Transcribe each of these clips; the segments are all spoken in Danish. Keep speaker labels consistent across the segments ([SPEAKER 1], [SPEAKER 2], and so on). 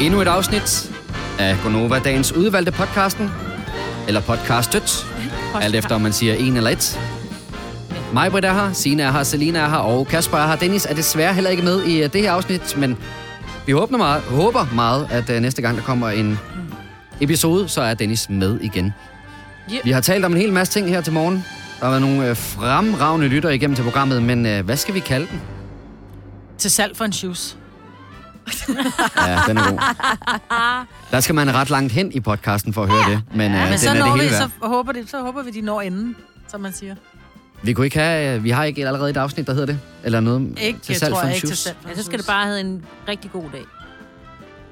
[SPEAKER 1] Endnu et afsnit af Gonova Dagens udvalgte podcasten. Eller podcastet. Alt efter, om man siger en eller et. Mig, Britt er her, Sina er her, Selina er her, og Kasper er her. Dennis er desværre heller ikke med i øh, det her afsnit, men vi håber meget, håber meget at øh, næste gang, der kommer en episode, så er Dennis med igen.
[SPEAKER 2] Yep.
[SPEAKER 1] Vi har talt om en hel masse ting her til morgen. Der har været nogle øh, fremragende lyttere igennem til programmet, men øh, hvad skal vi kalde den?
[SPEAKER 2] Til salg for en shoes.
[SPEAKER 1] Ja, den er god. Der skal man ret langt hen i podcasten for at høre det, men, øh,
[SPEAKER 2] Ja, men
[SPEAKER 1] den
[SPEAKER 2] så,
[SPEAKER 1] er det
[SPEAKER 2] når
[SPEAKER 1] hele
[SPEAKER 2] vi,
[SPEAKER 1] værd.
[SPEAKER 2] så, håber det, så håber vi, de når inden, som man siger.
[SPEAKER 1] Vi kunne ikke have, øh, vi har ikke allerede et afsnit, der hedder det, eller noget
[SPEAKER 2] Ikke,
[SPEAKER 1] til
[SPEAKER 2] jeg
[SPEAKER 1] salg
[SPEAKER 2] tror
[SPEAKER 1] for en
[SPEAKER 2] jeg, ikke til
[SPEAKER 1] shoes.
[SPEAKER 2] salg for
[SPEAKER 3] Ja,
[SPEAKER 2] en
[SPEAKER 3] så skal det
[SPEAKER 2] shoes.
[SPEAKER 3] bare have en rigtig god dag.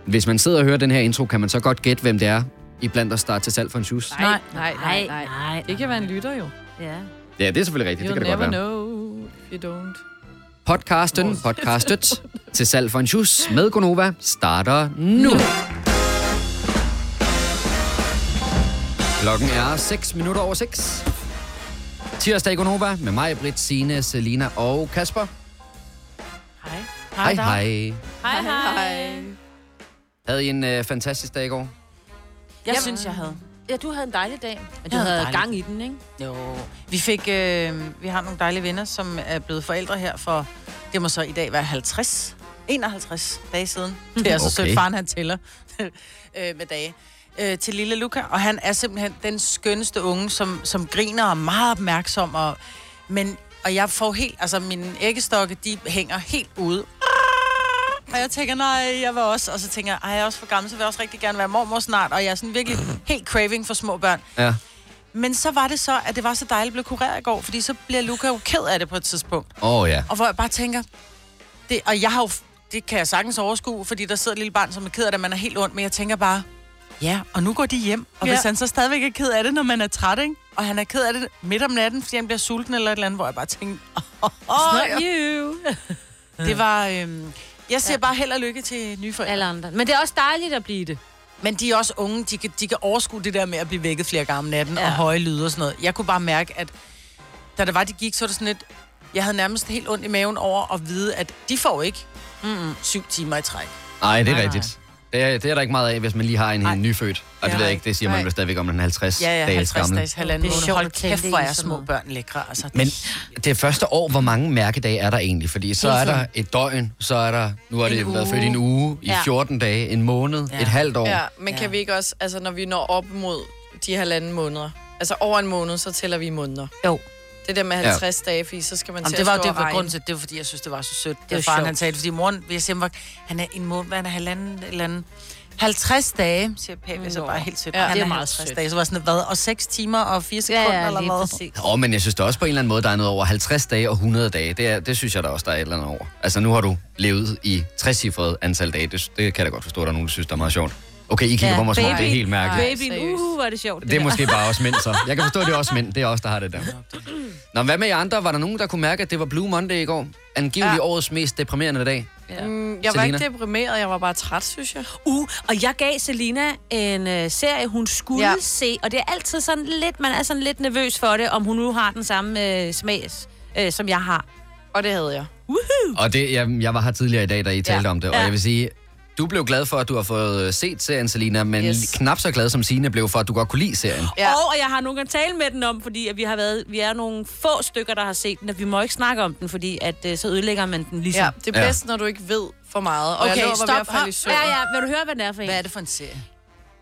[SPEAKER 1] Hvis man sidder og hører den her intro, kan man så godt gætte, hvem det er i blandt os, der er til salg for en shoes.
[SPEAKER 2] Nej, nej, nej,
[SPEAKER 3] nej.
[SPEAKER 2] nej.
[SPEAKER 3] nej.
[SPEAKER 2] Det kan være en lytter jo.
[SPEAKER 3] Ja.
[SPEAKER 1] Ja, det er selvfølgelig rigtigt,
[SPEAKER 2] You'll
[SPEAKER 1] det kan det
[SPEAKER 2] never
[SPEAKER 1] godt være.
[SPEAKER 2] know if you don't.
[SPEAKER 1] Podcasten, podcastet til salg for en shoes med Gonova starter nu. Klokken er 6 minutter over 6. Tirsdag i Gonova med mig, Britt, Signe, Selina og Kasper.
[SPEAKER 2] Hej.
[SPEAKER 1] Hej,
[SPEAKER 2] dig.
[SPEAKER 1] hej.
[SPEAKER 3] Hej,
[SPEAKER 1] Havde I en øh, fantastisk dag i går?
[SPEAKER 2] Jeg synes, jeg havde.
[SPEAKER 4] Ja, du havde en dejlig dag. Og du
[SPEAKER 2] Jeg havde
[SPEAKER 4] havde
[SPEAKER 2] dejlig.
[SPEAKER 4] gang i den, ikke?
[SPEAKER 2] Jo. Vi fik, øh, vi har nogle dejlige venner, som er blevet forældre her for, det må så i dag være 50, 51 dage siden. Det er så
[SPEAKER 1] Okay.
[SPEAKER 2] okay. sødt, faren han tæller øh, med dage. Øh, til lille Luca, og han er simpelthen den skønneste unge, som, som griner og er meget opmærksom. Og, men, og jeg får helt, altså mine æggestokke, de hænger helt ude. Og jeg tænker, nej, jeg var også. Og så tænker jeg, ej, jeg er også for gammel, så vil jeg også rigtig gerne være mormor snart. Og jeg er sådan virkelig helt craving for små børn.
[SPEAKER 1] Ja.
[SPEAKER 2] Men så var det så, at det var så dejligt at blive kureret i går, fordi så bliver Luca jo ked af det på et tidspunkt.
[SPEAKER 1] Åh oh, ja.
[SPEAKER 2] Og hvor jeg bare tænker, det, og jeg har jo, det kan jeg sagtens overskue, fordi der sidder et lille barn, som er ked af det, man er helt ondt, men jeg tænker bare, ja, og nu går de hjem. Og ja. hvis han så stadigvæk er ked af det, når man er træt, ikke? og han er ked af det midt om natten, fordi han bliver sulten eller et eller andet, hvor jeg bare tænker, åh, oh,
[SPEAKER 3] Not you.
[SPEAKER 2] det var... Øhm, jeg siger ja. bare held og lykke til nye forældre.
[SPEAKER 3] Alle andre. Men det er også dejligt at blive det.
[SPEAKER 2] Men de er også unge, de kan, de kan overskue det der med at blive vækket flere gange om natten, ja.
[SPEAKER 3] Ja.
[SPEAKER 2] og høje lyde og sådan noget. Jeg kunne bare mærke, at da det var, de gik, så var det sådan lidt... Jeg havde nærmest helt ondt i maven over at vide, at de får ikke mm-mm, syv timer i træk.
[SPEAKER 1] Ej, det
[SPEAKER 2] Nej,
[SPEAKER 1] er
[SPEAKER 2] nej.
[SPEAKER 1] rigtigt. Det er, det er der ikke meget af, hvis man lige har en,
[SPEAKER 2] Nej.
[SPEAKER 1] en nyfødt. Og det
[SPEAKER 2] Ja.
[SPEAKER 1] ved jeg ikke, det siger man
[SPEAKER 2] Nej.
[SPEAKER 1] vel stadigvæk om den 50
[SPEAKER 2] Ja, ja,
[SPEAKER 1] dages
[SPEAKER 2] 50
[SPEAKER 1] gammel.
[SPEAKER 2] dages, halvanden
[SPEAKER 3] Det er
[SPEAKER 2] måned.
[SPEAKER 3] sjovt
[SPEAKER 2] Hold
[SPEAKER 3] at tænke
[SPEAKER 2] kæft,
[SPEAKER 3] det
[SPEAKER 2] hvor
[SPEAKER 3] i
[SPEAKER 2] er
[SPEAKER 3] sådan
[SPEAKER 2] små
[SPEAKER 3] noget.
[SPEAKER 2] børn lækre. Altså,
[SPEAKER 1] Men det første år, hvor mange mærkedage er der egentlig? Fordi så er der et døgn, så er der, nu har det
[SPEAKER 3] En
[SPEAKER 1] været
[SPEAKER 3] uge.
[SPEAKER 1] født i en uge, i
[SPEAKER 3] Ja.
[SPEAKER 1] 14 dage, en måned,
[SPEAKER 2] Ja.
[SPEAKER 1] et halvt år.
[SPEAKER 5] Ja, men
[SPEAKER 2] Ja.
[SPEAKER 5] kan vi ikke også, altså når vi når op mod de halvanden måneder, altså over en måned, så tæller vi i måneder.
[SPEAKER 3] Jo.
[SPEAKER 5] Det der med
[SPEAKER 1] Ja.
[SPEAKER 5] 50 ja. dage, fordi så skal man
[SPEAKER 2] Jamen,
[SPEAKER 5] til
[SPEAKER 2] det var
[SPEAKER 5] at stå
[SPEAKER 2] det
[SPEAKER 5] og
[SPEAKER 2] var
[SPEAKER 5] regne.
[SPEAKER 2] grunden til, det var fordi, jeg synes, det var så sødt. Det,
[SPEAKER 3] er
[SPEAKER 2] det faren,
[SPEAKER 3] sjovt.
[SPEAKER 2] han sagde, fordi moren, vi siger, han er en måned, hvad han er halvanden, et eller andet. 50 dage, Mm. siger Pape, så bare helt sødt.
[SPEAKER 5] Ja,
[SPEAKER 2] Han
[SPEAKER 3] det er meget
[SPEAKER 2] 50
[SPEAKER 3] sødt.
[SPEAKER 2] dage, så var jeg sådan, hvad, og 6 timer og 4 sekunder
[SPEAKER 3] Ja, ja,
[SPEAKER 2] eller
[SPEAKER 3] lige
[SPEAKER 2] hvad?
[SPEAKER 3] præcis.
[SPEAKER 1] Åh, men jeg synes da også på en eller anden måde, der er noget over 50 dage og 100 dage. Det, er, det synes jeg da også, der er et eller andet over. Altså, nu har du levet i 60 antal dage. Det, det kan jeg da godt forstå, at der er nogen, der synes, der er meget sjovt. Okay, I kigger ja,
[SPEAKER 3] Ja,
[SPEAKER 1] på mig som om
[SPEAKER 3] baby.
[SPEAKER 1] det er helt mærkeligt.
[SPEAKER 3] Baby,
[SPEAKER 5] seriøst.
[SPEAKER 3] uh, hvor er det sjovt.
[SPEAKER 1] Det er
[SPEAKER 3] der.
[SPEAKER 1] måske bare også mænd, så. Jeg kan forstå, at det er også mænd. Det er også der har det der. Nå, hvad med jer andre? Var der nogen, der kunne mærke, at det var Blue Monday i går? Angiveligt ja.
[SPEAKER 5] Ja.
[SPEAKER 1] årets mest deprimerende dag.
[SPEAKER 5] Mm, jeg var
[SPEAKER 1] Selina?
[SPEAKER 5] ikke deprimeret, jeg var bare træt, synes jeg.
[SPEAKER 3] Uh, og jeg gav Selina en øh, serie, hun skulle ja.
[SPEAKER 5] Ja.
[SPEAKER 3] se, og det er altid sådan lidt, man er sådan lidt nervøs for det, om hun nu har den samme øh, smag, øh, som jeg har.
[SPEAKER 5] Og det havde jeg.
[SPEAKER 1] Og det, jeg, jeg var her tidligere i dag, da I talte om det, og
[SPEAKER 3] Ja.
[SPEAKER 1] jeg vil sige, du blev glad for, at du har fået øh, set serien, Selina, men yes.
[SPEAKER 5] Yes.
[SPEAKER 1] knap så glad som Signe blev for, at du godt kunne lide serien.
[SPEAKER 3] Ja.
[SPEAKER 5] Ja.
[SPEAKER 3] Og, og jeg har nogen at tale med den om, fordi at vi, har været, vi er nogle få stykker, der har set den, og vi må ikke snakke om den, fordi at, øh, så ødelægger man den ligesom.
[SPEAKER 5] Ja,
[SPEAKER 3] Ja.
[SPEAKER 5] det
[SPEAKER 1] Ja.
[SPEAKER 5] er bedst, når du ikke ved for meget. Og jeg lå og var ved at falde i søvn.
[SPEAKER 3] Ja, ja, vil du høre, hvad den er for en?
[SPEAKER 2] Hvad er det for en serie?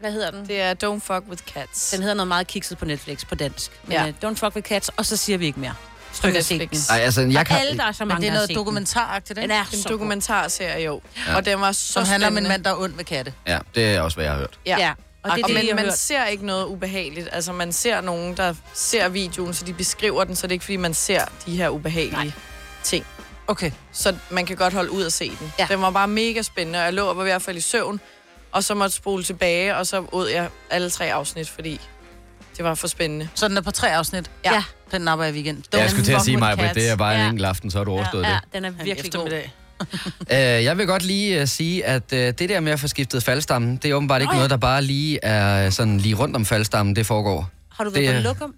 [SPEAKER 3] Hvad hedder den?
[SPEAKER 5] Det er Don't Fuck With Cats.
[SPEAKER 3] Den hedder noget meget kikset på Netflix på dansk. Men
[SPEAKER 5] Ja.
[SPEAKER 3] ja. uh, Don't fuck with cats, og så siger vi ikke mere. Stykker set den.
[SPEAKER 5] Netflix.
[SPEAKER 1] Ej, altså, jeg kan...
[SPEAKER 3] Og alle, der er så
[SPEAKER 2] Men
[SPEAKER 3] mange,
[SPEAKER 2] det er
[SPEAKER 3] der har
[SPEAKER 2] noget
[SPEAKER 3] set
[SPEAKER 2] dokumentaragtigt,
[SPEAKER 3] Den.
[SPEAKER 2] ikke?
[SPEAKER 3] den er
[SPEAKER 5] En
[SPEAKER 3] så god.
[SPEAKER 5] dokumentarserie, jo. Ja. Og den var så
[SPEAKER 2] som handler om en
[SPEAKER 5] spændende.
[SPEAKER 2] mand, der er ond ved katte.
[SPEAKER 1] Ja, det er også, hvad jeg har hørt.
[SPEAKER 5] Ja.
[SPEAKER 3] Ja. Og det er
[SPEAKER 5] Og
[SPEAKER 3] det,
[SPEAKER 5] det,
[SPEAKER 3] I har
[SPEAKER 5] man, man
[SPEAKER 3] hørt.
[SPEAKER 5] ser ikke noget ubehageligt. Altså, man ser nogen, der ser videoen, så de beskriver den, så det er ikke, fordi man ser de her ubehagelige Nej. ting.
[SPEAKER 2] Okay.
[SPEAKER 5] Så man kan godt holde ud og se den.
[SPEAKER 3] Ja.
[SPEAKER 5] Ja. Den var bare mega spændende, og jeg lå og var i hvert fald i søvn, og så måtte spole tilbage, og så åd jeg alle tre afsnit, fordi det var for spændende.
[SPEAKER 2] Så den er på tre afsnit.
[SPEAKER 3] Ja.
[SPEAKER 2] Den napper jeg i weekend.
[SPEAKER 1] Jeg skulle til at sige mig,
[SPEAKER 2] at
[SPEAKER 1] det er bare ja. en
[SPEAKER 3] Ja.
[SPEAKER 1] enkelt aften, så har du overstået ja.
[SPEAKER 3] Ja,
[SPEAKER 1] det.
[SPEAKER 3] den er virkelig god.
[SPEAKER 1] Øh, jeg vil godt lige uh, sige, at uh, det der med at få skiftet faldstammen, det er åbenbart ikke oh, ja. noget, der bare lige er øh, sådan lige rundt om faldstammen, det foregår.
[SPEAKER 3] Har du
[SPEAKER 1] Det
[SPEAKER 3] været på
[SPEAKER 1] er-
[SPEAKER 3] luk om?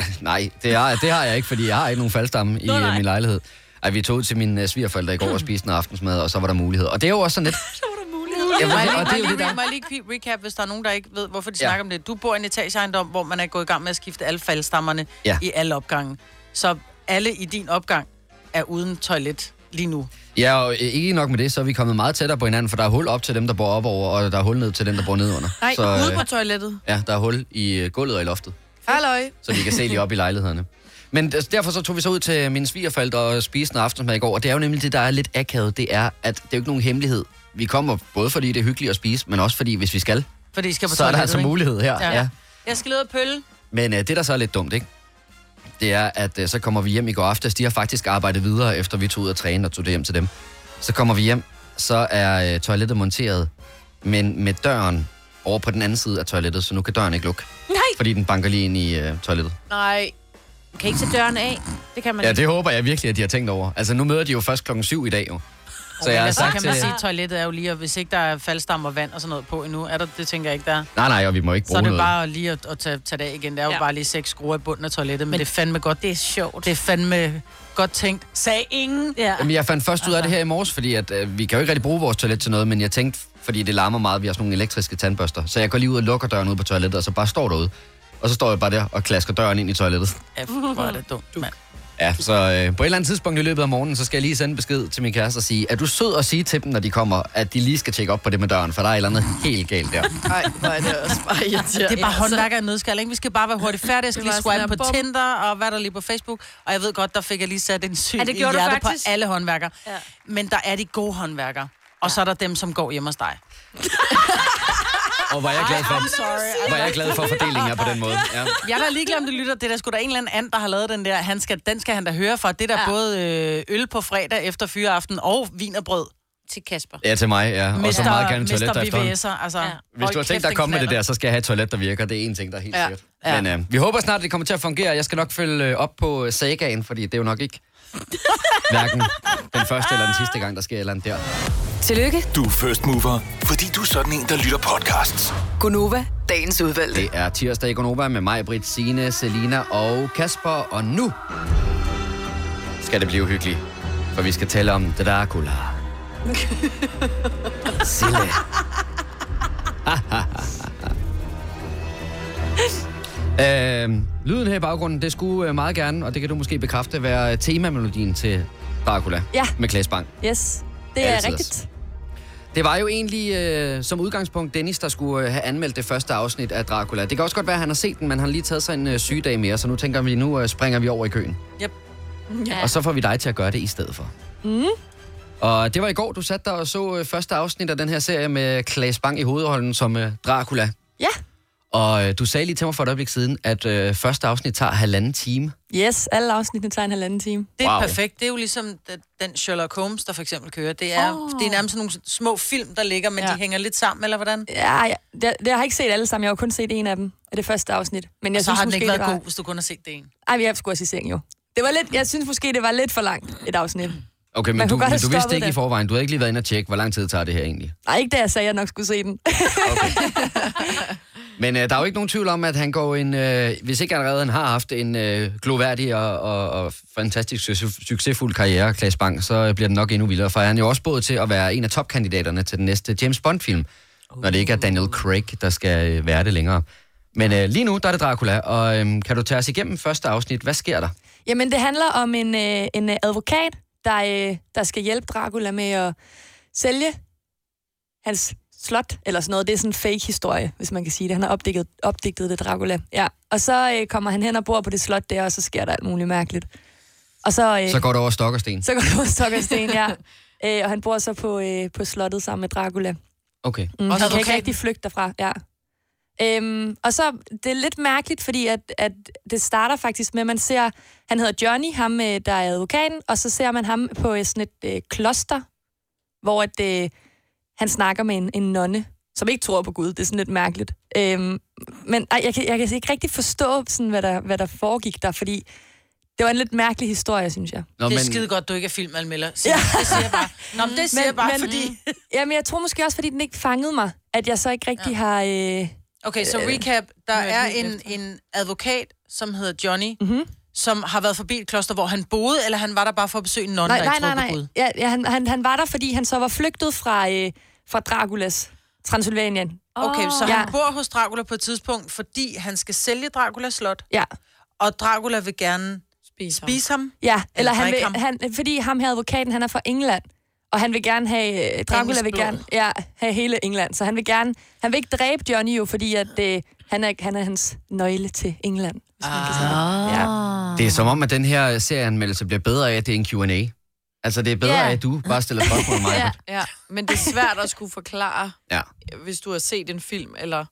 [SPEAKER 1] Nej, det har, det har jeg ikke, fordi jeg har ikke nogen faldstamme i
[SPEAKER 3] Nå, nej.
[SPEAKER 1] øh, min lejlighed. Ej, vi tog ud til mine øh, svigerforældre i går og spiste en aftensmad, og så var der mulighed. Og det er jo også sådan lidt... så var der mulighed. Jamen,
[SPEAKER 2] Må jeg
[SPEAKER 1] og det er jo
[SPEAKER 2] lige,
[SPEAKER 1] det,
[SPEAKER 2] må
[SPEAKER 1] der...
[SPEAKER 2] jeg lige, må jeg lige pe- recap, hvis der er nogen, der ikke ved, hvorfor de
[SPEAKER 1] Ja.
[SPEAKER 2] ja. snakker om det. Du bor i en etageejendom, hvor man er gået i gang med at skifte alle faldstammerne
[SPEAKER 1] Ja.
[SPEAKER 2] ja. i alle opgange. Så alle i din opgang er uden toilet lige nu.
[SPEAKER 1] Ja, og øh, ikke nok med det, så er vi kommet meget tættere på hinanden, for der er hul op til dem, der bor op over, og der er hul ned til dem, der bor ned under.
[SPEAKER 5] Nej,
[SPEAKER 1] så,
[SPEAKER 5] ude
[SPEAKER 1] øh,
[SPEAKER 5] på toilettet.
[SPEAKER 1] ja, der er hul i øh, gulvet og i loftet.
[SPEAKER 5] Halløj.
[SPEAKER 1] så vi kan se lige op i lejlighederne. Men des- derfor så tog vi så ud til mine svigerforældre og spiste en aftensmad i går, og det er jo nemlig det, der er lidt akavet, det er, at det er jo ikke nogen hemmelighed. Vi kommer både fordi det er hyggeligt at spise, men også fordi, hvis vi skal,
[SPEAKER 2] Fordi I skal på
[SPEAKER 1] så er der
[SPEAKER 2] toilettet,
[SPEAKER 1] altså
[SPEAKER 2] ikke?
[SPEAKER 1] mulighed her. Ja.
[SPEAKER 2] Ja.
[SPEAKER 1] Ja.
[SPEAKER 3] Jeg skal lede og pølle.
[SPEAKER 1] Men øh, det, der så er lidt dumt, ikke? det er, at øh, så kommer vi hjem i går aftes. De har faktisk arbejdet videre, efter vi tog ud og træne og tog det hjem til dem. Så kommer vi hjem, så er øh, toilettet monteret, men med døren over på den anden side af toilettet, så nu kan døren ikke lukke,
[SPEAKER 3] Nej,
[SPEAKER 1] fordi den banker lige ind i øh, toilettet.
[SPEAKER 5] Nej.
[SPEAKER 3] du kan ikke se døren af. Det kan man
[SPEAKER 1] Ja,
[SPEAKER 3] ikke.
[SPEAKER 1] det håber jeg virkelig, at de har tænkt over. Altså, nu møder de jo først klokken 7 i dag, jo. Så
[SPEAKER 2] Men
[SPEAKER 1] jeg har
[SPEAKER 2] altså,
[SPEAKER 1] sagt
[SPEAKER 2] kan
[SPEAKER 1] til...
[SPEAKER 2] man sige, at toilettet er jo lige, og hvis ikke der er faldstammer, vand og sådan noget på endnu, er der, det tænker jeg ikke, der er.
[SPEAKER 1] Nej, nej, og vi må ikke
[SPEAKER 2] Så er
[SPEAKER 1] bruge
[SPEAKER 2] det
[SPEAKER 1] noget.
[SPEAKER 2] bare lige at, at tage, tage det af igen. Det er jo
[SPEAKER 3] Ja.
[SPEAKER 2] ja. bare lige seks skruer i bunden af toilettet, men, men
[SPEAKER 3] Men
[SPEAKER 2] det er fandme godt. Det,
[SPEAKER 3] Det er sjovt.
[SPEAKER 2] det er fandme godt tænkt. Sagde ingen.
[SPEAKER 3] Ja.
[SPEAKER 1] Jamen, jeg fandt først ud af det her i morges, fordi at, øh, vi kan jo ikke rigtig bruge vores toilet til noget, men jeg tænkte, fordi det larmer meget, vi har sådan nogle elektriske tandbørster, så jeg går lige ud og lukker døren ud på toilettet, og så bare står derude. Og så står jeg bare der og klasker døren ind i toilettet.
[SPEAKER 2] Ja, hvor er det dumt, mand.
[SPEAKER 1] Ja, så øh, på et eller andet tidspunkt i løbet af morgenen, så skal jeg lige sende besked til min kæreste og sige, er du sød at sige til dem, når de kommer, at de lige skal tjekke op på det med døren, for der er et eller andet helt galt der.
[SPEAKER 5] Nej, hvor er det også bare irriterende.
[SPEAKER 2] Det er Altså, bare håndværk af nødskal, ikke? Vi skal bare være hurtigt færdige. Jeg skal
[SPEAKER 5] Det
[SPEAKER 2] lige
[SPEAKER 5] var sådan
[SPEAKER 2] swipe på
[SPEAKER 5] her, bum.
[SPEAKER 2] Tinder, og hvad er der lige på Facebook. Og jeg ved godt, der fik jeg lige sat en syg
[SPEAKER 3] Ja,
[SPEAKER 2] i
[SPEAKER 3] det gjorde du
[SPEAKER 2] hjertet på
[SPEAKER 3] faktisk.
[SPEAKER 2] alle håndværkere.
[SPEAKER 3] Ja.
[SPEAKER 2] Ja. Men der er de gode håndværkere. Og så er der dem, som går hjemme hos dig.
[SPEAKER 1] Og var jeg glad for,
[SPEAKER 2] sorry.
[SPEAKER 1] var jeg glad for fordelingen her på den måde. Ja.
[SPEAKER 2] Jeg er da ligeglad, om du lytter. Det er der sgu da en eller anden and, der har lavet den der. Han skal, den skal han da høre fra. Det er der
[SPEAKER 3] Ja.
[SPEAKER 2] ja. både øh, øl på fredag efter fyreaften og vin og brød.
[SPEAKER 3] Til Kasper.
[SPEAKER 1] Ja, til mig, ja. Og så meget gerne et toilet der
[SPEAKER 2] Mr.
[SPEAKER 1] efterhånden.
[SPEAKER 2] BVS'er. Altså,
[SPEAKER 3] Ja.
[SPEAKER 2] ja.
[SPEAKER 1] Hvis du har tænkt dig at komme med det der, så skal jeg have et toilet, der virker. Det er en ting, der er helt ja.
[SPEAKER 5] Ja.
[SPEAKER 1] sikkert.
[SPEAKER 2] Ja.
[SPEAKER 1] Men øh, vi håber snart, det kommer til at fungere. Jeg skal nok følge øh, op på øh, sagaen, fordi det er jo nok ikke hverken den første eller den sidste gang, der sker et eller andet der.
[SPEAKER 4] Tillykke,
[SPEAKER 6] Du er first mover, fordi du er sådan en, der lytter podcasts.
[SPEAKER 4] Gunova, dagens udvalgte.
[SPEAKER 1] Det er tirsdag i Gonova med mig, Britt, Signe, Selina og Kasper. Og nu skal det blive hyggeligt, for vi skal tale om Dracula. Sille. øhm, lyden her i baggrunden, det skulle øh, meget gerne, og det kan du måske bekræfte, være øh, temamelodien til Dracula
[SPEAKER 4] Ja.
[SPEAKER 1] med Klaas Bang.
[SPEAKER 4] Yes, det er
[SPEAKER 1] Altid.
[SPEAKER 4] rigtigt.
[SPEAKER 1] Det var jo egentlig øh, som udgangspunkt Dennis, der skulle øh, have anmeldt det første afsnit af Dracula. Det kan også godt være, at han har set den, men han har lige taget sig en øh, sygedag mere, så nu tænker vi, nu øh, springer vi over i køen.
[SPEAKER 2] Yep.
[SPEAKER 1] Ja. Og så får vi dig til at gøre det i stedet for. Mm. Og det var i går, du satte dig og så øh, første afsnit af den her serie med Claes Bang i hovedrollen som øh, Dracula.
[SPEAKER 4] Ja.
[SPEAKER 1] Og øh, du sagde lige til mig for et øjeblik siden, at øh, første afsnit tager halvanden time.
[SPEAKER 4] Yes, alle afsnittene tager en halvanden time.
[SPEAKER 2] Det er
[SPEAKER 1] Wow.
[SPEAKER 2] wow. perfekt. Det er jo ligesom den- den Sherlock Holmes, der for eksempel kører. Det er,
[SPEAKER 4] Åh.
[SPEAKER 2] oh. det er nærmest sådan nogle små film, der ligger, men
[SPEAKER 4] Ja.
[SPEAKER 2] ja. de hænger lidt sammen, eller hvordan? Jeg
[SPEAKER 4] Ja, ja det, det, jeg har ikke set alle sammen. Jeg har jo kun set en af dem af det første afsnit. Men jeg
[SPEAKER 2] så
[SPEAKER 4] synes
[SPEAKER 2] har den
[SPEAKER 4] måske,
[SPEAKER 2] ikke
[SPEAKER 4] det
[SPEAKER 2] været
[SPEAKER 4] var...
[SPEAKER 2] god, hvis du kun har set det ene.
[SPEAKER 4] Ej, vi har sgu også i seng jo. Det var lidt, jeg synes måske, det var lidt for langt et afsnit.
[SPEAKER 1] Okay, men
[SPEAKER 4] Man
[SPEAKER 1] du,
[SPEAKER 4] kunne godt
[SPEAKER 1] men
[SPEAKER 4] have
[SPEAKER 1] du vidste
[SPEAKER 4] stoppet
[SPEAKER 1] ikke
[SPEAKER 4] det.
[SPEAKER 1] i forvejen. Du havde ikke lige været inde og tjekke, hvor lang tid tager det her egentlig.
[SPEAKER 4] Nej, ikke da jeg sagde, at jeg nok skulle se den.
[SPEAKER 1] Men øh, der er jo ikke nogen tvivl om, at han går en, øh, hvis ikke allerede han har haft en øh, gloværdig og, og, og fantastisk succes, succesfuld karriere, Klaas Bang, så øh, bliver den nok endnu vildere, for han er jo også både til at være en af topkandidaterne til den næste James Bond-film, uh. når det ikke er Daniel Craig, der skal øh, være det længere. Men øh, lige nu, der er det Dracula, og øh, kan du tage os igennem første afsnit? Hvad sker der?
[SPEAKER 4] Jamen, det handler om en, øh, en øh, advokat, der, øh, der skal hjælpe Dracula med at sælge hans slot, eller sådan noget. Det er sådan en fake-historie, hvis man kan sige det. Han har opdigtet, opdigtet det, Dracula. Ja. Og så øh, kommer han hen og bor på det slot der, og så sker der alt muligt mærkeligt. Og så, øh,
[SPEAKER 1] Så går det over stok og sten.
[SPEAKER 4] så går det over stok og sten, ja. Øh, og han bor så på, øh, på slottet sammen med Dracula.
[SPEAKER 1] Okay.
[SPEAKER 4] Mm, han
[SPEAKER 2] Også
[SPEAKER 4] kan ikke
[SPEAKER 2] advokaten?
[SPEAKER 4] rigtig flygte derfra, ja. Øhm, og så, det er lidt mærkeligt, fordi at, at det starter faktisk med, at man ser, han hedder Johnny, ham øh, der er advokaten, og så ser man ham på øh, sådan et øh, kloster, hvor at, øh, han snakker med en, en nonne, som ikke tror på Gud. Det er sådan lidt mærkeligt. Øhm, men ej, jeg, kan, jeg kan ikke rigtig forstå, sådan, hvad, der, hvad der foregik der, fordi det var en lidt mærkelig historie, synes jeg.
[SPEAKER 1] Nå,
[SPEAKER 2] Det er
[SPEAKER 1] men,
[SPEAKER 2] skide godt, du ikke er filmanmelder. Sig, ja. Det siger jeg bare. Nå, men det siger
[SPEAKER 4] Mm. Men-
[SPEAKER 2] jeg bare,
[SPEAKER 4] men-
[SPEAKER 2] fordi...
[SPEAKER 4] Jamen, jeg tror måske også, fordi den ikke fangede mig, at jeg så ikke rigtig ja. har... Øh,
[SPEAKER 2] Okay, så recap. Der
[SPEAKER 5] jeg
[SPEAKER 2] er
[SPEAKER 5] lige
[SPEAKER 2] en,
[SPEAKER 5] efter.
[SPEAKER 2] en advokat, som hedder Johnny,
[SPEAKER 4] Mhm.
[SPEAKER 2] mm-hmm. som har været forbi et kloster, hvor han boede, eller han var der bare for at besøge en nonne, der
[SPEAKER 4] Nej,
[SPEAKER 2] ikke
[SPEAKER 4] nej, nej,
[SPEAKER 2] troede på
[SPEAKER 4] nej.
[SPEAKER 2] Gud.
[SPEAKER 4] Ja, ja, han, han, han var der, fordi han så var flygtet fra, øh, fra Draculas Transylvanien.
[SPEAKER 2] Okay, så han
[SPEAKER 4] Åh. Ja.
[SPEAKER 2] bor hos Dracula på et tidspunkt, fordi han skal sælge Draculas slot,
[SPEAKER 4] Ja,
[SPEAKER 2] og Dracula vil gerne
[SPEAKER 5] Spiser.
[SPEAKER 2] spise ham.
[SPEAKER 4] ja. eller han
[SPEAKER 2] drikke
[SPEAKER 4] vil, han, fordi ham her advokaten, han er fra England, og han vil gerne have, øh, Dracula
[SPEAKER 2] Engelsk
[SPEAKER 4] vil
[SPEAKER 2] blod.
[SPEAKER 4] gerne ja, have hele England, så han vil gerne, han vil ikke dræbe Johnny jo, fordi at, øh, han, er, han er hans nøgle til England. Hvis man kan sige det.
[SPEAKER 2] Ah.
[SPEAKER 4] Ja.
[SPEAKER 1] Det er som om, at den her serieanmeldelse bliver bedre af, at det er en Q&A. Altså, det er bedre
[SPEAKER 4] Ja.
[SPEAKER 1] af, at du bare stiller spørgsmål mig.
[SPEAKER 4] Ja.
[SPEAKER 5] Ja, men det er svært at skulle forklare,
[SPEAKER 1] ja.
[SPEAKER 5] hvis du har set en film eller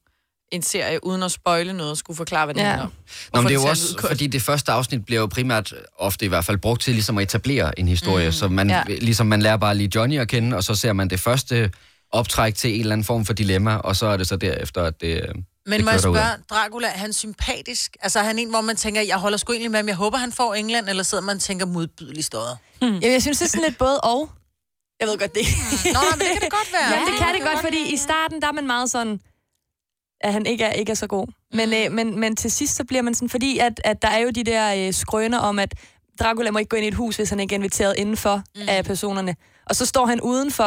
[SPEAKER 5] en serie, uden at spoile noget, skulle forklare, hvad det
[SPEAKER 4] Ja.
[SPEAKER 5] ja. handler om.
[SPEAKER 1] Nå, men
[SPEAKER 5] Hvorfor
[SPEAKER 1] det er jo
[SPEAKER 5] ser
[SPEAKER 1] også,
[SPEAKER 5] ud godt.
[SPEAKER 1] fordi det første afsnit bliver jo primært, ofte i hvert fald, brugt til ligesom at etablere en historie. Mm, så man, ja. ligesom man lærer bare lige Johnny at kende, og så ser man det første optræk til en eller anden form for dilemma, og så er det så derefter, at det... øh,
[SPEAKER 2] Men
[SPEAKER 1] det
[SPEAKER 2] må jeg
[SPEAKER 1] kører derudad.
[SPEAKER 2] spørge, Dracula, er han sympatisk? Altså er han en, hvor man tænker, jeg holder sgu egentlig med ham, jeg håber, han får England, eller sidder man og tænker modbydelig støjet?
[SPEAKER 4] Jamen, jeg synes, det er sådan lidt både og. Jeg ved godt, det
[SPEAKER 2] Mm. Nå, men det kan det godt være.
[SPEAKER 4] Ja, det kan det godt, fordi i starten, der er man meget sådan, at han ikke er, ikke er så god. Men,
[SPEAKER 2] Mm.
[SPEAKER 4] øh, men, men til sidst, så bliver man sådan, fordi at, at der er jo de der øh, skrøner om, at Dracula må ikke gå ind i et hus, hvis han ikke er inviteret indenfor mm. af personerne. Og så står han udenfor,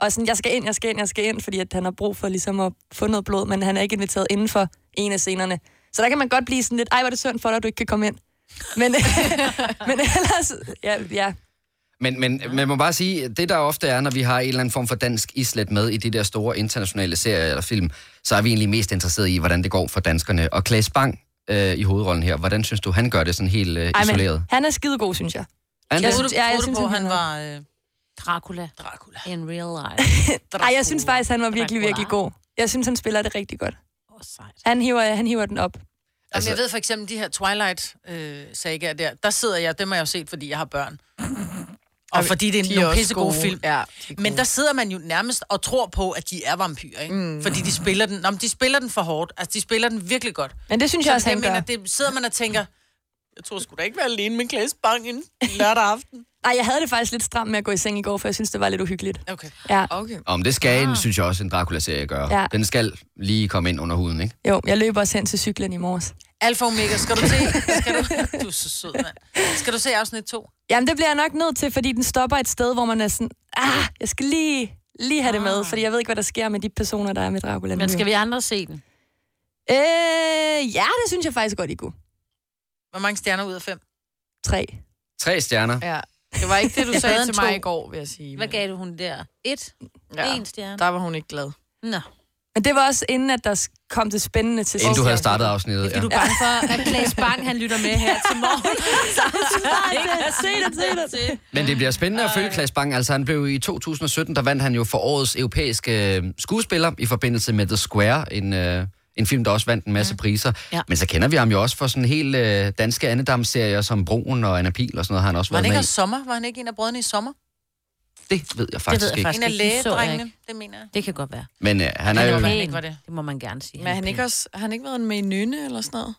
[SPEAKER 4] og er sådan, jeg skal ind, jeg skal ind, jeg skal ind, fordi at han har brug for ligesom at få noget blod, men han er ikke inviteret indenfor en af scenerne. Så der kan man godt blive sådan lidt, ej, hvor er det synd for dig, at du ikke kan komme ind. Men, men ellers, ja, ja.
[SPEAKER 1] Men, men man må bare sige, det der ofte er, når vi har en eller anden form for dansk islet med i de der store internationale serier eller film, så er vi egentlig mest interesseret i, hvordan det går for danskerne. Og Claes Bang øh, i hovedrollen her, hvordan synes du, han gør det sådan helt øh,
[SPEAKER 4] Ej,
[SPEAKER 1] isoleret?
[SPEAKER 4] men han er skidegod, synes jeg.
[SPEAKER 1] Er han
[SPEAKER 2] Jeg
[SPEAKER 1] det?
[SPEAKER 2] troede,
[SPEAKER 4] Ja, jeg
[SPEAKER 2] jeg
[SPEAKER 4] synes,
[SPEAKER 2] på,
[SPEAKER 4] han
[SPEAKER 2] han
[SPEAKER 4] er-
[SPEAKER 2] var øh,
[SPEAKER 3] Dracula
[SPEAKER 2] Dracula.
[SPEAKER 3] in real life.
[SPEAKER 4] Nej, jeg synes faktisk, han var virkelig,
[SPEAKER 3] Dracula.
[SPEAKER 4] virkelig god. Jeg synes, han spiller det rigtig godt.
[SPEAKER 3] Åh, sejt.
[SPEAKER 4] Han hiver, han hiver den op.
[SPEAKER 2] Altså,
[SPEAKER 1] Altså-
[SPEAKER 2] jeg ved for eksempel, de her Twilight-sager der, der sidder jeg, dem har jeg jo set, fordi jeg har børn. Og fordi det er
[SPEAKER 5] De
[SPEAKER 2] de
[SPEAKER 5] er
[SPEAKER 2] nogle
[SPEAKER 5] også
[SPEAKER 2] pissegode
[SPEAKER 5] gode.
[SPEAKER 2] film.
[SPEAKER 5] Ja, de er gode.
[SPEAKER 2] men der sidder man jo nærmest og tror på, at de er vampyrer, ikke? Mm. Fordi de spiller den... Nå, men de spiller den for hårdt. Altså, de spiller den virkelig godt.
[SPEAKER 4] Men det synes jeg også,
[SPEAKER 2] jeg
[SPEAKER 4] han gør.
[SPEAKER 2] mener, det sidder man og tænker, jeg tror sgu da ikke være alene med Klaas Bang en lørdag aften.
[SPEAKER 4] Nej, jeg havde det faktisk lidt stramt med at gå i seng i går, for jeg synes, det var lidt uhyggeligt.
[SPEAKER 2] Okay.
[SPEAKER 4] Ja,
[SPEAKER 5] Okay.
[SPEAKER 1] Om det skal, en, synes jeg også, en Dracula-serie gør.
[SPEAKER 4] Ja.
[SPEAKER 1] Den skal lige komme ind under huden, ikke?
[SPEAKER 4] jo, jeg løber også hen til cyklen i morges.
[SPEAKER 2] Alfa Omega, skal du se... Skal du, du er så sød, mand. Skal du se afsnit 2?
[SPEAKER 4] Jamen, det bliver jeg nok nødt til, fordi den stopper et sted, hvor man er sådan, ah, jeg skal lige, lige have det med, fordi jeg ved ikke, hvad der sker med de personer, der er med Dracula.
[SPEAKER 3] Ah." Men skal vi andre se den?
[SPEAKER 4] Øh, ja, det synes jeg faktisk godt, I kunne.
[SPEAKER 2] Hvor mange stjerner ud af fem?
[SPEAKER 4] Tre.
[SPEAKER 1] Tre stjerner.
[SPEAKER 5] Ja. Det var ikke det, du
[SPEAKER 3] Bedre
[SPEAKER 5] sagde
[SPEAKER 3] end
[SPEAKER 5] til mig
[SPEAKER 3] to.
[SPEAKER 5] i går, vil jeg sige.
[SPEAKER 3] Hvad
[SPEAKER 5] men-
[SPEAKER 3] gav du hun der? Et?
[SPEAKER 5] Ja.
[SPEAKER 3] En stjerne? Mm.
[SPEAKER 5] Der var hun ikke glad.
[SPEAKER 3] Nå.
[SPEAKER 4] Men det var også inden, at der s- kom det spændende til
[SPEAKER 1] Inden du
[SPEAKER 4] sidst.
[SPEAKER 1] havde startet afsnittet. Ja.
[SPEAKER 3] Du er bange for, at Klaas Bang, han lytter med her til morgen. Så han skal ikke se det, se det, se det.
[SPEAKER 1] Men det bliver spændende at følge Claes Bang. Altså, han blev i 2017, der vandt han jo for årets europæiske øh, skuespiller i forbindelse med The Square, en, øh, en film, der også vandt en masse priser.
[SPEAKER 3] Ja.
[SPEAKER 1] Men så kender vi ham jo også for sådan helt øh, danske andedamsserier som Broen og Anna Pil og sådan noget, har han også
[SPEAKER 2] Var
[SPEAKER 1] været
[SPEAKER 2] han ikke
[SPEAKER 1] med
[SPEAKER 2] også sommer? Var han ikke en af brødrene i sommer?
[SPEAKER 1] i. Det ved jeg faktisk
[SPEAKER 3] ved jeg
[SPEAKER 1] ikke.
[SPEAKER 3] faktisk.
[SPEAKER 2] En af
[SPEAKER 3] Måske, den så jeg
[SPEAKER 2] lægedrengene, det mener jeg.
[SPEAKER 3] Det kan godt være.
[SPEAKER 1] Men øh, han er
[SPEAKER 2] Han
[SPEAKER 1] jo...
[SPEAKER 2] var-
[SPEAKER 3] Pæn.
[SPEAKER 2] ikke var det.
[SPEAKER 3] Det må man gerne sige.
[SPEAKER 5] Men har han ikke også, har han ikke været med i Nynne eller sådan noget?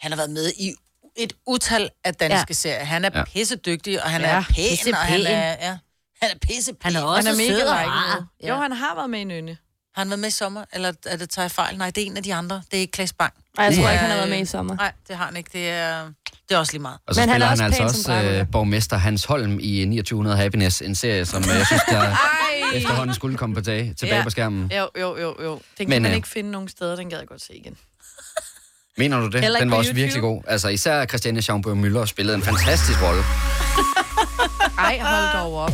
[SPEAKER 2] Han har været med i et utal af danske
[SPEAKER 3] Ja.
[SPEAKER 2] ja. serier. Han er
[SPEAKER 1] Ja.
[SPEAKER 2] ja. pissedygtig, og han ja.
[SPEAKER 5] Ja,
[SPEAKER 2] er pæn,
[SPEAKER 3] pissepæn.
[SPEAKER 2] og han er... Ja. Han er pissepæn.
[SPEAKER 3] Han er også
[SPEAKER 5] han er
[SPEAKER 3] sød og
[SPEAKER 5] likeable.
[SPEAKER 3] rar. Ja.
[SPEAKER 5] Jo, han har været med i Nynne.
[SPEAKER 2] Har han været med i sommer, eller er det tager jeg fejl? Nej, det er en af de andre. Det er ikke Klaas Bang.
[SPEAKER 4] Nej, jeg tror
[SPEAKER 2] Ja.
[SPEAKER 4] ikke, han har været med i sommer.
[SPEAKER 2] Nej, det har han ikke. Det er, det er også lige meget.
[SPEAKER 1] Og så
[SPEAKER 4] Men han
[SPEAKER 1] spiller
[SPEAKER 4] er
[SPEAKER 1] han,
[SPEAKER 4] også
[SPEAKER 1] altså
[SPEAKER 4] pæn
[SPEAKER 1] også
[SPEAKER 4] som Dracula.
[SPEAKER 1] øh, borgmester Hans Holm i 2900 Happiness, en serie, som øh, jeg synes, der efterhånden skulle komme på tag, tilbage
[SPEAKER 5] Ja.
[SPEAKER 1] på skærmen.
[SPEAKER 5] Jo, jo, jo, jo. Den
[SPEAKER 1] Men,
[SPEAKER 5] kan Men, man
[SPEAKER 1] øh,
[SPEAKER 5] ikke finde nogen steder, den gad jeg godt se igen.
[SPEAKER 1] Mener du det?
[SPEAKER 5] Heller ikke
[SPEAKER 1] Den var
[SPEAKER 5] på
[SPEAKER 1] også
[SPEAKER 5] YouTube?
[SPEAKER 1] virkelig god. Altså især Christiane Schaumburg Müller spillede en fantastisk rolle.
[SPEAKER 5] Ej, hold dog op.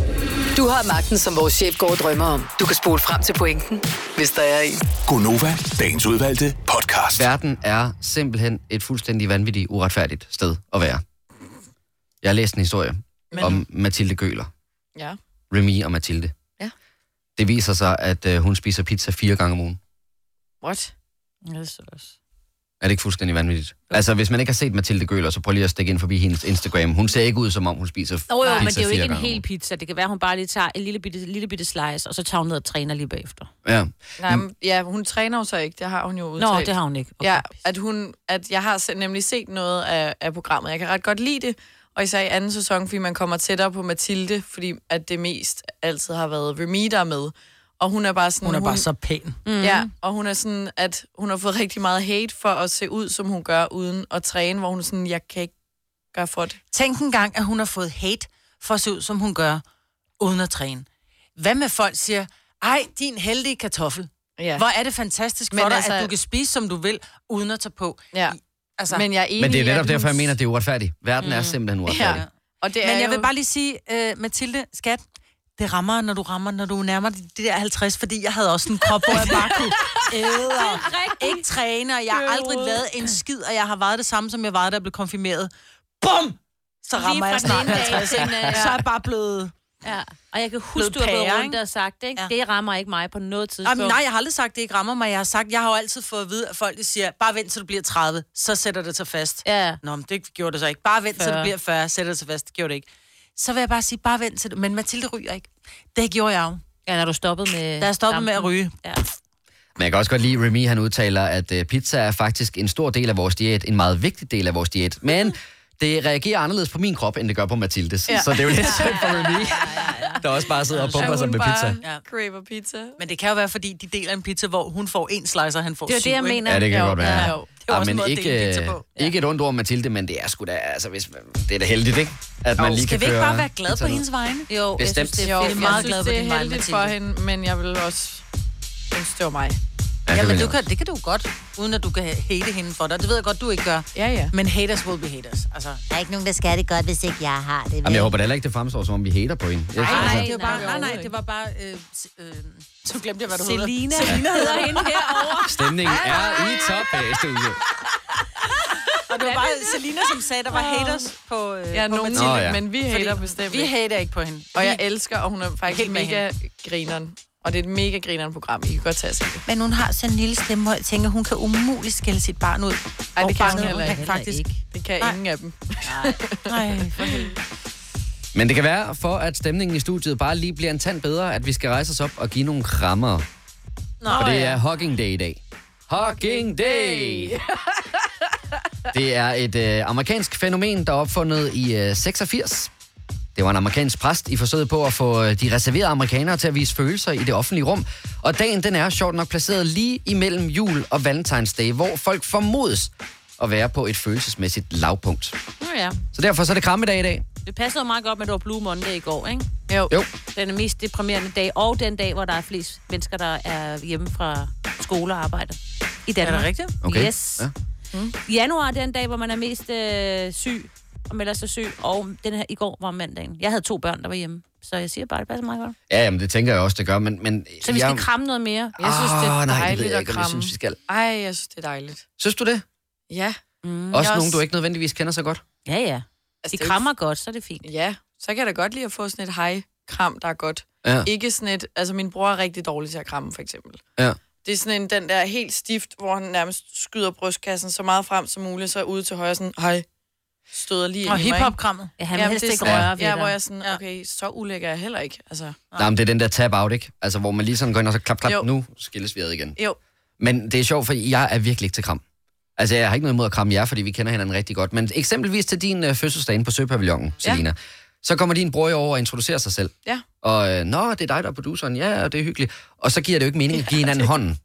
[SPEAKER 7] Du har magten, som vores chef går og drømmer om. Du kan spole frem til pointen, hvis der er en.
[SPEAKER 6] Gonova, dagens udvalgte podcast.
[SPEAKER 1] Verden er simpelthen et fuldstændig vanvittigt, uretfærdigt sted at være. Jeg har læst en historie Men... om Mathilde Gøler.
[SPEAKER 5] Ja.
[SPEAKER 1] Remy og Mathilde.
[SPEAKER 5] Ja.
[SPEAKER 1] Det viser sig, at øh, hun spiser pizza fire gange om ugen.
[SPEAKER 5] What?
[SPEAKER 3] Ja, det er så også.
[SPEAKER 1] Er det ikke fuldstændig vanvittigt? Altså, hvis man ikke har set Mathilde Gøler, så prøv lige at stikke ind forbi hendes Instagram. Hun ser ikke ud, som om hun spiser
[SPEAKER 3] Nå jo,
[SPEAKER 1] pizza
[SPEAKER 3] men det er jo
[SPEAKER 1] fire
[SPEAKER 3] ikke en
[SPEAKER 1] gange om
[SPEAKER 3] hel
[SPEAKER 1] ugen.
[SPEAKER 3] pizza. Det kan være, at hun bare lige tager en lille bitte, lille bitte slice, og så tager hun ned og træner lige bagefter.
[SPEAKER 1] Ja.
[SPEAKER 5] Nej, men, ja, hun træner jo så ikke. Det har hun jo
[SPEAKER 3] Nå,
[SPEAKER 5] udtalt.
[SPEAKER 3] det har hun ikke.
[SPEAKER 5] Okay. Ja, at, hun, at jeg har se- nemlig set noget af, af programmet. Jeg kan ret godt lide det, og især i anden sæson, fordi man kommer tættere på Mathilde, fordi at det mest altid har været Remy, der er med. Og hun er bare sådan...
[SPEAKER 2] Hun er bare så Mhm. pæn.
[SPEAKER 5] Mm. Ja, og hun er sådan, at hun har fået rigtig meget hate for at se ud, som hun gør, uden at træne, hvor hun er sådan, jeg kan ikke gøre for det.
[SPEAKER 2] Tænk en gang, at hun har fået hate for at se ud, som hun gør, uden at træne. Hvad med folk siger, Ej, din heldige kartoffel.
[SPEAKER 5] Ja.
[SPEAKER 2] Hvor er det fantastisk
[SPEAKER 5] Men
[SPEAKER 2] for dig,
[SPEAKER 5] altså-
[SPEAKER 2] at du kan spise, som du vil, uden at tage på.
[SPEAKER 5] Ja.
[SPEAKER 2] I- Altså,
[SPEAKER 5] Men jeg er enig
[SPEAKER 1] Men det er
[SPEAKER 5] i, at
[SPEAKER 1] netop
[SPEAKER 5] hun-
[SPEAKER 1] derfor, jeg mener, at det er uretfærdigt. Verden er simpelthen uretfærdig.
[SPEAKER 5] Ja. Og det er
[SPEAKER 2] Mm. Men jeg
[SPEAKER 5] jo...
[SPEAKER 2] vil bare lige sige, uh, Mathilde, skat, det rammer, når du rammer, når du nærmer dig de der 50, fordi jeg havde også en krop, hvor jeg bare kunne æde og
[SPEAKER 3] Rigtigt.
[SPEAKER 2] ikke træne, og jeg har aldrig lavet en skid, og jeg har vejet det samme, som jeg vejede, da jeg blev konfirmeret. Bum! Så rammer
[SPEAKER 3] fra
[SPEAKER 2] jeg snart
[SPEAKER 3] den ene dag
[SPEAKER 2] 50.
[SPEAKER 3] til den øh, anden, ja.
[SPEAKER 2] Så er jeg bare blevet...
[SPEAKER 3] Ja. Og jeg kan huske,
[SPEAKER 2] Blevet
[SPEAKER 3] du har gået
[SPEAKER 2] pære,
[SPEAKER 3] rundt
[SPEAKER 2] ikke?
[SPEAKER 3] og sagt, ikke?
[SPEAKER 2] Ja.
[SPEAKER 3] Ja. det rammer ikke mig på noget tidspunkt.
[SPEAKER 2] Jamen, nej, jeg har aldrig sagt, det ikke rammer mig. Jeg har sagt, jeg har jo altid fået at vide, at folk de siger, bare vent til du bliver 30, så sætter det sig fast.
[SPEAKER 3] Ja.
[SPEAKER 2] Nå, men det gjorde det så ikke. Bare vent til du
[SPEAKER 3] 40.
[SPEAKER 2] bliver 40, sætter det sig fast. Det gjorde det ikke. Så vil jeg bare sige, bare vent til det. Men Mathilde ryger ikke. Det gjorde jeg jo.
[SPEAKER 3] Ja, når du stoppede med...
[SPEAKER 2] Da jeg stoppede med at
[SPEAKER 3] dampen.
[SPEAKER 2] ryge.
[SPEAKER 3] Ja.
[SPEAKER 1] Men jeg kan også godt lide, at Remy han udtaler, at øh, pizza er faktisk en stor del af vores diæt, en meget vigtig del af vores diæt. Men det reagerer anderledes på min krop, end det gør på Mathildes. Ja. Så det er jo lidt synd for Remy, der også bare sidder og
[SPEAKER 5] at
[SPEAKER 1] pumper sig
[SPEAKER 5] hun
[SPEAKER 1] med pizza.
[SPEAKER 5] bare
[SPEAKER 2] Ja.
[SPEAKER 5] craver pizza.
[SPEAKER 2] Men det kan jo være, fordi de deler en pizza, hvor hun får en slice, og han får
[SPEAKER 3] Det er jo
[SPEAKER 2] syv,
[SPEAKER 3] det, jeg
[SPEAKER 2] ikke?
[SPEAKER 3] mener.
[SPEAKER 1] Ja, det kan godt være.
[SPEAKER 2] jo. Det er jo også en
[SPEAKER 1] men
[SPEAKER 2] måde at dele
[SPEAKER 1] ikke,
[SPEAKER 2] pizza
[SPEAKER 1] øh,
[SPEAKER 2] på.
[SPEAKER 1] ikke et ondt ord om Mathilde, men det er sgu da, altså, hvis, det er da heldigt, ikke? At man lige
[SPEAKER 2] Skal
[SPEAKER 1] kan
[SPEAKER 2] vi ikke
[SPEAKER 1] køre
[SPEAKER 2] bare være glade
[SPEAKER 1] pizza
[SPEAKER 2] på
[SPEAKER 1] ned.
[SPEAKER 2] hendes vegne?
[SPEAKER 3] Jo,
[SPEAKER 1] Bestemt.
[SPEAKER 3] jeg synes, det
[SPEAKER 5] Jo,
[SPEAKER 3] er
[SPEAKER 5] jeg,
[SPEAKER 3] fedt.
[SPEAKER 5] jeg
[SPEAKER 2] meget
[SPEAKER 5] meget
[SPEAKER 2] glad
[SPEAKER 5] synes,
[SPEAKER 2] på
[SPEAKER 5] det
[SPEAKER 2] din
[SPEAKER 5] er
[SPEAKER 2] vej,
[SPEAKER 5] heldigt for
[SPEAKER 2] Mathilde.
[SPEAKER 5] hende, men jeg vil også synes, det var mig.
[SPEAKER 1] Ja, det
[SPEAKER 2] Ja, men
[SPEAKER 1] vil
[SPEAKER 2] du
[SPEAKER 1] jeg
[SPEAKER 2] kan, det kan du godt, uden at du kan hate hende for dig. Det ved jeg godt, du ikke gør.
[SPEAKER 5] Ja, ja.
[SPEAKER 2] Men haters will be haters. Altså,
[SPEAKER 8] Der er ikke nogen, der skal det godt, hvis ikke jeg har det. vel?
[SPEAKER 1] Jamen, jeg håber da heller ikke, det fremstår, som om vi hater på hende. Jeg,
[SPEAKER 2] Nej, nej,
[SPEAKER 1] altså,
[SPEAKER 2] det var
[SPEAKER 3] nej,
[SPEAKER 2] bare, nej, nej,
[SPEAKER 5] overhovedet
[SPEAKER 2] det var bare... Øh, s- øh, så glemte jeg, hvad du hedder.
[SPEAKER 3] Selina, Selina hedder hende herovre.
[SPEAKER 1] stemningen er i top af studiet.
[SPEAKER 2] Og det var bare Selina, som sagde, der var haters på, øh,
[SPEAKER 5] Jeg er
[SPEAKER 2] på
[SPEAKER 5] nogen,
[SPEAKER 2] Mathilde.
[SPEAKER 1] Nå, ja.
[SPEAKER 5] men vi hater bestemt
[SPEAKER 2] Vi
[SPEAKER 5] ikke.
[SPEAKER 2] hater ikke på hende.
[SPEAKER 5] Og jeg elsker, og hun er faktisk
[SPEAKER 2] Helt med
[SPEAKER 5] mega grineren. Og det er et mega grineren program. I kan godt tage sig det.
[SPEAKER 2] Men hun har sådan en lille stemme, hvor jeg tænker, hun kan umuligt skælde sit barn ud.
[SPEAKER 5] Ej, det kan hun
[SPEAKER 2] barnet
[SPEAKER 5] heller ikke.
[SPEAKER 2] Faktisk.
[SPEAKER 8] ikke.
[SPEAKER 5] Det kan
[SPEAKER 2] Nej.
[SPEAKER 5] ingen af dem.
[SPEAKER 2] Nej, for helvede.
[SPEAKER 1] Men det kan være, for at stemningen i studiet bare lige bliver en tand bedre, at vi skal rejse os op og give nogle rammer. Nå, For det er Hugging Day i dag. Hugging Day! Det er et øh, amerikansk fænomen, der er opfundet i øh, 86. Det var en amerikansk præst i forsøget på at få øh, de reserverede amerikanere til at vise følelser i det offentlige rum. Og dagen den er sjovt nok placeret lige imellem jul og valentinsdag, hvor folk formodes at være på et følelsesmæssigt lavpunkt.
[SPEAKER 3] Nå ja,
[SPEAKER 1] Så derfor så er det krammedag i dag.
[SPEAKER 3] det passede jo meget godt med, at det var Blue Monday i går, ikke?
[SPEAKER 5] Jo.
[SPEAKER 1] Jo.
[SPEAKER 3] Den mest deprimerende dag, og den dag, hvor der er flest mennesker, der er hjemme fra skole og arbejde i Danmark.
[SPEAKER 2] Er det rigtigt? Mm.
[SPEAKER 1] Okay.
[SPEAKER 3] Yes.
[SPEAKER 1] Ja.
[SPEAKER 3] Ja. Januar er den dag, hvor man er mest øh, syg, og melder sig syg, og den her i går var mandagen. Jeg havde to børn, der var hjemme, så jeg siger bare, det passer meget godt.
[SPEAKER 1] Ja, jamen, det tænker jeg også, det gør, men... men
[SPEAKER 3] Så vi skal kramme noget mere.
[SPEAKER 5] Jeg synes, det er
[SPEAKER 1] Åh, Ah, nej, det ved jeg ikke,
[SPEAKER 5] dejligt at
[SPEAKER 1] om jeg
[SPEAKER 5] kramme.
[SPEAKER 1] synes, vi skal.
[SPEAKER 5] Ej, jeg synes, det er dejligt.
[SPEAKER 1] Synes du det?
[SPEAKER 5] Ja.
[SPEAKER 1] Mm, også
[SPEAKER 5] jeg
[SPEAKER 1] nogen,
[SPEAKER 5] også-
[SPEAKER 1] du ikke nødvendigvis kender så godt.
[SPEAKER 3] Ja, ja.
[SPEAKER 5] Altså,
[SPEAKER 3] De
[SPEAKER 5] det er jo
[SPEAKER 3] krammer godt, så er det fint.
[SPEAKER 5] Ja, så kan jeg da godt lide at få sådan et hej-kram, der er godt.
[SPEAKER 1] Ja.
[SPEAKER 5] Ikke sådan et, altså min bror er rigtig dårlig til at kramme, for eksempel.
[SPEAKER 1] Ja.
[SPEAKER 5] Det er sådan en, den der helt stift, hvor han nærmest skyder brystkassen så meget frem som muligt, så ude til højre sådan, hej, støder lige ind
[SPEAKER 2] Og
[SPEAKER 5] i mig, ikke?
[SPEAKER 2] hiphop-krammet.
[SPEAKER 3] Ja, han vil
[SPEAKER 5] Jamen,
[SPEAKER 3] helst
[SPEAKER 5] det er
[SPEAKER 3] ikke
[SPEAKER 5] sådan-
[SPEAKER 3] røre ved
[SPEAKER 5] Ja,
[SPEAKER 3] dig.
[SPEAKER 5] hvor jeg er sådan, okay, så ulækker jeg heller ikke. Altså,
[SPEAKER 1] Nej, men det er den der tab-out, ikke? Altså, hvor man lige sådan går ind og så klap, klap,
[SPEAKER 5] Jo.
[SPEAKER 1] nu skilles vi ad igen.
[SPEAKER 5] jo,
[SPEAKER 1] Men det er sjovt, for jeg er virkelig ikke til kram. Altså, jeg har ikke noget imod at kramme jer, fordi vi kender hinanden rigtig godt. Men eksempelvis til din øh, fødselsdag inde på Søpavillonen, Selina. Så kommer din bror jo over og introducerer sig selv.
[SPEAKER 5] Ja.
[SPEAKER 1] Og, øh, nå, det er dig, der er produceren. Ja, og det er hyggeligt. Og så giver det jo ikke mening at give hinanden hånden.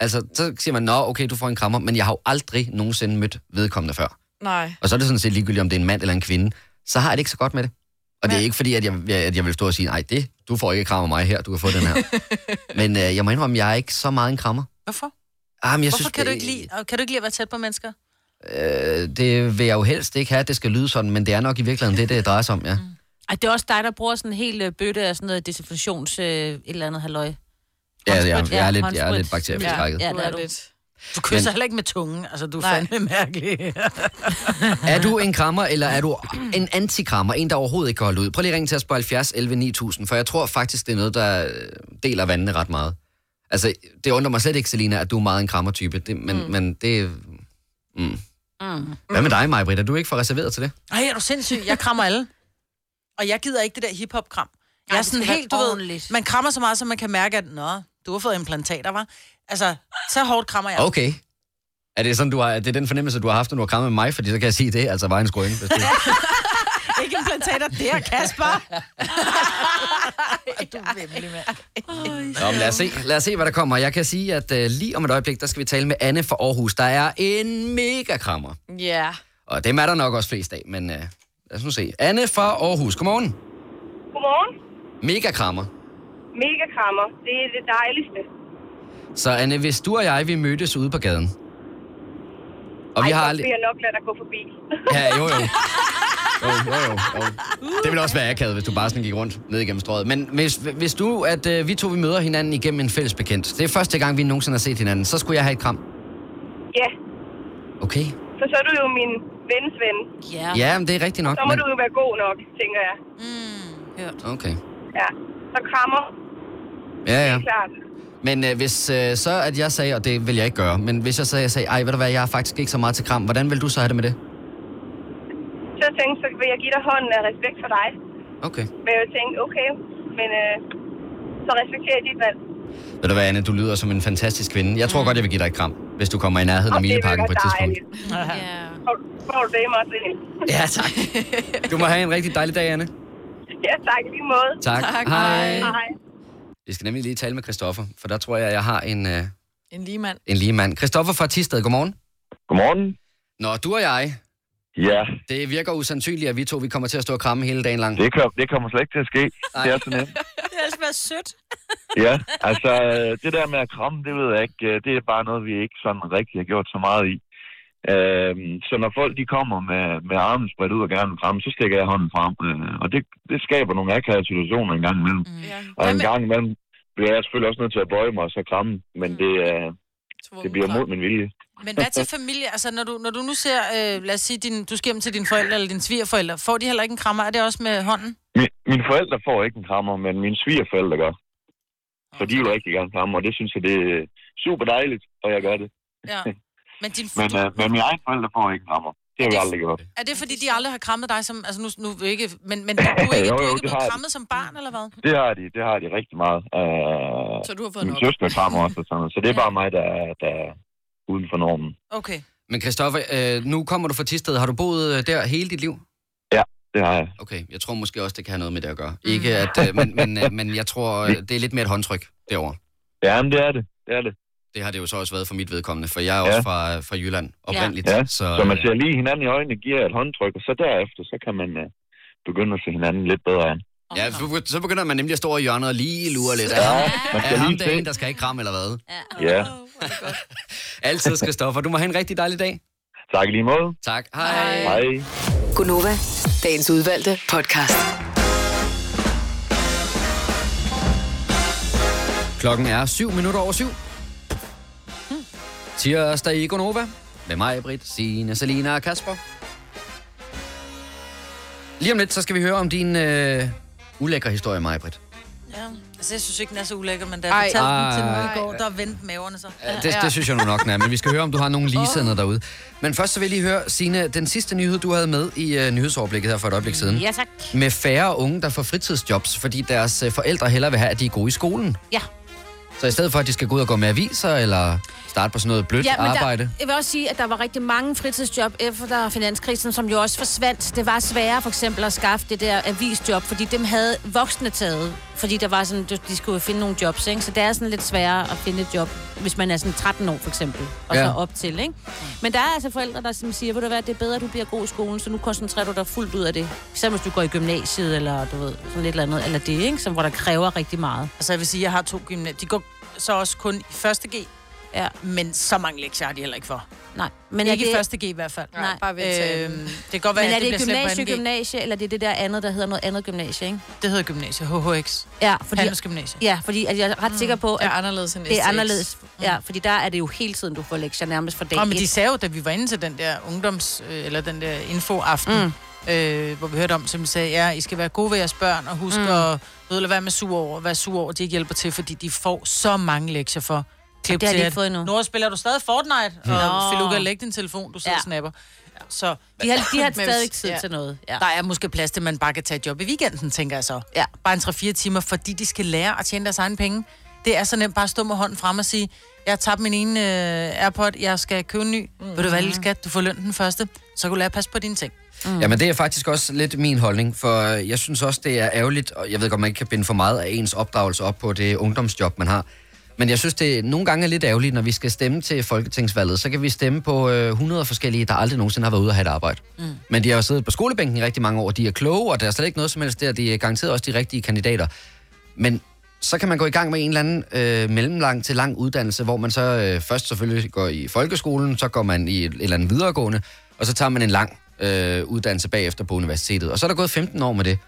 [SPEAKER 1] Altså, så siger man, nå, okay, du får en krammer, men jeg har jo aldrig nogensinde mødt vedkommende før.
[SPEAKER 5] nej.
[SPEAKER 1] Og så er det sådan set ligegyldigt, om det er en mand eller en kvinde. Så har jeg det ikke så godt med det. Og det er ikke fordi, at jeg, jeg- at jeg vil stå og sige, nej, det, du får ikke krammer mig her, du kan få den her. Men øh, jeg må indrømme, jeg er ikke så meget en krammer.
[SPEAKER 2] Hvorfor?
[SPEAKER 1] Ah, men jeg
[SPEAKER 2] Hvorfor
[SPEAKER 1] synes,
[SPEAKER 2] kan
[SPEAKER 1] det,
[SPEAKER 2] du ikke lide, og kan du ikke lide at være tæt på mennesker?
[SPEAKER 1] Øh, det vil jeg jo helst ikke have, at det skal lyde sådan, men det er nok i virkeligheden det, det drejer sig
[SPEAKER 3] Mm.
[SPEAKER 1] om, ja.
[SPEAKER 3] Ej, det er også dig, der bruger sådan en hel øh, bøtte af sådan noget desinfektions øh, et eller andet halløj.
[SPEAKER 1] Ja, jeg, jeg, er
[SPEAKER 3] ja,
[SPEAKER 1] lidt, jeg er
[SPEAKER 3] håndsprit.
[SPEAKER 1] lidt bakteriebeskrækket.
[SPEAKER 3] Ja,
[SPEAKER 5] Ja,
[SPEAKER 3] det er du.
[SPEAKER 5] lidt.
[SPEAKER 2] Du kysser heller ikke med tungen. Altså, du er
[SPEAKER 5] Nej.
[SPEAKER 2] fandme mærkelig.
[SPEAKER 1] Er du en krammer, eller er du en antikrammer? En, der overhovedet ikke kan holde ud? Prøv lige at ringe til os på 70 11 9000, for jeg tror faktisk, det er noget, der øh, deler vandene ret meget. Altså, det undrer mig slet ikke, Selina, at du er meget en krammertype, det, men, mm. men det... Mm. Mm. Hvad med dig, Majbrit? Er du ikke for reserveret til det?
[SPEAKER 2] Ej, er du sindssyg? Jeg krammer alle. Og jeg gider ikke det der hiphop-kram. Jeg
[SPEAKER 3] Ej,
[SPEAKER 2] er
[SPEAKER 3] det
[SPEAKER 2] sådan
[SPEAKER 3] skal
[SPEAKER 2] helt, du
[SPEAKER 3] være
[SPEAKER 2] ved,
[SPEAKER 3] ordentligt.
[SPEAKER 2] man krammer så meget, så man kan mærke, at nå, du har fået implantater, var. Altså, så hårdt krammer jeg.
[SPEAKER 1] Okay. Er det sådan, du har, er det den fornemmelse, du har haft, når du har krammet mig? Fordi så kan jeg sige det, er altså vejens grønne. Hvis det...
[SPEAKER 2] Ikke implantater der, Kasper. du er vemmelig, mand.
[SPEAKER 1] Nå, men lad os, se, lad os se, hvad der kommer. Jeg kan sige, at øh, lige om et øjeblik, der skal vi tale med Anne fra Aarhus. Der er en mega krammer.
[SPEAKER 5] Ja.
[SPEAKER 1] Og dem er der nok også flest af, men øh, lad os nu se. Anne fra Aarhus, godmorgen.
[SPEAKER 9] Godmorgen.
[SPEAKER 1] Mega krammer.
[SPEAKER 9] mega krammer. Det er det dejligste.
[SPEAKER 1] Så Anne, hvis du og jeg, vi mødtes ude på gaden. Og vi har aldrig...
[SPEAKER 9] aldrig... jeg nok lade dig gå forbi.
[SPEAKER 1] Ja, jo, jo. Jo, jo, jo, jo. Det ville også være akavet, hvis du bare sådan gik rundt ned igennem strøget. Men hvis, hvis du, at øh, vi to vi møder hinanden igennem en fælles bekendt, det er første gang, vi nogensinde har set hinanden, så skulle jeg have et kram.
[SPEAKER 9] Ja,
[SPEAKER 1] Okay.
[SPEAKER 9] for så er du jo min vens ven.
[SPEAKER 3] Ja.
[SPEAKER 1] Ja, men det er rigtigt nok.
[SPEAKER 9] Så må
[SPEAKER 1] Men...
[SPEAKER 9] du jo være god nok, tænker jeg.
[SPEAKER 1] Okay.
[SPEAKER 9] Ja. Så krammer,
[SPEAKER 1] Ja, ja.
[SPEAKER 9] klart.
[SPEAKER 1] Men øh, hvis øh, så, at jeg sagde, og det vil jeg ikke gøre, men hvis jeg så jeg sagde, ej, ved du hvad, jeg er faktisk ikke så meget til kram, hvordan vil du så have det med det?
[SPEAKER 9] Så jeg tænkte, så vil jeg give dig hånden af respekt for dig.
[SPEAKER 1] Okay.
[SPEAKER 9] Men jeg tænkte, okay, men øh, så respekterer jeg dit valg.
[SPEAKER 1] Ved du hvad, Anne, du lyder som en fantastisk kvinde. Jeg tror godt, jeg vil give dig et kram, hvis du kommer i nærheden af
[SPEAKER 9] Og det vil
[SPEAKER 1] Mileparken på et
[SPEAKER 9] være
[SPEAKER 1] tidspunkt.
[SPEAKER 9] dejligt. Får du- Får du det, Martin?
[SPEAKER 1] Ja, tak. Du må have en rigtig dejlig dag, Anne.
[SPEAKER 9] Ja, tak i lige måde.
[SPEAKER 1] Tak.
[SPEAKER 5] Tak.
[SPEAKER 1] Hej.
[SPEAKER 9] Hej.
[SPEAKER 1] Vi skal nemlig lige tale med Christoffer, for der tror jeg, jeg har en, øh,
[SPEAKER 5] En lige mand.
[SPEAKER 1] en lige mand. Christoffer fra Tisted, godmorgen.
[SPEAKER 10] Godmorgen.
[SPEAKER 1] Nå, du og jeg,
[SPEAKER 10] Ja,
[SPEAKER 1] det virker usandsynligt, at vi to vi kommer til at stå og kramme hele dagen lang.
[SPEAKER 10] det, kom, det kommer slet ikke til at ske.
[SPEAKER 1] Ej.
[SPEAKER 10] Det er sådan en.
[SPEAKER 3] Det har altså været sødt.
[SPEAKER 10] Ja, altså øh, det der med at kramme, det ved jeg ikke. øh, Det er bare noget, vi ikke sådan rigtig har gjort så meget i. Øh, så når folk de kommer med, med armen spredt ud og gerne vil kramme, så stikker jeg hånden frem. Øh, og det, det skaber nogle akavede situationer en gang imellem.
[SPEAKER 2] Mm.
[SPEAKER 5] Ja.
[SPEAKER 10] Og
[SPEAKER 5] Hvad
[SPEAKER 10] en
[SPEAKER 5] med
[SPEAKER 10] gang imellem bliver jeg selvfølgelig også nødt til at bøje mig og så kramme. Men det, øh, det bliver
[SPEAKER 5] tvungen
[SPEAKER 10] mod min vilje.
[SPEAKER 2] Mm. Men hvad til familie? Altså, når du, når du nu ser, øh, lad os sige, din, du skal hjem til dine forældre eller dine svigerforældre, får de heller ikke en krammer? Er det også med hånden?
[SPEAKER 10] Min, mine forældre får ikke en krammer, men mine svigerforældre gør. For de vil rigtig gerne kramme, og det synes jeg, det er super dejligt, og jeg gør det.
[SPEAKER 2] Ja. Men, din,
[SPEAKER 10] Men, øh, men mine egne forældre får ikke en krammer. Det har vi
[SPEAKER 2] Det-
[SPEAKER 10] aldrig gjort.
[SPEAKER 2] er det fordi, de aldrig har krammet dig som... Altså, nu, nu ikke... Men, men du er ikke,
[SPEAKER 10] Jo,
[SPEAKER 2] du er ikke
[SPEAKER 10] jo, det har
[SPEAKER 2] blevet
[SPEAKER 10] jeg.
[SPEAKER 2] krammet som barn, eller hvad?
[SPEAKER 10] Det har de, det har de rigtig meget. Øh,
[SPEAKER 5] Så du har fået
[SPEAKER 10] min
[SPEAKER 5] nok.
[SPEAKER 10] søster krammer også og sådan noget, så det er bare mig, der, er- der er uden for normen.
[SPEAKER 2] Okay.
[SPEAKER 1] Men Christoffer, øh, nu kommer du fra Tisted. Har du boet øh, der hele dit liv?
[SPEAKER 10] Det har jeg.
[SPEAKER 1] Okay, jeg tror måske også, det kan have noget med det at gøre. Ikke at, øh, men, men, øh, men jeg tror, øh, det er lidt mere et håndtryk derovre.
[SPEAKER 10] Ja, men det er det. Det er det.
[SPEAKER 1] Det har det jo så også været for mit vedkommende, for jeg er
[SPEAKER 10] Ja.
[SPEAKER 1] også fra, fra Jylland oprindeligt.
[SPEAKER 10] Ja,
[SPEAKER 1] Så,
[SPEAKER 10] Så man
[SPEAKER 1] øh,
[SPEAKER 10] ser lige hinanden i øjnene, giver et håndtryk, og så derefter, så kan man øh, begynde at se hinanden lidt bedre an.
[SPEAKER 1] ja, så- så begynder man nemlig at stå i hjørnet og lige lure lidt.
[SPEAKER 10] Ja,
[SPEAKER 1] Er,
[SPEAKER 10] man
[SPEAKER 1] er
[SPEAKER 10] skal
[SPEAKER 1] ham
[SPEAKER 10] lige
[SPEAKER 1] der
[SPEAKER 10] se.
[SPEAKER 1] en, der skal ikke kramme, eller hvad?
[SPEAKER 3] Ja.
[SPEAKER 5] Ah.
[SPEAKER 10] Ja,
[SPEAKER 1] Altid, Christoffer. Du må have en rigtig dejlig dag.
[SPEAKER 10] tak i lige måde.
[SPEAKER 1] Tak. Hej.
[SPEAKER 10] Hej.
[SPEAKER 7] Gunova, dagens udvalgte podcast.
[SPEAKER 1] Klokken er 7 minutter over syv. Tirsdag i Gonova. Med mig, Britt, Signe, Selina og Kasper. Lige om lidt, så skal vi høre om din øh, ulækre historie, mig, Britt.
[SPEAKER 2] Ja. Altså, jeg synes ikke, den er så ulækker, men da jeg fortalte den til mig i går, der vendte maverne sig.
[SPEAKER 1] Ja, det, det synes jeg nu nok, den er, men vi skal høre, om du har nogle ligesendede derude. Men først så vil jeg lige høre, Signe, den sidste nyhed, du havde med i øh, nyhedsoverblikket her for et øjeblik siden.
[SPEAKER 3] Ja, tak.
[SPEAKER 1] Med færre unge, der får fritidsjobs, fordi deres øh, forældre hellere vil have, at de er gode i skolen.
[SPEAKER 3] Ja.
[SPEAKER 1] Så i stedet for, at de skal gå ud og gå med aviser, eller starte på sådan noget blødt
[SPEAKER 11] Ja, men
[SPEAKER 1] arbejde.
[SPEAKER 11] Der, jeg vil også sige, at der var rigtig mange fritidsjob efter finanskrisen, som jo også forsvandt. Det var sværere for eksempel at skaffe det der avisjob, fordi dem havde voksne taget. Fordi der var sådan, de skulle jo finde nogle jobs, ikke? Så det er sådan lidt sværere at finde et job, hvis man er sådan 13 år for eksempel, og ja.
[SPEAKER 1] Ja.
[SPEAKER 11] så op til, ikke? Men der er altså forældre, der som siger, ved du hvad, det er bedre, at du bliver god i skolen, så nu koncentrerer du dig fuldt ud af det. Især hvis du går i gymnasiet, eller du ved, sådan lidt eller andet, eller det, ikke? Som, hvor der kræver rigtig meget.
[SPEAKER 2] Altså, jeg vil sige, jeg har to gymnasier. De går så også kun i første G.
[SPEAKER 11] Ja.
[SPEAKER 2] Men så mange lektier har de heller ikke for.
[SPEAKER 11] Nej,
[SPEAKER 2] Men
[SPEAKER 11] men er
[SPEAKER 2] ikke i
[SPEAKER 11] det-
[SPEAKER 2] første G i hvert fald.
[SPEAKER 11] Nej.
[SPEAKER 5] Bare ved til
[SPEAKER 2] Øhm, det kan godt være,
[SPEAKER 11] Men er
[SPEAKER 2] at det,
[SPEAKER 11] det, det
[SPEAKER 2] bliver
[SPEAKER 11] gymnasie,
[SPEAKER 2] slemt på anden
[SPEAKER 11] gymnasie, eller det er det der andet, der hedder noget andet gymnasie, ikke?
[SPEAKER 2] G. Det hedder gymnasie, HHX.
[SPEAKER 11] Ja,
[SPEAKER 2] Fordi...
[SPEAKER 11] fordi,
[SPEAKER 2] Handelsgymnasie.
[SPEAKER 11] ja, fordi at jeg er
[SPEAKER 2] Mm.
[SPEAKER 11] ret sikker på,
[SPEAKER 5] Det
[SPEAKER 11] at
[SPEAKER 5] er anderledes end
[SPEAKER 11] det er
[SPEAKER 5] STX.
[SPEAKER 11] anderledes. Ja, fordi der er det jo hele tiden, du får lektier nærmest fra dag
[SPEAKER 2] Og Mm. men de
[SPEAKER 11] et.
[SPEAKER 2] sagde jo, da vi var inde til den der ungdoms... Øh, eller den der infoaften, mm. øh, hvor vi hørte om, som de sagde, ja, I skal være gode ved jeres børn, og husk mm. at ved, lade være med sur over, være sur over, de ikke hjælper til, fordi de får så mange lektier for. Klip
[SPEAKER 11] det har de
[SPEAKER 2] til,
[SPEAKER 11] ikke
[SPEAKER 2] at,
[SPEAKER 11] fået endnu.
[SPEAKER 2] Nora, spiller du stadig Fortnite? Mm. Og
[SPEAKER 11] Nå.
[SPEAKER 2] Filuka, læg din telefon, du sidder ja.
[SPEAKER 11] Ja.
[SPEAKER 2] og snapper. Så
[SPEAKER 11] De har, de har
[SPEAKER 5] Men hvis-
[SPEAKER 11] stadig tid
[SPEAKER 5] ja.
[SPEAKER 11] til noget. Ja.
[SPEAKER 2] der er måske plads til, at man bare kan tage et job i weekenden, tænker jeg så.
[SPEAKER 11] Ja.
[SPEAKER 2] Bare en 3-4 timer, fordi de skal lære at tjene deres egen penge. Det er så nemt bare at stå med hånden frem og sige, jeg har tabt min ene uh, Airpod, jeg skal købe en ny. Mm. Vil du være lille skat, du får løn den første, så kan du lære at passe på dine ting.
[SPEAKER 1] Mm. Jamen, det er faktisk også lidt min holdning, for øh, jeg synes også, det er ærgerligt, og jeg ved godt, man ikke kan binde for meget af ens opdragelse op på det ungdomsjob, man har. Men jeg synes, det nogle gange er lidt ærgerligt, når vi skal stemme til Folketingsvalget, så kan vi stemme på øh, 100 forskellige, der aldrig nogensinde har været ude og have et arbejde. Mm. Men de har jo siddet på skolebænken i rigtig mange år, de er kloge, og der er slet ikke noget som helst der, de er garanteret også de rigtige kandidater. Men så kan man gå i gang med en eller anden øh, mellemlang til lang uddannelse, hvor man så øh, først selvfølgelig går i folkeskolen, så går man i et eller andet videregående, og så tager man en lang øh, uddannelse bagefter på universitetet. Og så er der gået 15 år med det.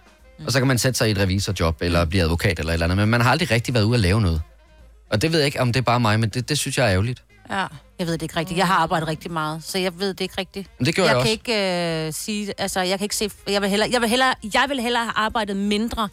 [SPEAKER 1] Og så kan man sætte sig i et revisorjob, eller blive advokat eller et eller andet, men man har aldrig rigtig været ude at lave noget. Og det ved jeg ikke, om det er bare mig, men det, det synes jeg er ærgerligt.
[SPEAKER 3] Ja. Jeg ved det ikke rigtigt. Jeg har arbejdet rigtig meget, så jeg ved det ikke rigtigt.
[SPEAKER 1] Men det gjorde jeg
[SPEAKER 11] kan
[SPEAKER 1] også.
[SPEAKER 11] Ikke, øh, sige, altså, jeg kan ikke se... Jeg vil, hellere, jeg, vil hellere, jeg vil hellere have arbejdet mindre,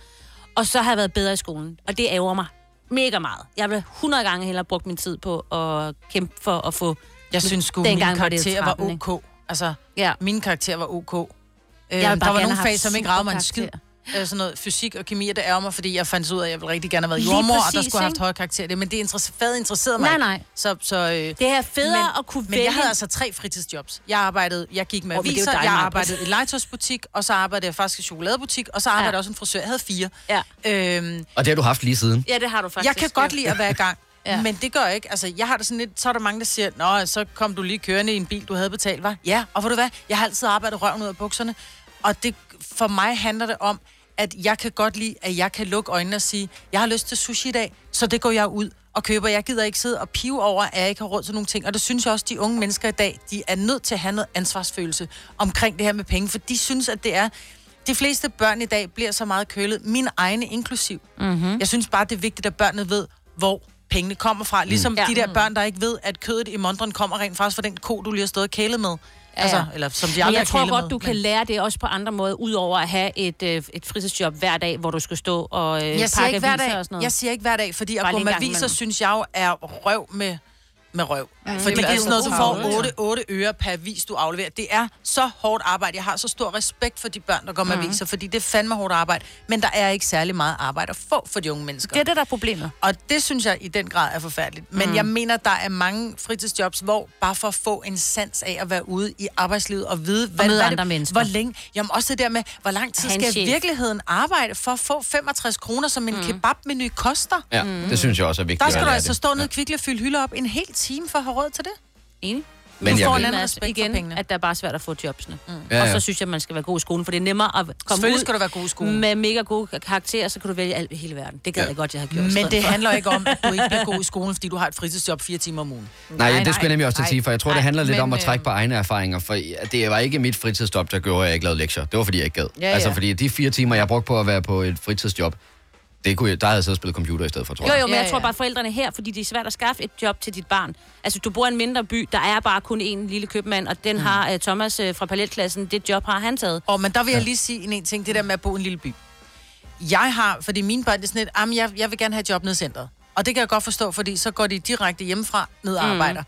[SPEAKER 11] og så have været bedre i skolen. Og det ærger mig mega meget. Jeg vil 100 gange hellere brugt min tid på at kæmpe for at få...
[SPEAKER 2] Jeg synes sgu, min
[SPEAKER 11] Dengang var det
[SPEAKER 2] karakter var,
[SPEAKER 11] 13, ikke?
[SPEAKER 2] OK. Altså,
[SPEAKER 11] ja.
[SPEAKER 2] min karakter var OK. Øh,
[SPEAKER 11] vil bare
[SPEAKER 2] der var
[SPEAKER 11] gerne
[SPEAKER 2] nogle
[SPEAKER 11] have
[SPEAKER 2] fag,
[SPEAKER 11] haft
[SPEAKER 2] som ikke rammer mig en skid.
[SPEAKER 11] superkarakterer.
[SPEAKER 2] Øh, sådan noget fysik og kemi, og det ærger mig, fordi jeg fandt så ud af, at jeg ville rigtig gerne have været
[SPEAKER 11] Lige
[SPEAKER 2] jordmor, og der
[SPEAKER 11] præcis,
[SPEAKER 2] skulle have haft
[SPEAKER 11] ikke?
[SPEAKER 2] høje karakterer. i Det, men det interesse, faget interesserede mig
[SPEAKER 11] Nej,
[SPEAKER 2] ikke.
[SPEAKER 11] nej.
[SPEAKER 2] Så, så, øh, det
[SPEAKER 11] er federe at kunne
[SPEAKER 2] Men
[SPEAKER 11] vælge.
[SPEAKER 2] jeg havde altså tre fritidsjobs. Jeg arbejdede, jeg gik med
[SPEAKER 11] Åh, men det er jo
[SPEAKER 2] aviser,
[SPEAKER 11] dig,
[SPEAKER 2] jeg
[SPEAKER 11] Maja.
[SPEAKER 2] arbejdede i legetøjsbutik, og så arbejdede jeg faktisk i chokoladebutik, og så arbejdede jeg også som frisør. Jeg havde fire.
[SPEAKER 11] Ja.
[SPEAKER 2] Øhm,
[SPEAKER 1] Og det har du haft lige siden.
[SPEAKER 11] Ja, det har du
[SPEAKER 2] jeg kan godt lide at være i gang. ja. Men det gør jeg ikke. Altså, jeg har det sådan lidt, så er der mange, der siger, Nå, så kom du lige kørende i en bil, du havde betalt, var? Ja, og ved du hvad? Jeg har altid arbejdet røven ud af bukserne. Og det, for mig handler det om, at jeg kan godt lide, at jeg kan lukke øjnene og sige, jeg har lyst til sushi i dag, så det går jeg ud og køber. Jeg gider ikke sidde og pive over, at jeg ikke har råd til nogle ting. Og det synes jeg også, de unge mennesker i dag, de er nødt til at have noget ansvarsfølelse omkring det her med penge, for de synes, at det er... De fleste børn i dag bliver så meget kølet, mine egne inklusiv.
[SPEAKER 11] Mhm.
[SPEAKER 2] Jeg synes bare, det er vigtigt, at børnene ved, hvor pengene kommer fra. Ligesom
[SPEAKER 11] Mm.
[SPEAKER 2] mm.
[SPEAKER 11] Ja.
[SPEAKER 2] de der børn, der ikke ved, at kødet i mondren kommer rent faktisk fra den ko, du lige har stået og kælet med.
[SPEAKER 11] Ja,
[SPEAKER 2] Altså,
[SPEAKER 11] ja.
[SPEAKER 2] eller som de
[SPEAKER 11] Men
[SPEAKER 2] aldrig
[SPEAKER 11] jeg tror
[SPEAKER 2] har kælet
[SPEAKER 11] godt,
[SPEAKER 2] med.
[SPEAKER 11] du kan lære det også på andre måder, udover at have et, øh, et fritidsjob hver dag, hvor du skal stå og øh,
[SPEAKER 2] jeg siger
[SPEAKER 11] pakke
[SPEAKER 2] ikke hver
[SPEAKER 11] aviser
[SPEAKER 2] dag.
[SPEAKER 11] og sådan noget.
[SPEAKER 2] Jeg siger ikke hver dag, fordi at
[SPEAKER 11] Bare
[SPEAKER 2] gå
[SPEAKER 11] lige en
[SPEAKER 2] med
[SPEAKER 11] gang
[SPEAKER 2] aviser,
[SPEAKER 11] imellem.
[SPEAKER 2] synes jeg jo er røv med, med røv.
[SPEAKER 11] Ja,
[SPEAKER 2] Ja,
[SPEAKER 11] det
[SPEAKER 2] fordi
[SPEAKER 11] er
[SPEAKER 2] det er sådan noget, du
[SPEAKER 11] altså travlt,
[SPEAKER 2] får
[SPEAKER 11] ja.
[SPEAKER 2] 8, 8 øre per avis, du afleverer. Det er så hårdt arbejde. Jeg har så stor respekt for de børn, der går med
[SPEAKER 11] Mhm.
[SPEAKER 2] aviser, fordi det er fandme hårdt arbejde. Men der er ikke særlig meget arbejde at få for de unge mennesker.
[SPEAKER 11] Det er det, der er problemet.
[SPEAKER 2] Og det synes jeg i den grad er forfærdeligt. Men
[SPEAKER 11] Mm.
[SPEAKER 2] mm. jeg mener, der er mange fritidsjobs, hvor bare for at få en sans af at være ude i arbejdslivet og vide, hvad,
[SPEAKER 11] møde
[SPEAKER 2] hvad
[SPEAKER 11] andre
[SPEAKER 2] det,
[SPEAKER 11] mennesker.
[SPEAKER 2] hvor længe. Jamen også det der med, hvor lang tid
[SPEAKER 11] Have en
[SPEAKER 2] skal jeg
[SPEAKER 11] chef. Mhm.
[SPEAKER 2] i virkeligheden arbejde for at få 65 kroner, som en mm. kebabmenu koster?
[SPEAKER 1] Ja, mm. det synes jeg også er vigtigt.
[SPEAKER 2] Der
[SPEAKER 1] at
[SPEAKER 2] skal du
[SPEAKER 1] lære
[SPEAKER 2] altså
[SPEAKER 1] det.
[SPEAKER 2] stå nede i Kvickly og fylde hylder op en hel time for at have råd til det.
[SPEAKER 11] Enig.
[SPEAKER 1] Men
[SPEAKER 11] du
[SPEAKER 1] jeg
[SPEAKER 11] får en
[SPEAKER 1] vil-
[SPEAKER 11] anden
[SPEAKER 2] Men
[SPEAKER 11] respekt igen, for pengene. at der er bare svært at få jobsene. Mm.
[SPEAKER 1] Ja,
[SPEAKER 11] Ja, og
[SPEAKER 1] ja.
[SPEAKER 11] så synes jeg, man skal være god i skolen, for det er nemmere at komme
[SPEAKER 2] Selvfølgelig
[SPEAKER 11] ud
[SPEAKER 2] skal du være god i skolen.
[SPEAKER 11] med mega gode karakterer, så kan du vælge alt i hele verden. Det gad ja. jeg godt, jeg har gjort. i
[SPEAKER 2] Men
[SPEAKER 11] stedet
[SPEAKER 2] det
[SPEAKER 11] for.
[SPEAKER 2] handler ikke om, at du ikke bliver god i skolen, fordi du har et fritidsjob fire timer om ugen.
[SPEAKER 1] Nej, det skulle jeg nemlig også til at sige, for jeg tror, det handler lidt
[SPEAKER 2] men,
[SPEAKER 1] om at
[SPEAKER 2] øh,
[SPEAKER 1] trække på egne erfaringer, for det var ikke mit fritidsjob, der gjorde, at jeg ikke lavede lektier. Det var, fordi jeg ikke gad.
[SPEAKER 2] Ja, ja.
[SPEAKER 1] Altså, fordi de fire timer, jeg brugte på at være på et fritidsjob, det kunne jeg, der havde jeg siddet og spillet computer i stedet for, tror
[SPEAKER 11] Jo,
[SPEAKER 1] jeg.
[SPEAKER 11] jo, men
[SPEAKER 1] ja.
[SPEAKER 11] jeg tror bare, at forældrene her, fordi det er svært at skaffe et job til dit barn. Altså, du bor i en mindre by, der er bare kun én lille købmand, og den har uh, Thomas uh, fra paletklassen, det job har han taget.
[SPEAKER 2] Mm. Og men der vil jeg lige sige en, en ting, det der med at bo i en lille by. Jeg har, fordi mine børn, det er sådan lidt, "Jamen, jeg, jeg vil gerne have et job nede i centret. Og det kan jeg godt forstå, fordi så går de direkte hjemmefra ned og
[SPEAKER 11] Mm.
[SPEAKER 2] arbejder.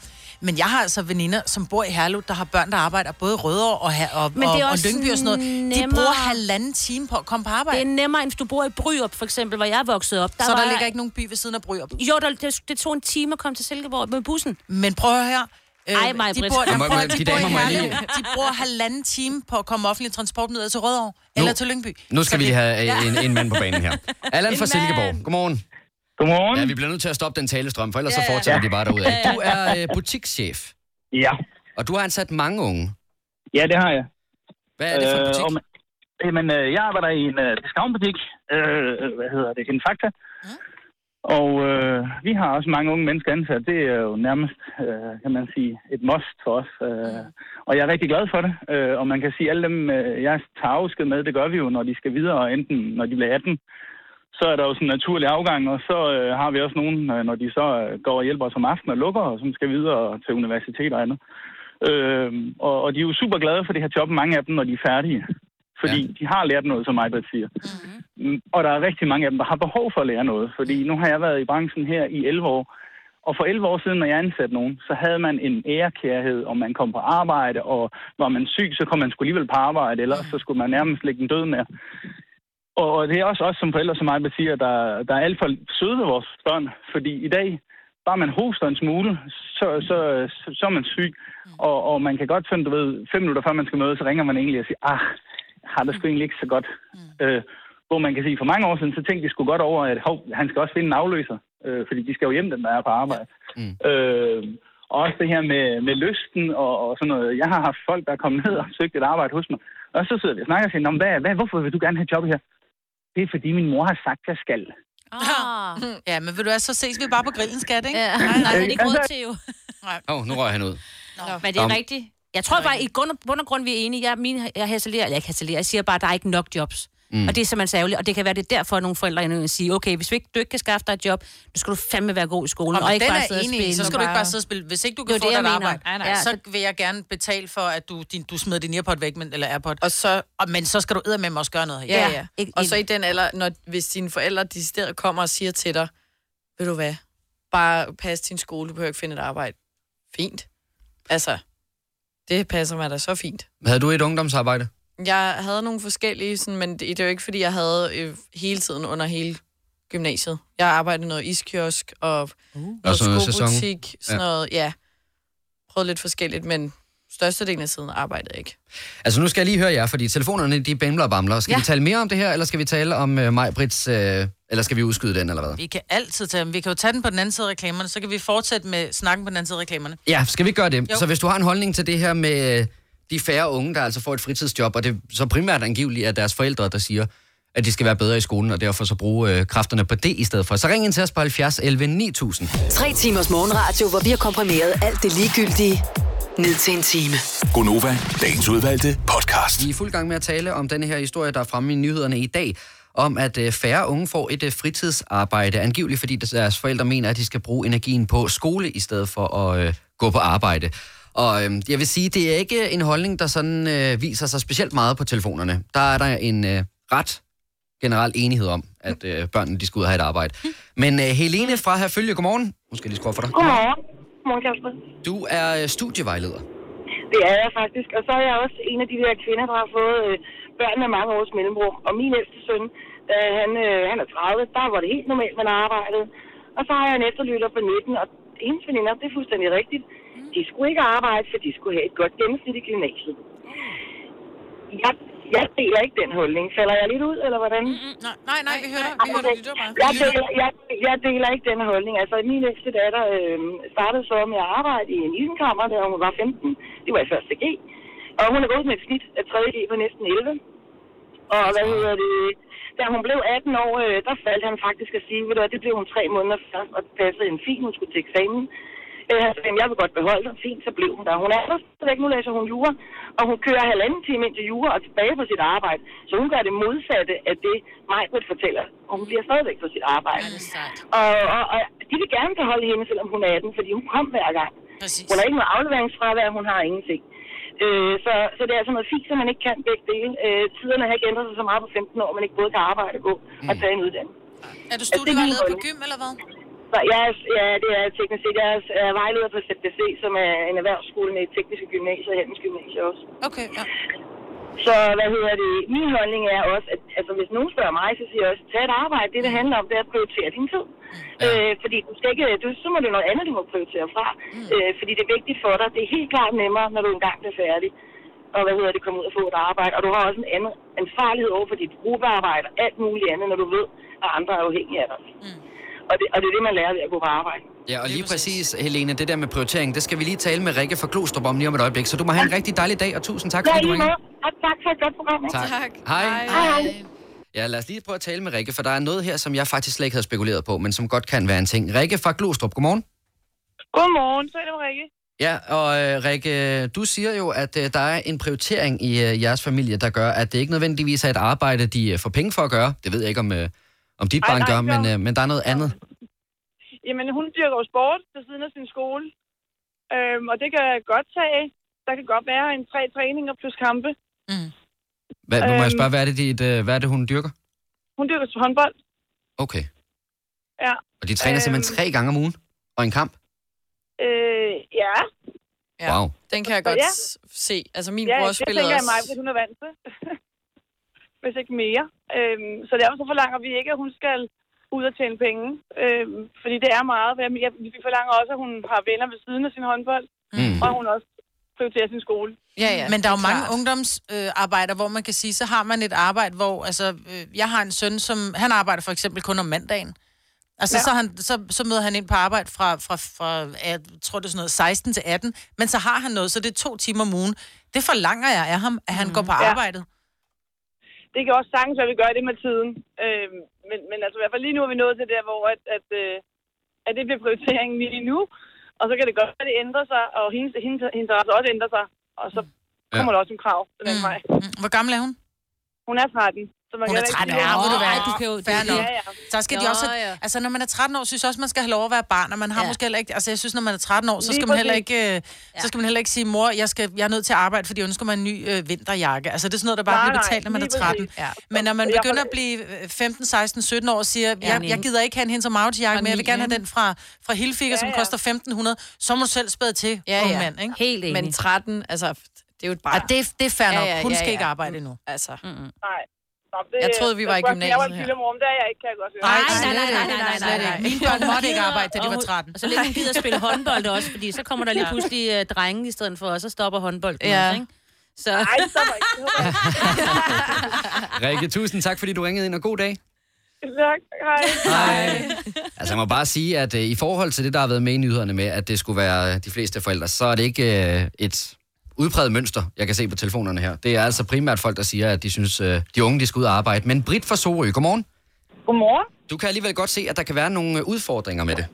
[SPEAKER 2] Men jeg har altså veninder, som bor i Herlev, der har børn, der arbejder både i Rødovre og, her, og,
[SPEAKER 11] Men det er
[SPEAKER 2] og, og
[SPEAKER 11] også
[SPEAKER 2] Lyngby og sådan noget. De
[SPEAKER 11] nemmere.
[SPEAKER 2] bruger halvanden time på at komme på arbejde.
[SPEAKER 11] Det er nemmere, end hvis du bor i Bryop, for eksempel, hvor jeg er vokset op.
[SPEAKER 2] Så der ligger ikke nogen by ved siden af Bryop?
[SPEAKER 11] Jo, der, det, det tog en time at komme til Silkeborg med bussen.
[SPEAKER 2] Men prøv at høre. Øh,
[SPEAKER 11] Ej, mig,
[SPEAKER 2] de
[SPEAKER 11] Britt.
[SPEAKER 2] bor,
[SPEAKER 1] Nå,
[SPEAKER 2] de,
[SPEAKER 1] må-
[SPEAKER 2] bor,
[SPEAKER 1] må-
[SPEAKER 2] de,
[SPEAKER 1] de
[SPEAKER 2] bor i
[SPEAKER 1] damer må jeg
[SPEAKER 2] Herlev.
[SPEAKER 1] lige-
[SPEAKER 2] de bruger halvanden time på at komme offentlig transport ned til Rødovre eller til Lyngby.
[SPEAKER 1] Nu skal
[SPEAKER 2] Så
[SPEAKER 1] vi
[SPEAKER 2] det-
[SPEAKER 1] have øh, en,
[SPEAKER 2] Ja.
[SPEAKER 1] en mand på banen her. Allan
[SPEAKER 2] En
[SPEAKER 1] fra Silkeborg.
[SPEAKER 2] mand.
[SPEAKER 1] Godmorgen.
[SPEAKER 12] Godmorgen.
[SPEAKER 1] Ja, vi bliver nødt til at stoppe den talestrøm, for ellers så fortsætter de bare derude. Du er øh, butikschef.
[SPEAKER 12] Ja.
[SPEAKER 1] Og du har ansat mange unge.
[SPEAKER 12] Ja, det har jeg. Øh,
[SPEAKER 1] Hvad er det for en butik?
[SPEAKER 12] og man- Jamen, øh, jeg arbejder i en øh, discountbutik. Øh, hvad hedder det? En fakta. Og øh, vi har også mange unge mennesker ansat. Det er jo nærmest, øh, kan man sige, et must for os. Øh, og jeg er rigtig glad for det. Øh, og man kan sige, at alle dem, øh, jeg tager afsked med, det gør vi jo, når de skal videre. Enten når de bliver 18, så er der jo sådan en naturlig afgang. Og så øh, har vi også nogen, øh, når de så øh, går og hjælper os om aftenen og lukker, og som skal videre til universitet og andet. Øh, og, og de er jo super glade for det her job, mange af dem, når de er færdige. Fordi ja. de har lært noget, som Majbert siger. Mm-hmm. Og der er rigtig mange af dem, der har behov for at lære noget. Fordi nu har jeg været i branchen her i 11 år. Og for 11 år siden, når jeg ansatte nogen, så havde man en ærekærhed, og man kom på arbejde, og var man syg, så kom man sgu alligevel på arbejde, ellers så skulle man nærmest lægge den død med. Og og det er også os som forældre, som Majbert siger, der, der er alt for søde ved vores børn. Fordi i dag, bare man hoster en smule, så, så, så, så er man syg. Og, og man kan godt sådan, du ved, fem minutter før man skal møde, så ringer man egentlig og siger, ah, jeg har det sgu egentlig ikke så godt. Øh, hvor man kan sige, for mange år siden, så tænkte de sgu godt over, at hov, han skal også finde en afløser. Øh, fordi de skal jo hjem, den der er på arbejde.
[SPEAKER 1] Mm.
[SPEAKER 12] Øh, og også det her med, med lysten og, og sådan noget. Jeg har haft folk, der er kommet ned og søgt et arbejde hos mig. Og så sidder vi og snakker og siger, "Nå, men hvad, hvad, hvorfor vil du gerne have et job her? Det er fordi min mor har sagt, jeg skal.
[SPEAKER 2] Ah. Ja, men vil du altså, så ses vi bare på grillen, skat, ikke? Ja. Nej, altså-
[SPEAKER 11] nej, det er ikke råd til
[SPEAKER 2] jo.
[SPEAKER 1] Åh, oh, nu røg han ud.
[SPEAKER 11] Nå. Men det er
[SPEAKER 1] Nå.
[SPEAKER 11] rigtigt. Jeg tror bare, i grund og, bund og grund, vi er enige. Jeg, mine, jeg hasselerer, eller ikke hasselerer, jeg siger bare, at der er ikke nok jobs.
[SPEAKER 1] Mm.
[SPEAKER 11] Mm. Og det er simpelthen særligt, og det kan være, det er derfor, at nogle forældre endnu siger, okay, hvis vi ikke, du ikke kan skaffe dig et job, nu skal du fandme være god i skolen, og, og ikke bare sidde og spille.
[SPEAKER 2] så skal du ikke bare sidde og spille. Hvis ikke du
[SPEAKER 11] Det
[SPEAKER 2] kan
[SPEAKER 11] er
[SPEAKER 2] få
[SPEAKER 11] det,
[SPEAKER 2] dig
[SPEAKER 11] jeg
[SPEAKER 2] et
[SPEAKER 11] mener.
[SPEAKER 2] arbejde,
[SPEAKER 11] Nej, nej.
[SPEAKER 2] ja,
[SPEAKER 11] Ja,
[SPEAKER 2] så
[SPEAKER 11] det-
[SPEAKER 2] vil jeg gerne betale for, at du, din, du smider din earpod væk, men, eller airpod. Og så, og, men så skal du eddermame også gøre noget her.
[SPEAKER 5] Ja, ja. ja. Og så i den alder, når, hvis dine forældre decideret kommer og siger til dig, ved du hvad, bare pas din skole, du behøver ikke finde et arbejde. Fint. Altså, det passer mig da så fint.
[SPEAKER 1] Havde du et ungdomsarbejde?
[SPEAKER 5] Jeg havde nogle forskellige, sådan, men det, det er jo ikke, fordi jeg havde øh, hele tiden under hele gymnasiet. Jeg arbejdede noget iskiosk og uh. noget
[SPEAKER 1] sådan noget sæson.
[SPEAKER 5] skobutik, sådan
[SPEAKER 1] Altså Ja.
[SPEAKER 5] noget, ja. Prøvede lidt forskelligt, men størstedelen af tiden arbejdede jeg ikke.
[SPEAKER 1] Altså, nu skal jeg lige høre jer, fordi telefonerne, de bamler og bamler. Skal ja.
[SPEAKER 5] Ja.
[SPEAKER 1] vi tale mere om det her, eller skal vi tale om uh, maj Brits, uh, eller skal vi udskyde den, eller hvad?
[SPEAKER 2] Vi kan altid tage dem. Vi kan jo tage den på den anden side af reklamerne, så kan vi fortsætte med snakken på den anden side af reklamerne.
[SPEAKER 1] Ja, skal vi ikke gøre det? Jo.
[SPEAKER 2] Jo.
[SPEAKER 1] Så hvis du har en holdning til det her med øh, de færre unge, der altså får et fritidsjob, og det så primært angiveligt er deres forældre, der siger, at de skal være bedre i skolen, og derfor så bruge øh, kræfterne på det i stedet for. Så ring ind til os på 70 11 9000.
[SPEAKER 7] Tre timers morgenradio, hvor vi har komprimeret alt det ligegyldige ned til en time.
[SPEAKER 6] Gonova, dagens udvalgte podcast.
[SPEAKER 1] Vi er i fuld gang med at tale om denne her historie, der er fremme i nyhederne i dag, om at øh, færre unge får et øh, fritidsarbejde, angiveligt fordi deres forældre mener, at de skal bruge energien på skole i stedet for at øh, gå på arbejde. Og øh, jeg vil sige, det er ikke en holdning, der sådan øh, viser sig specielt meget på telefonerne. Der er der en øh, ret generel enighed om, at øh, børnene de skal ud og have et arbejde. Men øh, Helene fra Herfølge, godmorgen. Nu skal jeg lige skrue for dig.
[SPEAKER 13] Godmorgen. Godmorgen, Kasper.
[SPEAKER 1] Du er øh, studievejleder.
[SPEAKER 13] Det er jeg faktisk. Og så er jeg også en af de der kvinder, der har fået øh, børn med mange års mellemrum. Og min ældste søn, da han, øh, han er 30, der var det helt normalt, man arbejdede. Og så har jeg en efterlytter på 19, og hendes veninder, det er fuldstændig rigtigt. De skulle ikke arbejde, for de skulle have et godt gennemsnit i gymnasiet. Jeg, jeg deler ikke den holdning. Falder jeg lidt ud, eller hvordan?
[SPEAKER 2] Nej, nej, nej vi hører dig. Vi hører dig. Vi
[SPEAKER 14] altså,
[SPEAKER 2] lytter bare.
[SPEAKER 13] Jeg deler, jeg, jeg deler ikke den holdning. Altså, min ældste datter øh, startede så med at arbejde i en isenkammer, da hun var 15. Det var i første G. Og hun er gået med et snit af 3. G på næsten 11. Og hvad hedder det? Da hun blev 18 år, øh, der faldt han faktisk at sige, ved du hvad, det blev hun tre måneder først, og det passede hende fint, hun skulle til eksamen. Øh, han sagde, "Jamen, jeg vil godt beholde dig. Fint, så blev hun der. Hun er der stadigvæk, nu læser hun jura, og hun kører halvanden time ind til jura og tilbage på sit arbejde. Så hun gør det modsatte af det, Majbrit fortæller. Og hun bliver stadigvæk på sit arbejde. Og, og, og de vil gerne beholde hende, selvom hun er 18, fordi hun kom hver gang.
[SPEAKER 2] Præcis.
[SPEAKER 13] Hun har ikke noget afleveringsfravær, hun har ingenting. Øh, så, så det er altså noget fint, at man ikke kan begge dele. Øh, tiderne har ikke ændret sig så meget på 15 år, man ikke både kan arbejde og gå mm. og tage en uddannelse.
[SPEAKER 2] Er du
[SPEAKER 13] Altså, det er min
[SPEAKER 2] studievejleder på
[SPEAKER 13] holdning.
[SPEAKER 2] gym, eller hvad?
[SPEAKER 13] Så jeg, er, ja, det er jeg teknisk set. Jeg er, jeg er vejleder på ZBC, som er en erhvervsskole med tekniske gymnasier og handels gymnasier også.
[SPEAKER 2] Okay, ja.
[SPEAKER 13] Så hvad hedder det? Min holdning er også, at altså, hvis nogen spørger mig, så siger jeg også, tag et arbejde. Det, det handler om, det er at prioritere din tid. Ja. Øh, fordi du skal ikke, du, så må det noget andet, du må prioritere fra. Mm. Øh, fordi det er vigtigt for dig. Det er helt klart nemmere, når du engang bliver færdig. Og hvad hedder det, komme ud og få et arbejde. Og du har også en anden ansvarlighed over for dit gruppearbejde og alt muligt andet, når du ved, at andre er afhængige af dig. Mm. Og, det, og det er det, man lærer ved at gå på arbejde.
[SPEAKER 1] Ja, og lige præcis, Helene, det der med prioritering, det skal vi lige tale med Rikke fra Klostrup om lige om et øjeblik. Så du må have en rigtig dejlig dag, og tusind tak,
[SPEAKER 13] Ja,
[SPEAKER 1] fordi
[SPEAKER 13] i
[SPEAKER 1] du
[SPEAKER 13] lige
[SPEAKER 1] ringede.
[SPEAKER 13] måde. Og tak for et godt program.
[SPEAKER 1] Tak. Tak. Hej. Hej. Ja, lad os lige prøve at tale med Rikke, for der er noget her, som jeg faktisk slet ikke havde spekuleret på, men som godt kan være en ting. Rikke fra Glostrup, godmorgen.
[SPEAKER 15] Godmorgen, så er det Rikke.
[SPEAKER 1] Ja, og øh, Rikke, du siger jo, at øh, der er en prioritering i øh, jeres familie, der gør, at det ikke nødvendigvis er et arbejde, de øh, får penge for at gøre. Det ved jeg ikke, om, øh, om dit
[SPEAKER 15] Ej,
[SPEAKER 1] barn
[SPEAKER 15] nej,
[SPEAKER 1] gør,
[SPEAKER 15] så-
[SPEAKER 1] men, øh, men der er noget andet.
[SPEAKER 15] Jamen, hun dyrker jo sport ved siden af sin skole. Øhm, og det kan jeg godt tage. Der kan godt være en tre træninger plus kampe.
[SPEAKER 1] Hvad, nu må jeg
[SPEAKER 15] Øhm.
[SPEAKER 1] spørge, hvad er det, dit, øh, hvad er det hun dyrker?
[SPEAKER 15] Hun dyrker til håndbold.
[SPEAKER 1] Okay.
[SPEAKER 15] Ja. Øhm,
[SPEAKER 1] Og de træner
[SPEAKER 8] Øhm.
[SPEAKER 1] simpelthen tre gange om ugen, og en kamp?
[SPEAKER 15] Øh, ja.
[SPEAKER 1] Ja. Wow.
[SPEAKER 5] Den kan jeg godt
[SPEAKER 15] Ja.
[SPEAKER 5] ja. se. Altså, min
[SPEAKER 15] ja,
[SPEAKER 5] bror
[SPEAKER 15] det
[SPEAKER 5] spillede
[SPEAKER 15] tænker jeg
[SPEAKER 5] også...
[SPEAKER 15] mig, hvis hun er vant til. hvis ikke mere. Øhm, så derfor så forlanger vi ikke, at hun skal ud og tjene penge. Øhm, fordi det er meget. Hvad jeg- Vi forlanger også, at hun har venner ved siden af sin håndbold.
[SPEAKER 1] Mm.
[SPEAKER 15] Og hun også prioriterer sin skole.
[SPEAKER 2] Ja, ja, Men der er jo mange ungdomsarbejder, øh, arbejder, hvor man kan sige, så har man et arbejde, hvor altså, øh, jeg har en søn, som han arbejder for eksempel kun om mandagen. Altså,
[SPEAKER 15] Ja.
[SPEAKER 2] ja. så, er han, så, så møder han ind på arbejde fra, fra, fra jeg tror det er sådan noget, 16 til 18, men så Mhm. har han noget, så det er to timer om ugen. Det forlanger jeg af ham, at han mm. går på
[SPEAKER 15] Ja.
[SPEAKER 2] arbejdet.
[SPEAKER 15] det kan også sagtens være, at vi gør det med tiden. Øh, men, men altså i hvert fald lige nu er vi nået til der, hvor at, at, øh, at det bliver prioriteringen lige nu. Og så kan det godt være, at det ændrer sig, og hendes, hendes, hendes interesse også ændrer sig. Og så kommer der også en krav den
[SPEAKER 2] Mm.
[SPEAKER 15] anden vej.
[SPEAKER 2] Hvor gammel er hun?
[SPEAKER 15] Hun er 13. Så man
[SPEAKER 2] Hun
[SPEAKER 15] kan
[SPEAKER 2] er
[SPEAKER 15] heller
[SPEAKER 2] 13
[SPEAKER 15] ikke
[SPEAKER 2] år,
[SPEAKER 15] sige,
[SPEAKER 2] ved du hvad?
[SPEAKER 15] "Ej,
[SPEAKER 2] Du kan jo, det, er
[SPEAKER 15] Ja, ja.
[SPEAKER 2] Så skal de
[SPEAKER 15] Nå,
[SPEAKER 2] også...
[SPEAKER 15] ja.
[SPEAKER 2] Altså, når man er 13 år, synes jeg også, man skal have lov at være barn, og man har
[SPEAKER 15] Ja.
[SPEAKER 2] ja. måske heller ikke... Altså, jeg synes, når man er 13 år, så
[SPEAKER 15] Lige
[SPEAKER 2] skal, man heller
[SPEAKER 15] præcis.
[SPEAKER 2] ikke, øh, så skal man heller ikke sige, mor, jeg, skal, jeg er nødt til at arbejde, fordi jeg ønsker mig en ny øh, vinterjakke. Altså, det er sådan noget, der bare
[SPEAKER 15] Nej,
[SPEAKER 2] bliver
[SPEAKER 15] nej,
[SPEAKER 2] betalt, når man er
[SPEAKER 15] lige
[SPEAKER 2] 13.
[SPEAKER 15] præcis.
[SPEAKER 2] Ja. Men når man
[SPEAKER 15] Jeg-
[SPEAKER 2] begynder at blive øh, 15, 16, 17 år og siger, jeg, jeg gider ikke have en hendes og jakke men jeg vil gerne have den fra, fra Hilfiger, ja,
[SPEAKER 5] Ja,
[SPEAKER 2] som
[SPEAKER 5] ja.
[SPEAKER 2] koster 1500, så må du selv spæde til,
[SPEAKER 5] Ja,
[SPEAKER 2] unge
[SPEAKER 5] ja.
[SPEAKER 2] mand, ikke?
[SPEAKER 5] Helt enig. Men 13, altså, det er jo et barn.
[SPEAKER 2] Og det, det er fair nok. Hun skal ikke arbejde endnu.
[SPEAKER 5] Altså.
[SPEAKER 2] Mm-hmm.
[SPEAKER 15] Nej. Nå, det,
[SPEAKER 2] Jeg troede, vi var i
[SPEAKER 15] jeg skulle- Jeg var
[SPEAKER 2] gymnasiet
[SPEAKER 15] en
[SPEAKER 2] her.
[SPEAKER 15] kilomor, men det er jeg ikke, kan jeg godt høre.
[SPEAKER 2] Nej, nej, nej, nej, nej, nej, nej, nej, nej. Mine børn måtte ikke arbejde, da de var 13.
[SPEAKER 3] Og så længe hun gider spille håndbold også, fordi så kommer der lige pludselig uh, drenge i stedet for, og så stopper håndbolden
[SPEAKER 11] Ja.
[SPEAKER 3] ja. også, ikke? Så...
[SPEAKER 15] Nej, stopper ikke.
[SPEAKER 1] Rikke, tusind tak, fordi du ringede ind, og god dag.
[SPEAKER 15] Tak, hej.
[SPEAKER 1] Altså, jeg må bare sige, at øh, i forhold til det, der har været med i nyhederne med, at det skulle være de fleste forældre, så er det ikke øh, et udpræget mønster, jeg kan se på telefonerne her. Det er altså primært folk, der siger, at de synes, øh, de unge de skal ud og arbejde. Men Britt fra Sorø, godmorgen.
[SPEAKER 15] Godmorgen.
[SPEAKER 1] Du kan alligevel godt se, at der kan være nogle øh, udfordringer med det.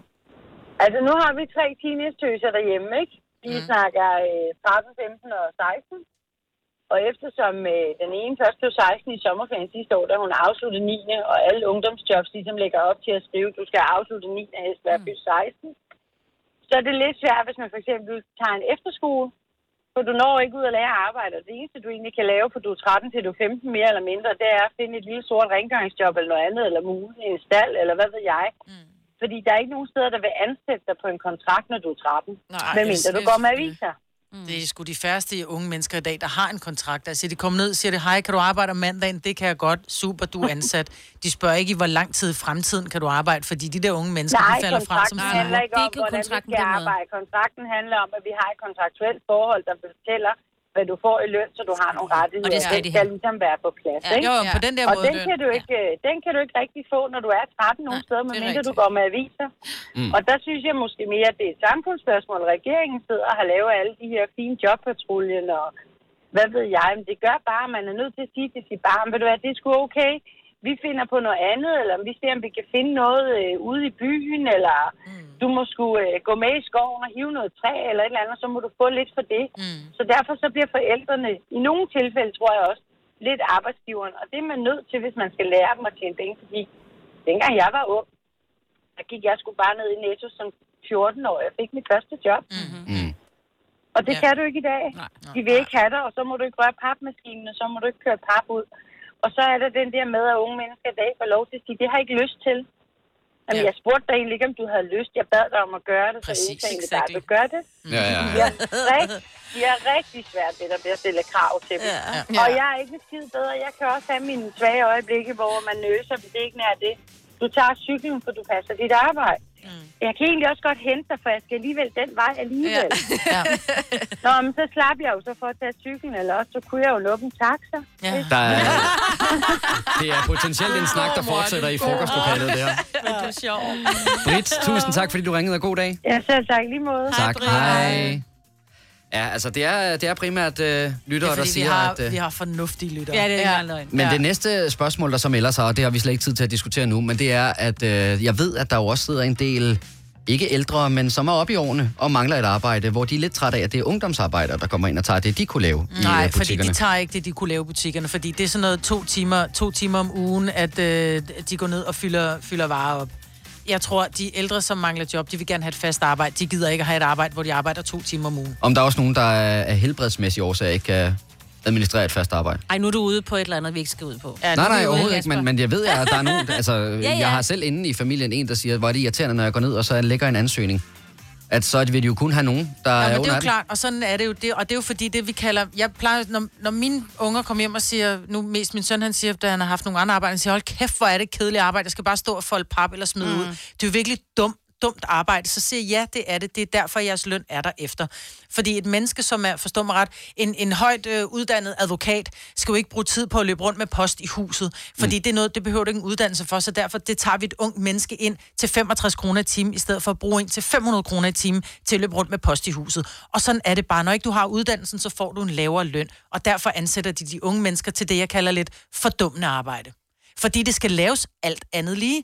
[SPEAKER 14] Altså, nu har vi tre teenage-tøser derhjemme, ikke? De
[SPEAKER 2] Mhm.
[SPEAKER 14] mm. snakker øh, 13, 15 og 16. Og eftersom øh, den ene først blev 16 i sommerferien sidste år, da hun afsluttede 9. og alle ungdomsjobs ligesom lægger op til at skrive, du skal afslutte 9. og helst være fyldt 16. Så er det lidt svært, hvis man for eksempel tager en efterskole, for du når ikke ud at lære at arbejde, og det eneste, du egentlig kan lave, for du er 13 til du er 15 mere eller mindre, det er at finde et lille sort rengøringsjob eller noget andet, eller mule i en stald, eller hvad ved jeg. Fordi der er ikke nogen steder, der vil ansætte dig på en kontrakt, når du er 13. Nej, Men mindre du går med aviser.
[SPEAKER 2] Det er sgu de færreste unge mennesker i dag, der har en kontrakt. Altså, de kommer ned og siger, det, hej, kan du arbejde om mandagen? Det kan jeg godt. Super, du er ansat. De spørger ikke, i hvor lang tid i fremtiden kan du arbejde, fordi de der unge mennesker,
[SPEAKER 14] Nej,
[SPEAKER 2] de falder fra som
[SPEAKER 14] kontrakten handler ikke om, hvordan vi skal arbejde. Kontrakten handler om, at vi har et kontraktuelt forhold, der fortæller, hvad du får i løn, så du har nogle rettigheder.
[SPEAKER 2] Og det skal de
[SPEAKER 14] skal
[SPEAKER 2] have.
[SPEAKER 14] ligesom være på plads.
[SPEAKER 2] Ja,
[SPEAKER 14] ikke?
[SPEAKER 2] jo, på den der
[SPEAKER 14] og
[SPEAKER 2] måde,
[SPEAKER 14] Den
[SPEAKER 2] løn.
[SPEAKER 14] kan, du ikke, øh, den kan du ikke rigtig få, når du er 13 nogen steder, medmindre du går med aviser.
[SPEAKER 16] Mm.
[SPEAKER 14] Og der synes jeg måske mere, at det er et samfundsspørgsmål. Regeringen sidder og har lavet alle de her fine jobpatruljen og hvad ved jeg. Men det gør bare, at man er nødt til at sige til sit barn, ved du hvad, det er sgu okay. Vi finder på noget andet, eller vi ser, om vi kan finde noget øh, ude i byen, eller mm. du må sgu øh, gå med i skoven og hive noget træ eller et eller andet, så må du få lidt for det. Mm. Så derfor så bliver forældrene, i nogle tilfælde tror jeg også, lidt arbejdsgiveren. Og det er man nødt til, hvis man skal lære dem at tjene penge, fordi dengang jeg var ung, der gik jeg sgu bare ned i Netto som 14 år. Jeg fik mit første job. Mm-hmm. Og det ja. kan du ikke i dag. Nej, nej, De vil ikke have dig, og så må du ikke røre papmaskinen, og så må du ikke køre pap ud. Og så er der den der med, at unge mennesker i dag får lov til at sige, det har jeg ikke lyst til. Jamen, ja. jeg spurgte dig egentlig ikke, om du havde lyst. Jeg bad dig om at gøre det, så
[SPEAKER 16] Præcis,
[SPEAKER 14] jeg ønsker egentlig bare, at du gør det.
[SPEAKER 16] Ja, ja,
[SPEAKER 14] De har rigtig, de har rigtig svært ved at at stille krav til dem.
[SPEAKER 16] Ja.
[SPEAKER 14] Ja.
[SPEAKER 16] Ja.
[SPEAKER 14] Og jeg er ikke en skid bedre. Jeg kan også have mine svage øjeblikke, hvor man nøser, hvis det ikke er det. Du tager cyklen, for du passer dit arbejde. Mm. Jeg kan egentlig også godt hente dig, for jeg skal alligevel den vej alligevel.
[SPEAKER 2] Ja.
[SPEAKER 14] Nå, men så slap jeg jo så for at tage cyklen, eller også så kunne jeg jo lukke en taxa.
[SPEAKER 2] Ja.
[SPEAKER 1] Der er, det er potentielt en snak, der fortsætter i frokostlokalet der.
[SPEAKER 14] Men det er sjovt.
[SPEAKER 1] Britt, tusind tak, fordi du ringede, og god dag.
[SPEAKER 14] Ja, selv tak i lige måde.
[SPEAKER 1] Tak, hej. Ja, altså det er, det er primært øh, lyttere, der
[SPEAKER 2] fordi vi
[SPEAKER 1] siger,
[SPEAKER 2] har,
[SPEAKER 1] at... øh,
[SPEAKER 2] vi har fornuftige lyttere.
[SPEAKER 11] Ja, det er ikke engang
[SPEAKER 2] løgn.
[SPEAKER 1] Men ja. det næste spørgsmål, der så melder sig, og det har vi slet ikke tid til at diskutere nu, men det er, at øh, jeg ved, at der jo også sidder en del, ikke ældre, men som er oppe i årene og mangler et arbejde, hvor de er lidt trætte af, at det er ungdomsarbejdere, der kommer ind og tager det, de kunne lave i
[SPEAKER 2] Mm. Nej,
[SPEAKER 1] øh,
[SPEAKER 2] fordi
[SPEAKER 1] butikkerne.
[SPEAKER 2] de tager ikke det, de kunne lave i butikkerne, fordi det er sådan noget to timer, to timer om ugen, at øh, de går ned og fylder, fylder varer op. Jeg tror, de ældre, som mangler job, de vil gerne have et fast arbejde. De gider ikke at have et arbejde, hvor de arbejder to timer om ugen.
[SPEAKER 1] Om der er også nogen, der er af helbredsmæssige årsager ikke kan administrere et fast arbejde.
[SPEAKER 3] Ej, nu er du ude på et eller andet, vi ikke skal ud på.
[SPEAKER 1] Ja,
[SPEAKER 3] nu er vi ude
[SPEAKER 1] nej, nej,
[SPEAKER 3] i
[SPEAKER 1] overhovedet ikke,
[SPEAKER 3] Kasper.
[SPEAKER 1] men, men jeg ved, at der er nogen... Altså, ja, ja.
[SPEAKER 3] ja.
[SPEAKER 1] jeg har selv inde i familien en, der siger, hvor er det irriterende, når jeg går ned, og så lægger en ansøgning. At så vil de jo kun have nogen, der
[SPEAKER 2] Ja,
[SPEAKER 1] er
[SPEAKER 2] men det
[SPEAKER 1] under
[SPEAKER 2] er jo
[SPEAKER 1] 18.
[SPEAKER 2] klart, og sådan er det jo. Det, og det er jo fordi, det vi kalder... Jeg plejer, når, når mine unger kommer hjem og siger... Nu mest min søn, han siger, da han har haft nogle andre arbejder, han siger, hold kæft, hvor er det kedeligt arbejde. Jeg skal bare stå og folde pap eller smide mm. ud. Det er jo virkelig dumt dumt arbejde, så siger jeg, ja, det er det. Det er derfor, jeres løn er der efter. Fordi et menneske, som er, forstår mig ret, en, en højt øh, uddannet advokat, skal jo ikke bruge tid på at løbe rundt med post i huset. Fordi mm. det er noget, det behøver du ikke en uddannelse for, så derfor det tager vi et ungt menneske ind til 65 kroner i timen, i stedet for at bruge en til 500 kroner i timen til at løbe rundt med post i huset. Og sådan er det bare. Når ikke du har uddannelsen, så får du en lavere løn. Og derfor ansætter de de unge mennesker til det, jeg kalder lidt fordummende arbejde. Fordi det skal laves alt andet lige.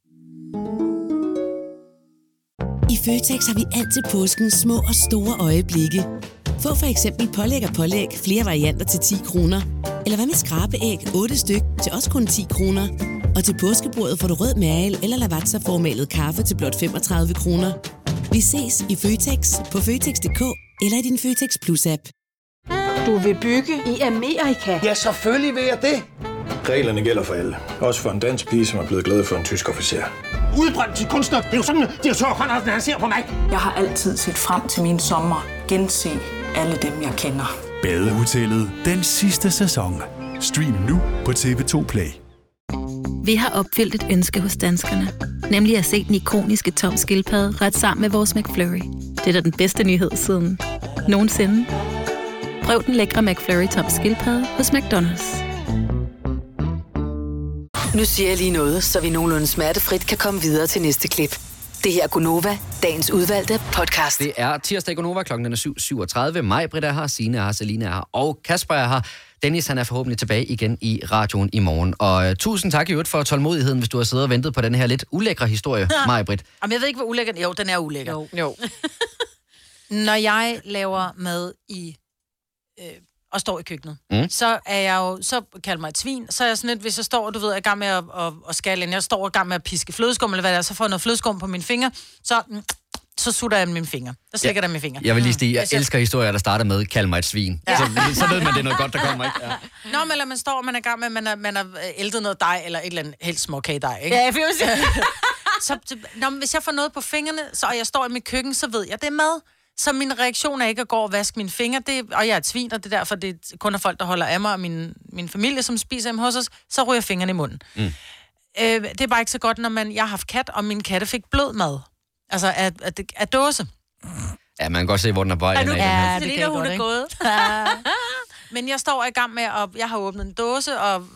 [SPEAKER 17] I Føtex har vi altid påsken små og store øjeblikke. Få for eksempel pålæg og pålæg flere varianter til 10 kroner. Eller hvad med skrabeæg 8 styk til også kun 10 kroner. Og til påskebordet får du rød mal eller lavatserformalet kaffe til blot 35 kroner. Vi ses i Føtex på Føtex.dk eller i din Føtex Plus-app.
[SPEAKER 18] Du vil bygge i Amerika? Ja, selvfølgelig vil jeg det.
[SPEAKER 19] Reglerne gælder for alle. Også for en dansk pige, som er blevet glad for en tysk officer.
[SPEAKER 18] Udbrændt til kunstner. Det er jo sådan, at de har tørt, han ser på mig. Jeg har altid set frem til min sommer. Gense alle dem, jeg kender.
[SPEAKER 20] Badehotellet den sidste sæson. Stream nu på TV2 Play.
[SPEAKER 21] Vi har opfyldt et ønske hos danskerne. Nemlig at se den ikoniske tom skildpadde ret sammen med vores McFlurry. Det er da den bedste nyhed siden nogensinde. Prøv den lækre McFlurry tom skildpadde hos McDonald's.
[SPEAKER 7] Nu siger jeg lige noget, så vi nogenlunde smertefrit kan komme videre til næste klip. Det her er Gunova, dagens udvalgte podcast.
[SPEAKER 1] Det er tirsdag i Gonova, klokken den er 7.37. Maj, Britta er her, Signe er her, Selina er her, og Kasper er her. Dennis, han er forhåbentlig tilbage igen i radioen i morgen. Og øh, tusind tak i øvrigt for tålmodigheden, hvis du har siddet og ventet på den her lidt ulækre historie, Maj, Britt.
[SPEAKER 2] Jamen, jeg ved ikke, hvor ulækker Jo, den er ulækker. Jo. jo. Når jeg laver mad i... Øh, og står i køkkenet,
[SPEAKER 1] Mm.
[SPEAKER 2] mm. så er jeg jo... Så kald mig et svin. Så er jeg sådan lidt, hvis jeg står, du ved, er i gang med at, at, at skære ind, jeg står i gang med at piske flødeskum, eller hvad det er, så får jeg noget flødeskum på mine fingre, så, mm, så sutter jeg mine fingre. Der slikker ja. der mine fingre.
[SPEAKER 1] Jeg vil lige
[SPEAKER 2] Mm.
[SPEAKER 1] sige, jeg
[SPEAKER 2] Hvis
[SPEAKER 1] elsker historier, der starter med, kald mig et svin. Ja. Så, så ved man, det er noget godt, der kommer, ikke? Ja.
[SPEAKER 2] Nå, men eller man står, og man er i gang med, at man har, man har ældet noget dej, eller et eller andet helt småkagedej, ikke?
[SPEAKER 11] Ja, jeg vil jo sige.
[SPEAKER 2] så, nå, men hvis jeg får noget på fingrene, så, og jeg står i mit køkken, så ved jeg, det er mad. Så min reaktion er ikke at gå og vaske mine fingre, det, og jeg er et svin, og det er derfor, det er kun er folk, der holder af mig, og min, min familie, som spiser hjemme hos os, så ryger jeg fingrene i munden.
[SPEAKER 1] Mm.
[SPEAKER 2] Øh, det er bare ikke så godt, når man, jeg har haft kat, og min katte fik blød mad. Altså, af, af, af dåse.
[SPEAKER 1] ja, man kan godt se, hvor den er på vej.
[SPEAKER 2] Er
[SPEAKER 1] henad,
[SPEAKER 2] nu
[SPEAKER 1] den her.
[SPEAKER 2] ja, det kan hun er gået. Men jeg står i gang med, at jeg har åbnet en dåse og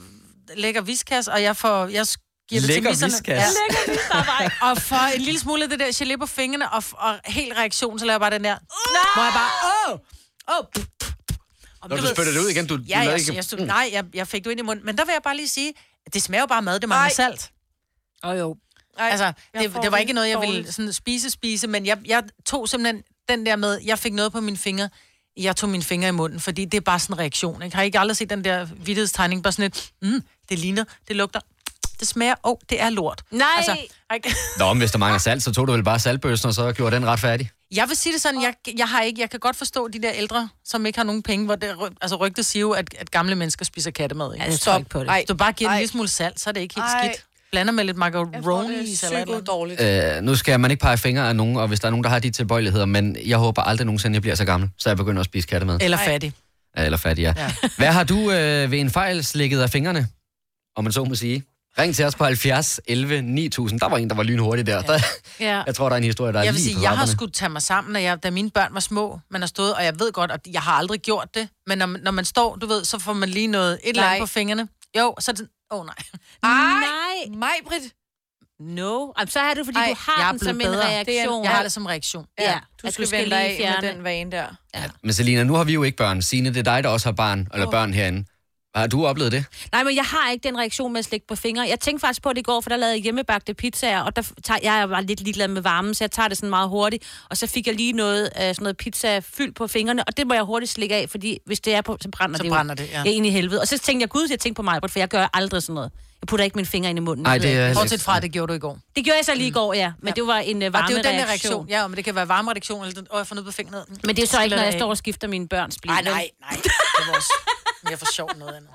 [SPEAKER 2] lægger viskas, og jeg får... Jeg giver det
[SPEAKER 1] Lækker
[SPEAKER 2] til misserne.
[SPEAKER 1] viskas?
[SPEAKER 2] Lægger viskas. og for en lille smule af det der gelé på fingrene, og, f- og helt reaktion, så laver jeg bare den der... Nej! Hvor jeg bare... Åh! Åh! Oh,
[SPEAKER 1] Når du spytter det ud igen, du, du
[SPEAKER 2] ja,
[SPEAKER 1] lader
[SPEAKER 2] jeg,
[SPEAKER 1] ikke... Mm.
[SPEAKER 2] jeg, jeg, nej, jeg, jeg fik det ind i munden. Men der vil jeg bare lige sige, at det smager jo bare af mad, det mangler salt. Åh oh, jo. Ej, altså, det,
[SPEAKER 11] får
[SPEAKER 2] det var
[SPEAKER 11] det
[SPEAKER 2] ikke noget, jeg ville
[SPEAKER 11] dårligt.
[SPEAKER 2] sådan spise, spise, men jeg, jeg tog simpelthen den der med, jeg fik noget på mine fingre, jeg tog mine fingre i munden, fordi det er bare sådan en reaktion. Ikke? Har I ikke aldrig set den der vidtighedstegning, bare sådan et, mm, det ligner, det lugter, det smager, åh, oh, det er lort. Altså,
[SPEAKER 11] Nej!
[SPEAKER 2] ej,
[SPEAKER 1] Nå, men hvis der mangler salt, så tog du vel bare saltbøssen, og så gjorde den ret færdig.
[SPEAKER 2] jeg vil sige det sådan, jeg, jeg, har ikke, jeg kan godt forstå de der ældre, som ikke har nogen penge, hvor det, ry- altså rygtet siger jo, at, at gamle mennesker spiser kattemad. Ikke?
[SPEAKER 11] Ja, jeg tror ikke på det.
[SPEAKER 2] Hvis du bare giver en lille smule salt, så er det ikke helt
[SPEAKER 5] Ej.
[SPEAKER 2] skidt. Blander med lidt macaroni eller et eller andet.
[SPEAKER 5] dårligt.
[SPEAKER 1] Øh, nu skal man ikke pege fingre af nogen, og hvis der er nogen, der har de tilbøjeligheder, men jeg håber aldrig nogensinde, jeg bliver så gammel, så jeg begynder at spise kattemad.
[SPEAKER 2] Eller fattig.
[SPEAKER 1] Ja, eller fattig, ja. ja. Hvad har du øh, ved en fejl slikket af fingrene, om man så må sige? Ring til os på 70 11 9000. Der var en, der var lynhurtig der. Ja. der
[SPEAKER 2] Ja.
[SPEAKER 1] jeg tror, der er en historie, der er
[SPEAKER 2] jeg vil
[SPEAKER 1] lige
[SPEAKER 2] sige,
[SPEAKER 1] på
[SPEAKER 2] jeg har
[SPEAKER 1] trapperne.
[SPEAKER 2] skulle tage mig sammen, når jeg, da mine børn var små. Man har stået, og jeg ved godt, at jeg har aldrig gjort det. Men når, når man står, du ved, så får man lige noget, et eller
[SPEAKER 5] Nej.
[SPEAKER 2] andet på fingrene. Jo, så er det Åh, oh, nej.
[SPEAKER 11] Ej,
[SPEAKER 5] nej. Britt.
[SPEAKER 11] No. Jamen, så er det, fordi Ej, du
[SPEAKER 2] jeg
[SPEAKER 11] har
[SPEAKER 2] er
[SPEAKER 11] den
[SPEAKER 2] blevet
[SPEAKER 11] som en
[SPEAKER 2] bedre. Det er
[SPEAKER 11] reaktion.
[SPEAKER 2] en- jeg har det som reaktion.
[SPEAKER 11] Ja,
[SPEAKER 5] Ja,
[SPEAKER 11] at
[SPEAKER 5] du skal, vende dig
[SPEAKER 11] lige
[SPEAKER 5] af med den vane der.
[SPEAKER 1] Men Selina, nu har vi jo ikke børn. Signe, det er dig, der også har barn, eller børn herinde. Har du oplevet det?
[SPEAKER 11] Nej, men jeg har ikke den reaktion med at slikke på fingre. Jeg tænkte faktisk på det i går, for der lavede jeg hjemmebagte pizzaer, og der tager, jeg var lidt ligeglad med varmen, så jeg tager det sådan meget hurtigt. Og så fik jeg lige noget, øh, sådan noget pizza fyldt på fingrene, og det må jeg hurtigt slikke af, fordi hvis det er på, så brænder
[SPEAKER 2] Så
[SPEAKER 11] det
[SPEAKER 2] brænder
[SPEAKER 11] jo.
[SPEAKER 2] det, ja.
[SPEAKER 11] ja. ind i helvede. Og så tænkte jeg, gud, jeg tænkte på mig, for jeg gør aldrig sådan noget. Jeg putter ikke min finger ind i munden.
[SPEAKER 1] Ej, det er heller
[SPEAKER 2] Bortset
[SPEAKER 1] ikke-
[SPEAKER 2] fra, det gjorde du i går.
[SPEAKER 11] Det gjorde jeg så lige i går, ja. Men det var en uh,
[SPEAKER 2] Mm. Og det er jo den
[SPEAKER 11] varmereaktion.
[SPEAKER 2] her reaktion. Ja, men det kan være varmereaktion, eller den, åh, jeg får noget på fingeren. Mm.
[SPEAKER 11] Men det er jo så ikke, når jeg
[SPEAKER 2] Slap af.
[SPEAKER 11] står og skifter mine børns blik.
[SPEAKER 2] Nej, nej, nej. Det var også mere for sjov noget andet.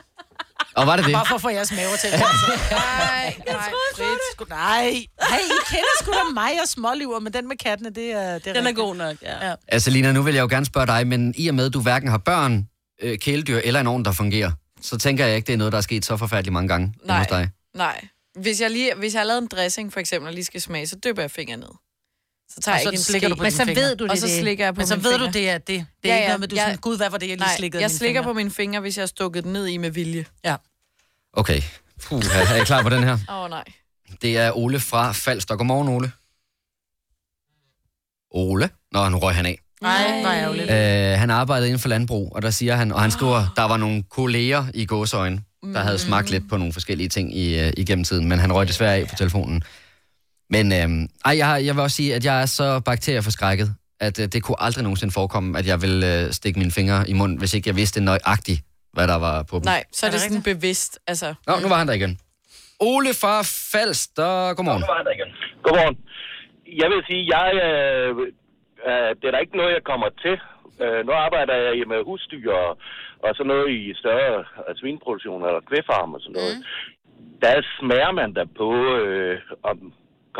[SPEAKER 1] Og var det det?
[SPEAKER 2] Bare for at få jeres maver til. Altså. Nej, nej, Britt. Sku, nej. Nej, I kender sgu da mig og småliver, men den med kattene, det er... Det
[SPEAKER 11] Den er
[SPEAKER 2] rigtigt.
[SPEAKER 11] god nok, ja.
[SPEAKER 2] ja.
[SPEAKER 1] Altså, Lina, nu vil jeg jo gerne spørge dig, men i og med, at du hverken har børn, øh, kæledyr eller en ovn, der fungerer, så tænker jeg ikke, det er noget, der er sket så forfærdeligt mange gange Nej. hos dig.
[SPEAKER 5] Nej. Hvis jeg, lige, hvis jeg har lavet en dressing, for eksempel, og lige skal smage, så dyber jeg fingeren ned. Så tager
[SPEAKER 2] Og
[SPEAKER 5] jeg
[SPEAKER 2] så
[SPEAKER 5] ikke en
[SPEAKER 2] slikker
[SPEAKER 5] ske.
[SPEAKER 2] du på Men dine så fingre. ved du, det
[SPEAKER 5] Og
[SPEAKER 2] er
[SPEAKER 5] så
[SPEAKER 2] det.
[SPEAKER 5] slikker jeg på
[SPEAKER 2] Men så
[SPEAKER 5] mine
[SPEAKER 2] ved du,
[SPEAKER 5] fingre.
[SPEAKER 2] det er det. Det er ikke noget med, du er sådan, "Gud, hvad var det, jeg lige
[SPEAKER 5] nej,
[SPEAKER 2] slikkede
[SPEAKER 5] jeg
[SPEAKER 2] mine
[SPEAKER 5] slikker
[SPEAKER 2] fingre."
[SPEAKER 5] på mine fingre, hvis jeg har stukket den ned i med vilje.
[SPEAKER 2] Ja.
[SPEAKER 1] Okay. Puh, er jeg klar på den her?
[SPEAKER 5] Åh, oh, nej.
[SPEAKER 1] Det er Ole fra Falster. Godmorgen, Ole. Ole? Nå, nu røg han af.
[SPEAKER 2] Nej, nej, ærgerligt.
[SPEAKER 1] Øh, han arbejdede inden for landbrug, og der siger han, og han skriver, der var nogle kolleger i gåsøjne, der havde smagt lidt på nogle forskellige ting i, øh, igennem tiden, men han røg desværre af på telefonen. Men øh, ej, jeg, har- jeg vil også sige, at jeg er så bakterieforskrækket, at øh, det kunne aldrig nogensinde forekomme, at jeg ville øh, stikke mine fingre i munden, hvis ikke jeg vidste nøjagtigt, hvad der var på dem.
[SPEAKER 5] Nej, så er, det, sådan bevidst. Altså.
[SPEAKER 1] Nå, nu var han der igen. Ole fra Falster, godmorgen.
[SPEAKER 22] Godmorgen. Jeg vil sige, jeg, øh, øh, det er der ikke noget, jeg kommer til. Øh, nu arbejder jeg i- med husdyr og, og sådan noget i større øh, svineproduktion eller kvæfarm og sådan noget. Mm. Der smager man da på, øh, om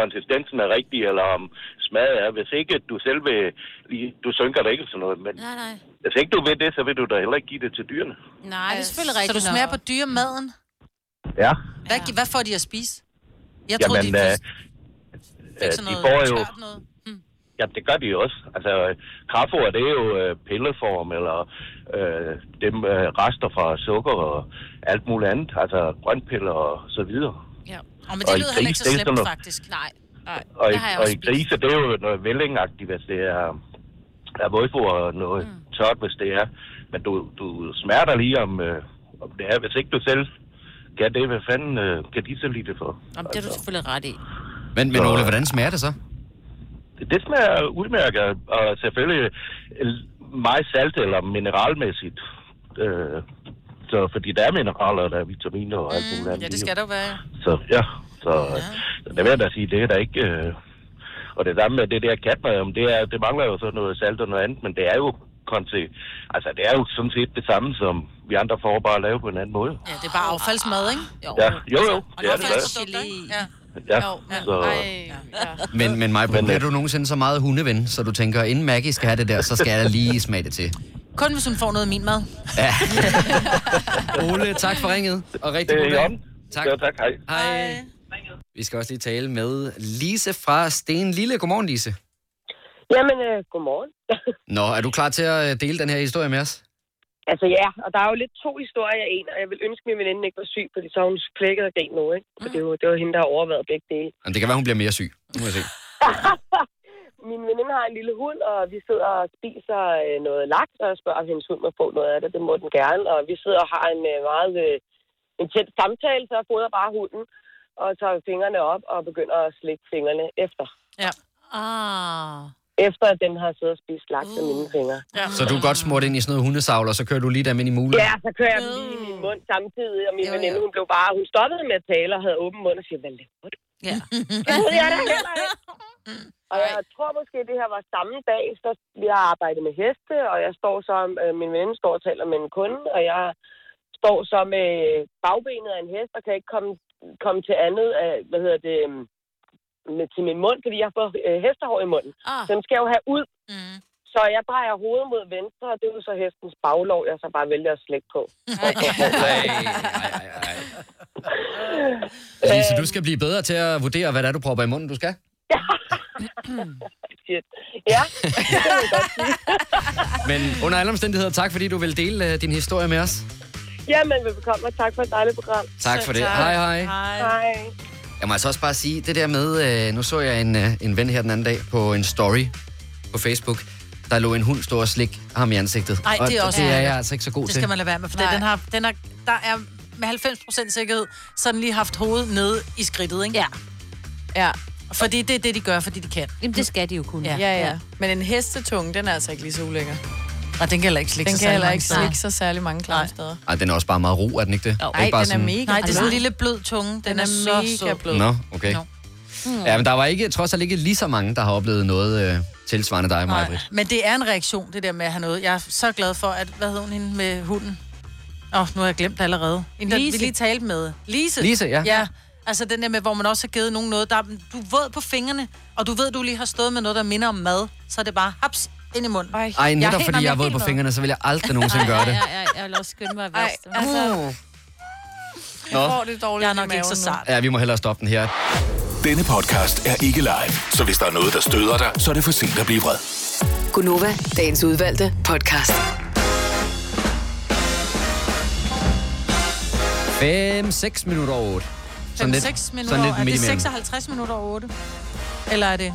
[SPEAKER 22] konsistensen er rigtig, eller om smaget er. Hvis ikke du selv vil, lige- du synker dig ikke eller sådan noget, men
[SPEAKER 23] Nej, nej.
[SPEAKER 22] hvis ikke du ved det, så vil du da heller ikke give det til dyrene.
[SPEAKER 23] Nej, det er selvfølgelig
[SPEAKER 2] Så
[SPEAKER 23] rigtigt.
[SPEAKER 2] du smager på dyremaden?
[SPEAKER 22] Ja.
[SPEAKER 2] Hvad, ja. hvad får de at spise? Jeg troede, de
[SPEAKER 22] øh,
[SPEAKER 2] fik
[SPEAKER 22] øh,
[SPEAKER 2] sådan
[SPEAKER 22] de
[SPEAKER 2] noget
[SPEAKER 22] får jo...
[SPEAKER 2] tørt noget. Hmm.
[SPEAKER 22] Ja, det gør de jo også. Altså, øh, krafoer, det er jo øh, pilleform, eller øh, dem øh, rester fra sukker og alt muligt andet. Altså, grønpiller og så videre.
[SPEAKER 2] Ja. Og men
[SPEAKER 22] Og
[SPEAKER 2] det
[SPEAKER 22] i
[SPEAKER 2] lyder heller ikke så
[SPEAKER 22] gris, det er sådan
[SPEAKER 2] slemt,
[SPEAKER 22] noget-
[SPEAKER 2] faktisk. Nej. Nej,
[SPEAKER 22] Og,
[SPEAKER 2] det
[SPEAKER 22] i,
[SPEAKER 2] har jeg
[SPEAKER 22] og
[SPEAKER 2] også
[SPEAKER 22] i grise, det er jo noget vællingagtigt, hvis det er, er vådfor og noget
[SPEAKER 2] Hmm.
[SPEAKER 22] mm. tørt, hvis det er. Men du, du smerter lige om, øh, om det er. Hvis ikke du selv kan det, hvad fanden øh, kan de så lide det for?
[SPEAKER 11] Jamen, det er du selvfølgelig ret i.
[SPEAKER 1] Men, men Ole, hvordan smager det så?
[SPEAKER 22] Det smager udmærket, og selvfølgelig øh, meget salt eller mineralmæssigt. Øh, så, fordi der er mineraler, og der er vitaminer og alt muligt andet.
[SPEAKER 2] Mm, Ja, det
[SPEAKER 22] i.
[SPEAKER 2] skal der jo være.
[SPEAKER 22] Så ja, så, øh, så det vil jeg da sige, det er der ikke... Øh, og det samme med det der kadmium, det, er, det mangler jo så noget salt og noget andet, men det er jo konse, altså det er jo sådan set det samme, som vi andre får bare at lave på en anden måde.
[SPEAKER 2] Ja, det er bare affaldsmad, ikke?
[SPEAKER 22] Ja, jo jo,
[SPEAKER 2] Altså, Og
[SPEAKER 22] det er det da.
[SPEAKER 2] affaldsprodukter, ikke? Ja.
[SPEAKER 22] Ja,
[SPEAKER 2] Jo, ja.
[SPEAKER 22] så,
[SPEAKER 1] Men, men mig, bliver du nogensinde så meget hundeven, så du tænker, inden Maggie skal have det der, så skal jeg da lige smage det til.
[SPEAKER 2] Kun hvis hun får noget af min mad.
[SPEAKER 1] Ja. Ole, tak for ringet, og rigtig
[SPEAKER 22] Det er
[SPEAKER 1] god
[SPEAKER 22] i
[SPEAKER 1] dag.
[SPEAKER 22] orden.
[SPEAKER 1] Tak.
[SPEAKER 22] Øh, Ja, tak, hej.
[SPEAKER 1] Hej. Vi skal også lige tale med Lise fra Sten Lille. Godmorgen, Lise.
[SPEAKER 24] Jamen, øh, godmorgen.
[SPEAKER 1] Nå, er du klar til at øh, dele den her historie med os?
[SPEAKER 24] Altså ja, og der er jo lidt to historier i en, og jeg vil ønske, at min veninde ikke var syg, fordi så har hun plækket og grin nu, ikke? Og det var, det var hende, der har overvejet begge dele.
[SPEAKER 1] Jamen, det kan være, hun bliver mere syg. Nu må jeg se.
[SPEAKER 24] min veninde har en lille hund, og vi sidder og spiser øh, noget laks, og jeg spørger, om hendes hund må få noget af det. Det må den gerne, og vi sidder og har en øh, meget øh, en tæt samtale, så jeg fodrer bare hunden, og tager fingrene op og begynder at slikke fingrene efter.
[SPEAKER 2] Ja.
[SPEAKER 24] Ah. Efter at den har siddet og spist laks af mine fingre. Ja.
[SPEAKER 1] Så du er godt smurt ind i sådan noget hundesavl, og så kører du lige dem ind i mulen.
[SPEAKER 24] Ja, så kører jeg dem lige i min mund samtidig, og min veninde, hun blev bare, hun stoppede med at tale og havde åben mund og siger, hvad laver du?
[SPEAKER 11] Ja.
[SPEAKER 24] Det ved jeg da heller ikke. Og jeg tror måske, det her var samme dag, så vi har arbejdet med heste, og jeg står så, øh, min veninde står og taler med en kunde, og jeg står så med bagbenet af en hest, og kan ikke komme, komme til andet, af, hvad hedder det, øhm, med, til min mund, fordi jeg har fået øh, hestehår i munden. Ah. Dem skal jeg jo have ud. Mm. Så jeg drejer hovedet mod venstre, og det er jo så hestens baglov, jeg så bare vælger at slække på.
[SPEAKER 1] Lise, du skal blive bedre til at vurdere, hvad det er, du propper i munden, du skal.
[SPEAKER 24] Shit. Ja,
[SPEAKER 1] Men under alle omstændigheder, tak fordi du vil dele øh, din historie med os.
[SPEAKER 24] jamen velbekomme, og tak for et dejligt program.
[SPEAKER 1] Tak for det. Hej, hej.
[SPEAKER 24] Hej.
[SPEAKER 1] Jeg må altså også bare sige, det der med, øh, nu så jeg en, øh, en ven her den anden dag på en story på Facebook, der lå en hund stå og slik ham i ansigtet.
[SPEAKER 2] Nej, det er
[SPEAKER 1] og
[SPEAKER 2] også...
[SPEAKER 1] det er
[SPEAKER 2] ærgerligt.
[SPEAKER 1] jeg altså ikke så god
[SPEAKER 2] Det
[SPEAKER 1] til.
[SPEAKER 2] skal man lade være med, for den har, den har, der er med 90% sikkerhed, så har den lige haft hovedet nede i skridtet, ikke? Ja.
[SPEAKER 5] Ja.
[SPEAKER 2] Fordi det er det, de gør, fordi de kan.
[SPEAKER 11] Jamen, det skal de jo kunne.
[SPEAKER 5] Ja, ja. Men en hestetunge, den er altså ikke lige så ulækker.
[SPEAKER 2] Og den kan heller ikke slikke
[SPEAKER 5] Den
[SPEAKER 2] sig
[SPEAKER 5] kan heller
[SPEAKER 2] særlig
[SPEAKER 5] ikke
[SPEAKER 2] mange
[SPEAKER 5] slikke sig særlig mange klare steder.
[SPEAKER 1] Ej, den er også bare meget ro, er den ikke det?
[SPEAKER 5] Jo.
[SPEAKER 1] ikke
[SPEAKER 5] Ej,
[SPEAKER 1] bare
[SPEAKER 5] den er mega
[SPEAKER 2] Nej, det er sådan en
[SPEAKER 5] blød.
[SPEAKER 2] lille blød tunge. Den, den er,
[SPEAKER 5] er
[SPEAKER 2] så
[SPEAKER 5] mega
[SPEAKER 2] sød.
[SPEAKER 5] blød.
[SPEAKER 1] Nå, okay.
[SPEAKER 2] Nå. Mm.
[SPEAKER 1] Ja, men der var ikke, trods alt ikke lige så mange, der har oplevet noget øh, tilsvarende dig, Maja
[SPEAKER 2] Men det er en reaktion, det der med at have noget. Jeg er så glad for, at... Hvad hed hun hende med hunden? Åh, oh, nu har jeg glemt det allerede. Hende, der, vi
[SPEAKER 3] Lise.
[SPEAKER 2] lige talte med. Lise.
[SPEAKER 1] Lise, ja.
[SPEAKER 2] ja. Altså den der med, hvor man også har givet nogen noget, der er, du er våd på fingrene, og du ved, du lige har stået med noget, der minder om mad, så er det bare haps ind i munden.
[SPEAKER 1] Ej,
[SPEAKER 2] er
[SPEAKER 1] netop
[SPEAKER 2] helt
[SPEAKER 1] fordi
[SPEAKER 2] med,
[SPEAKER 1] jeg er våd
[SPEAKER 2] helt
[SPEAKER 1] på
[SPEAKER 2] med.
[SPEAKER 1] fingrene, så vil jeg aldrig nogensinde gøre det.
[SPEAKER 3] Ja, jeg vil også skynde mig at vaske dem.
[SPEAKER 5] Altså,
[SPEAKER 1] Nå.
[SPEAKER 5] det dårligt Jeg er nok ikke så sart.
[SPEAKER 1] Ja, vi må hellere stoppe den her.
[SPEAKER 6] Denne podcast er ikke live, så hvis der er noget, der støder dig, så er det for sent at blive vred.
[SPEAKER 7] Gunova, dagens udvalgte podcast.
[SPEAKER 1] 5-6 minutter over 8.
[SPEAKER 2] 5-6 minutter.
[SPEAKER 1] Sådan lidt
[SPEAKER 2] er
[SPEAKER 1] midt
[SPEAKER 2] det
[SPEAKER 1] imellem.
[SPEAKER 2] 56 minutter over 8? Eller er det...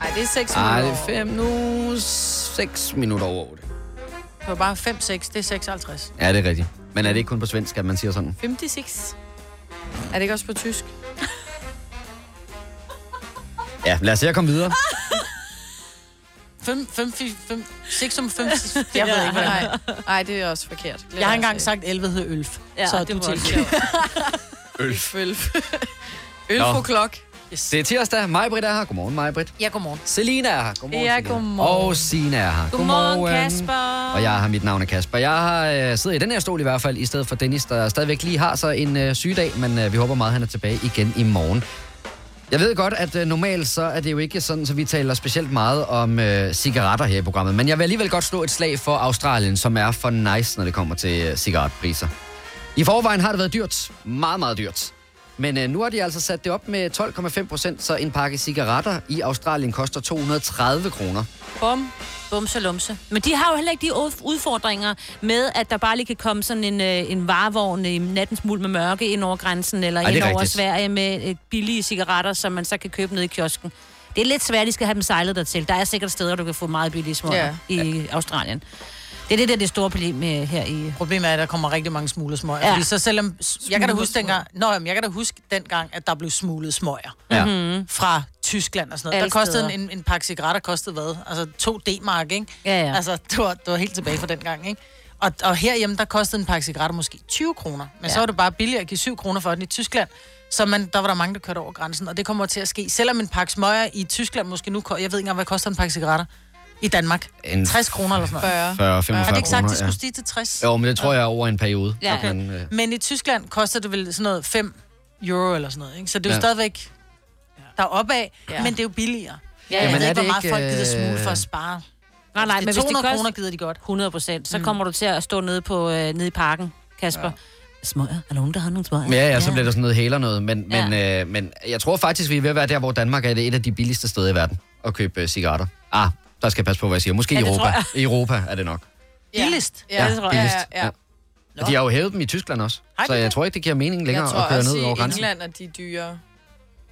[SPEAKER 5] Nej, det er 6
[SPEAKER 1] Ej, det
[SPEAKER 2] minutter
[SPEAKER 1] er 5 nu... 6 minutter over 8.
[SPEAKER 2] Det var bare 5-6, det er 56.
[SPEAKER 1] Ja, det er rigtigt. Men er det ikke kun på svensk, at man siger sådan?
[SPEAKER 5] 56. Er det ikke også på tysk?
[SPEAKER 1] Ja, lad os se at komme videre.
[SPEAKER 2] Ah! 5, 5, 5, 6 om 5, jeg
[SPEAKER 5] Jeg
[SPEAKER 2] ved
[SPEAKER 5] ved
[SPEAKER 2] ikke,
[SPEAKER 5] ikke,
[SPEAKER 2] hvad det
[SPEAKER 5] nej.
[SPEAKER 2] er.
[SPEAKER 5] Nej, det er også forkert.
[SPEAKER 2] Jeg har engang sagt 11 hed Ølf,
[SPEAKER 5] Ja,
[SPEAKER 2] så er
[SPEAKER 5] det
[SPEAKER 2] du
[SPEAKER 5] var også
[SPEAKER 2] til.
[SPEAKER 1] Ølf.
[SPEAKER 5] Ølf. Ølf
[SPEAKER 1] Nå.
[SPEAKER 5] på klok.
[SPEAKER 1] Yes. Det er tirsdag. Majbrit er her. Godmorgen, Majbrit.
[SPEAKER 2] Ja, godmorgen.
[SPEAKER 1] Selina er her. Godmorgen,
[SPEAKER 5] Ja,
[SPEAKER 1] Selina.
[SPEAKER 5] godmorgen.
[SPEAKER 1] Og Sina er her.
[SPEAKER 5] Godmorgen, Kasper.
[SPEAKER 1] Og jeg har mit navn er Kasper. Jeg har øh, siddet i den her stol i hvert fald, i stedet for Dennis, der stadigvæk lige har så en øh, sygedag, men øh, vi håber meget, at han er tilbage igen i morgen. Jeg ved godt, at øh, normalt så er det jo ikke sådan, så vi taler specielt meget om øh, cigaretter her i programmet, men jeg vil alligevel godt slå et slag for Australien, som er for nice, når det kommer til øh, cigaretpriser. I forvejen har det været dyrt. Meget, meget dyrt. Men øh, nu har de altså sat det op med 12,5 procent, så en pakke cigaretter i Australien koster 230 kroner.
[SPEAKER 5] Bum.
[SPEAKER 3] Bumse lumse. Men de har jo heller ikke de ud- udfordringer med, at der bare lige kan komme sådan en, øh, en varevogn i nattens muld med mørke ind over grænsen, eller
[SPEAKER 1] Ej, det er
[SPEAKER 3] ind over
[SPEAKER 1] rigtigt.
[SPEAKER 3] Sverige med øh, billige cigaretter, som man så kan købe nede i kiosken. Det er lidt svært, at de skal have dem sejlet dertil. Der er sikkert steder, du kan få meget billige små
[SPEAKER 2] Ja.
[SPEAKER 3] ja. i Australien. Det er det der, det store problem med her i...
[SPEAKER 2] Problemet er, at der kommer rigtig mange smuglersmøger.
[SPEAKER 3] Ja.
[SPEAKER 2] Fordi så selvom... Jeg kan da huske
[SPEAKER 3] Smuglersmøger.
[SPEAKER 2] dengang... Nå, jamen, jeg kan da huske dengang, at der blev smuglet smøger. Mm-hmm.
[SPEAKER 1] Ja.
[SPEAKER 2] Fra Tyskland og sådan noget.
[SPEAKER 3] Alle
[SPEAKER 2] der kostede
[SPEAKER 3] steder.
[SPEAKER 2] en, en pakke cigaretter, kostede hvad? Altså 2 D-mark, ikke?
[SPEAKER 3] Ja, ja.
[SPEAKER 2] Altså, det var, det var helt tilbage fra dengang, ikke? Og, og herhjemme, der kostede en pakke cigaretter måske 20 kroner. Men ja. så var det bare billigere at give 7 kroner for den i Tyskland. Så man, der var der mange, der kørte over grænsen. Og det kommer til at ske. Selvom en pakke smøger i Tyskland måske nu... ko- Jeg ved ikke engang, hvad koster en pakke cigaretter i Danmark.
[SPEAKER 1] En
[SPEAKER 2] 60 kroner eller sådan noget.
[SPEAKER 1] 40,
[SPEAKER 2] Har
[SPEAKER 1] 45
[SPEAKER 2] de ikke sagt,
[SPEAKER 1] kroner,
[SPEAKER 2] det skulle
[SPEAKER 1] ja.
[SPEAKER 2] stige til 60?
[SPEAKER 1] Jo, men det tror jeg er over en periode.
[SPEAKER 2] Ja.
[SPEAKER 1] at Man, øh,
[SPEAKER 2] Men i Tyskland koster det vel sådan noget 5 euro eller sådan noget, ikke? Så det er jo
[SPEAKER 1] Ja.
[SPEAKER 2] ja. stadigvæk der er opad, ja. men det er jo billigere.
[SPEAKER 3] Ja,
[SPEAKER 2] jeg
[SPEAKER 3] men
[SPEAKER 2] ved
[SPEAKER 3] er
[SPEAKER 2] ikke, hvor
[SPEAKER 3] det
[SPEAKER 2] meget
[SPEAKER 3] ikke,
[SPEAKER 2] folk gider smule
[SPEAKER 3] øh,
[SPEAKER 2] for at spare.
[SPEAKER 3] Nej, nej,
[SPEAKER 2] Det er
[SPEAKER 3] men
[SPEAKER 2] 200
[SPEAKER 3] hvis det
[SPEAKER 2] kroner gider de godt. Mm.
[SPEAKER 3] 100 procent. Så kommer du til at stå nede, på, øh, nede i parken, Kasper. Ja. Smøger. Er der nogen, der har nogle smøger?
[SPEAKER 1] Ja, ja, så bliver der sådan noget hæler noget. Men,
[SPEAKER 3] Ja.
[SPEAKER 1] men, øh, men jeg tror faktisk, vi er ved at være der, hvor Danmark er det et af de billigste steder i verden at købe øh, cigaretter. Ah, der skal jeg passe på, hvad jeg siger. Måske
[SPEAKER 2] Ja,
[SPEAKER 1] ja,
[SPEAKER 2] det tror
[SPEAKER 1] Europa.
[SPEAKER 2] jeg.
[SPEAKER 1] I Europa er det nok.
[SPEAKER 2] Billigst.
[SPEAKER 1] billigst. Og De har jo hævet dem i Tyskland også.
[SPEAKER 5] Ej,
[SPEAKER 1] så
[SPEAKER 5] det er
[SPEAKER 1] jeg
[SPEAKER 5] det.
[SPEAKER 1] tror ikke, det giver mening længere
[SPEAKER 5] jeg tror
[SPEAKER 1] at køre
[SPEAKER 5] også
[SPEAKER 1] ned over
[SPEAKER 5] i
[SPEAKER 1] grænsen.
[SPEAKER 5] England er de dyrere.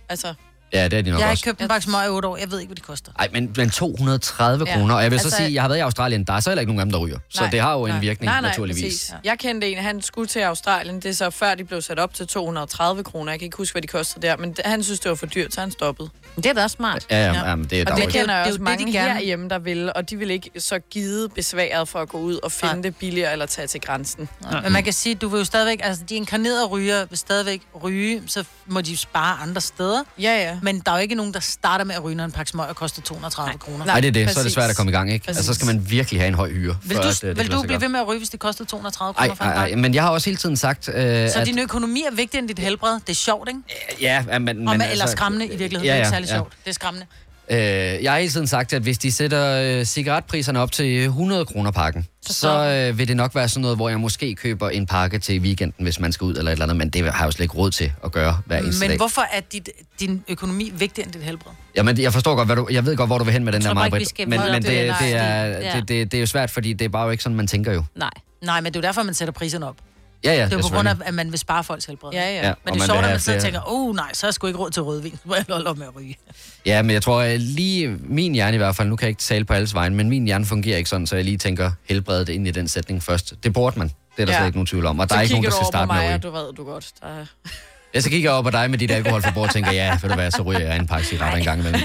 [SPEAKER 5] Altså,
[SPEAKER 1] Ja, det er de nok
[SPEAKER 2] Jeg har
[SPEAKER 1] også.
[SPEAKER 2] ikke købt en pakke smøger i 8 år. Jeg ved ikke, hvad de koster.
[SPEAKER 1] Ej, men, men 230
[SPEAKER 5] Ja.
[SPEAKER 1] kroner. Og jeg vil altså, så
[SPEAKER 5] Altså-
[SPEAKER 1] sige, jeg har været i Australien, der er så heller ikke nogen af dem, der ryger. Så
[SPEAKER 5] nej,
[SPEAKER 1] det har jo en
[SPEAKER 5] nej.
[SPEAKER 1] virkning,
[SPEAKER 5] nej, nej,
[SPEAKER 1] naturligvis.
[SPEAKER 5] Præcis. Jeg kendte en, han skulle til Australien. Det er så før, de blev sat op til 230 kroner. Jeg kan ikke huske, hvad de kostede der, men d- han synes, det var for dyrt, så han stoppede.
[SPEAKER 3] Det er da også smart.
[SPEAKER 1] Ja, ja, ja. men det er
[SPEAKER 5] og
[SPEAKER 1] dog
[SPEAKER 5] det
[SPEAKER 1] ikke.
[SPEAKER 5] kender jeg
[SPEAKER 2] Det er
[SPEAKER 5] også
[SPEAKER 2] jo det, de
[SPEAKER 5] mange
[SPEAKER 2] gerne-
[SPEAKER 5] herhjemme, der vil, og de vil ikke så give besværet for at gå ud og finde det billigere eller tage til grænsen.
[SPEAKER 2] Nej. Men man kan sige, du vil jo stadigvæk, altså de inkarnerede ryger vil stadigvæk ryge, så må de spare andre steder.
[SPEAKER 5] Ja, ja.
[SPEAKER 2] Men der er jo ikke nogen, der starter med at ryge, når en pakke smøger koster 230 kroner.
[SPEAKER 1] Nej, det er det. Så er det svært at komme i gang, ikke? Altså, så skal man virkelig have en høj hyre.
[SPEAKER 2] Vil
[SPEAKER 1] for
[SPEAKER 2] du,
[SPEAKER 1] at, øh,
[SPEAKER 2] vil
[SPEAKER 1] det kan lade
[SPEAKER 2] du
[SPEAKER 1] sig
[SPEAKER 2] blive
[SPEAKER 1] gøre.
[SPEAKER 2] ved med at ryge, hvis det koster 230 kroner
[SPEAKER 1] Ej,
[SPEAKER 2] for en
[SPEAKER 1] ej, ej,
[SPEAKER 2] pakke?
[SPEAKER 1] men jeg har også hele tiden sagt, øh,
[SPEAKER 2] Så
[SPEAKER 1] at...
[SPEAKER 2] din økonomi er vigtigere end dit helbred. Det er sjovt, ikke?
[SPEAKER 1] Ja, ja, men,
[SPEAKER 2] Og
[SPEAKER 1] men
[SPEAKER 2] med, eller skræmmende i virkeligheden. det
[SPEAKER 1] ja,
[SPEAKER 2] er
[SPEAKER 1] ja,
[SPEAKER 2] ikke særlig
[SPEAKER 1] ja.
[SPEAKER 2] sjovt. Det er skræmmende.
[SPEAKER 1] Øh, jeg har hele tiden sagt, at hvis de sætter øh, cigaretpriserne op til 100 kroner pakken, så, så øh, vil det nok være sådan noget, hvor jeg måske køber en pakke til weekenden, hvis man skal ud eller et eller andet, men det har jeg jo slet ikke råd til at gøre hver eneste
[SPEAKER 2] Men
[SPEAKER 1] dag.
[SPEAKER 2] hvorfor er dit, din økonomi vigtigere end dit helbred?
[SPEAKER 1] Jamen, jeg forstår godt, hvad du, jeg ved godt, hvor du vil hen med den
[SPEAKER 2] Jeg
[SPEAKER 1] der,
[SPEAKER 2] tror bare ikke, vi
[SPEAKER 1] Marbet,
[SPEAKER 2] skal videre
[SPEAKER 1] men, men
[SPEAKER 2] på den
[SPEAKER 1] det, det,
[SPEAKER 2] vej.
[SPEAKER 1] er,
[SPEAKER 2] Ja.
[SPEAKER 1] det, det, det er jo svært, fordi det er bare jo ikke sådan, man tænker jo.
[SPEAKER 3] Nej.
[SPEAKER 2] Nej, men det er jo derfor, man sætter priserne op.
[SPEAKER 1] Ja, ja,
[SPEAKER 2] det er jo på grund af,
[SPEAKER 1] selvfølgelig.
[SPEAKER 2] at man vil spare folks helbred.
[SPEAKER 1] Ja, og
[SPEAKER 2] Men
[SPEAKER 1] man
[SPEAKER 2] det er
[SPEAKER 1] vil
[SPEAKER 2] sjovt, at
[SPEAKER 1] have
[SPEAKER 2] man sidder og
[SPEAKER 1] flere-
[SPEAKER 2] tænker, åh oh, nej, så har jeg sgu ikke råd til rødvin. Hvor er jeg holde op med at ryge?
[SPEAKER 1] Ja, men jeg tror øh, lige, min hjerne i hvert fald, nu kan jeg ikke tale på alles vegne, men min hjerne fungerer ikke sådan, så jeg lige tænker helbredet ind i den sætning først. Det burde man. Det er der
[SPEAKER 5] Ja.
[SPEAKER 1] slet ikke nogen tvivl om, og der er ikke nogen, der skal starte med at ryge.
[SPEAKER 5] Så kigger du over på mig, og du ved du godt. Der er...
[SPEAKER 1] Ja, så kigger jeg op på dig med dit alkoholforbrug og tænker, ja, vil du være, så ryger jeg en pakke cigaretter en gang imellem.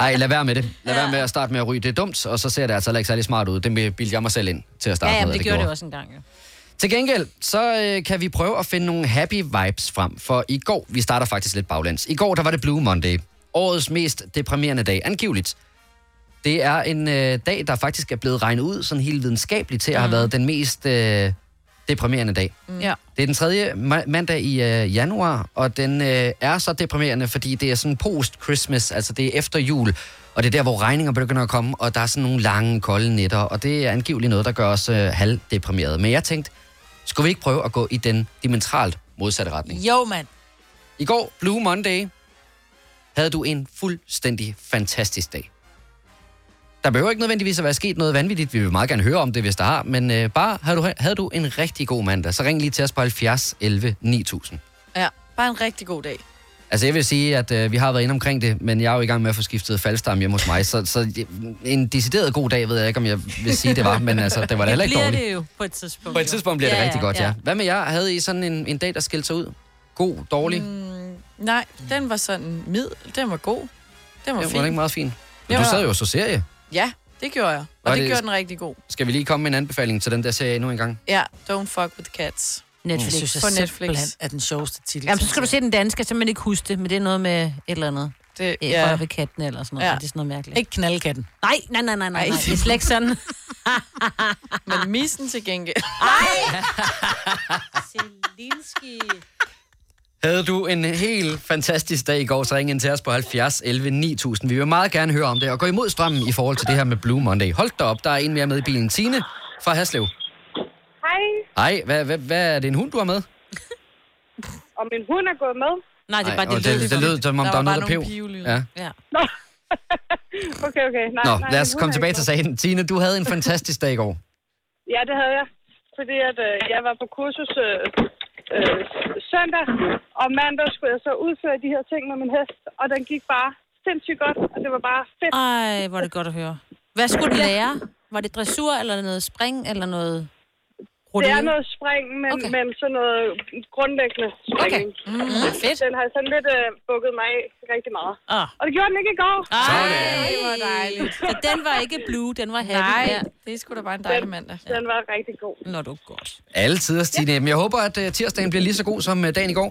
[SPEAKER 1] Ej, lad være med det. Lad være med at starte med at ryge. Det er dumt, og så ser det altså heller ikke særlig smart ud. Det bildte jeg mig selv ind til at starte
[SPEAKER 11] Ja,
[SPEAKER 1] med.
[SPEAKER 11] jamen,
[SPEAKER 1] at
[SPEAKER 11] det gjorde det også engang, jo.
[SPEAKER 1] Til gengæld, så øh, kan vi prøve at finde nogle happy vibes frem, for i går, vi starter faktisk lidt baglæns. I går, der var det Blue Monday. Årets mest deprimerende dag, angiveligt. Det er en øh, dag, der faktisk er blevet regnet ud sådan helt videnskabeligt til at have været den mest øh, deprimerende dag.
[SPEAKER 11] Ja.
[SPEAKER 1] Det er den tredje ma- mandag i øh, januar, og den øh, er så deprimerende, fordi det er sådan post-Christmas, altså det er efter jul, og det er der, hvor regninger begynder at komme, og der er sådan nogle lange, kolde nætter, og det er angiveligt noget, der gør os øh, halvdeprimerede. Men jeg tænkte, skulle vi ikke prøve at gå i den dimensionalt modsatte retning?
[SPEAKER 2] Jo, mand.
[SPEAKER 1] I går, Blue Monday, havde du en fuldstændig fantastisk dag. Der behøver ikke nødvendigvis at være sket noget vanvittigt. Vi vil meget gerne høre om det, hvis der har. Men øh, bare, havde du, havde du en rigtig god mandag, så ring lige til os på 70 11 9000.
[SPEAKER 5] Ja, bare en rigtig god dag.
[SPEAKER 1] Altså jeg vil sige, at øh, vi har været inde omkring det, men jeg er jo i gang med at få skiftet faldstamme hjemme hos mig, så, så en decideret god dag ved jeg ikke, om jeg vil sige, det var, men altså, det var da heller ikke
[SPEAKER 11] bliver
[SPEAKER 1] dårligt.
[SPEAKER 11] det jo på et tidspunkt.
[SPEAKER 1] På et tidspunkt bliver det
[SPEAKER 11] Ja,
[SPEAKER 1] rigtig
[SPEAKER 11] ja,
[SPEAKER 1] godt, ja. Hvad med jer? Havde I sådan en, en dag, der skilte sig ud? God, dårlig? Mm,
[SPEAKER 5] Nej, den var sådan mid. Den var god. Den var
[SPEAKER 1] det
[SPEAKER 5] fin.
[SPEAKER 1] var ikke meget fint. Men
[SPEAKER 5] Jo.
[SPEAKER 1] du sad jo og så serie.
[SPEAKER 5] Ja, det gjorde jeg. Og,
[SPEAKER 1] Var
[SPEAKER 5] det,
[SPEAKER 1] det-
[SPEAKER 5] gjorde den rigtig god.
[SPEAKER 1] Skal vi lige komme med en anbefaling til den der serie endnu en gang?
[SPEAKER 5] Ja, Don't Fuck With Cats.
[SPEAKER 1] Netflix.
[SPEAKER 5] Mm.
[SPEAKER 1] Jeg synes,
[SPEAKER 5] På
[SPEAKER 1] at
[SPEAKER 5] Netflix.
[SPEAKER 2] er den sjoveste titel.
[SPEAKER 11] Jamen, så skal du se den danske, så man ikke huske det, men det er noget med et eller andet.
[SPEAKER 5] Det,
[SPEAKER 11] ja.
[SPEAKER 5] ja.
[SPEAKER 11] Røver katten eller sådan noget.
[SPEAKER 5] Ja.
[SPEAKER 11] Ja. Det er sådan noget mærkeligt.
[SPEAKER 2] Ikke knaldkatten.
[SPEAKER 11] Nej, nej, nej, nej, nej.
[SPEAKER 5] Ej.
[SPEAKER 11] nej. Det er slet ikke sådan.
[SPEAKER 5] Men missen til gengæld.
[SPEAKER 11] Selinski.
[SPEAKER 1] Havde du en helt fantastisk dag i går, så ring ind til os på 70 11 9000. Vi vil meget gerne høre om det, og gå imod strømmen i forhold til det her med Blue Monday. Hold da op, der er en mere med i bilen. Tine fra Haslev.
[SPEAKER 8] Hej,
[SPEAKER 1] Ej, hvad, hvad, hvad er det en hund, du har med?
[SPEAKER 8] og min hund er gået med.
[SPEAKER 11] Nej,
[SPEAKER 1] det er bare- Ej, det og lød det-
[SPEAKER 11] ligesom
[SPEAKER 1] lidt det lød, som om der der var var noget, bare der nogle pev. pivlyde. Ja.
[SPEAKER 11] ja.
[SPEAKER 8] Nå. okay, okay. Nej,
[SPEAKER 1] Nå,
[SPEAKER 8] nej,
[SPEAKER 1] lad
[SPEAKER 8] min
[SPEAKER 1] os
[SPEAKER 8] hund
[SPEAKER 1] komme
[SPEAKER 8] er
[SPEAKER 1] tilbage
[SPEAKER 8] ikke
[SPEAKER 1] til
[SPEAKER 8] med.
[SPEAKER 1] sagen. Tine, du havde en fantastisk dag i går.
[SPEAKER 8] Ja, det havde jeg. Fordi at, øh, jeg var på kursus øh, øh, søndag, og mandag skulle jeg så udføre de her ting med min hest, og den gik bare sindssygt godt, og det var bare fedt.
[SPEAKER 11] Ej, hvor er det godt at høre. Hvad skulle du lære? Var det dressur eller noget spring eller noget?
[SPEAKER 8] Det er
[SPEAKER 11] rodeo?
[SPEAKER 8] noget spring, men, okay. men sådan noget grundlæggende springning. Okay. Mm, fedt. Den har sådan lidt øh, bukket mig af rigtig meget.
[SPEAKER 11] Ah.
[SPEAKER 8] Og det gjorde den ikke i går.
[SPEAKER 11] Ej, hvor dejligt. Så den var ikke blue, den var happy.
[SPEAKER 5] Nej,
[SPEAKER 11] Ja.
[SPEAKER 5] det skulle da bare en dejlig mandag.
[SPEAKER 8] Den var rigtig god.
[SPEAKER 11] Nå, du er godt.
[SPEAKER 1] Alle tider, Stine. Men jeg håber, at øh, tirsdagen bliver lige så god som øh, dagen i går.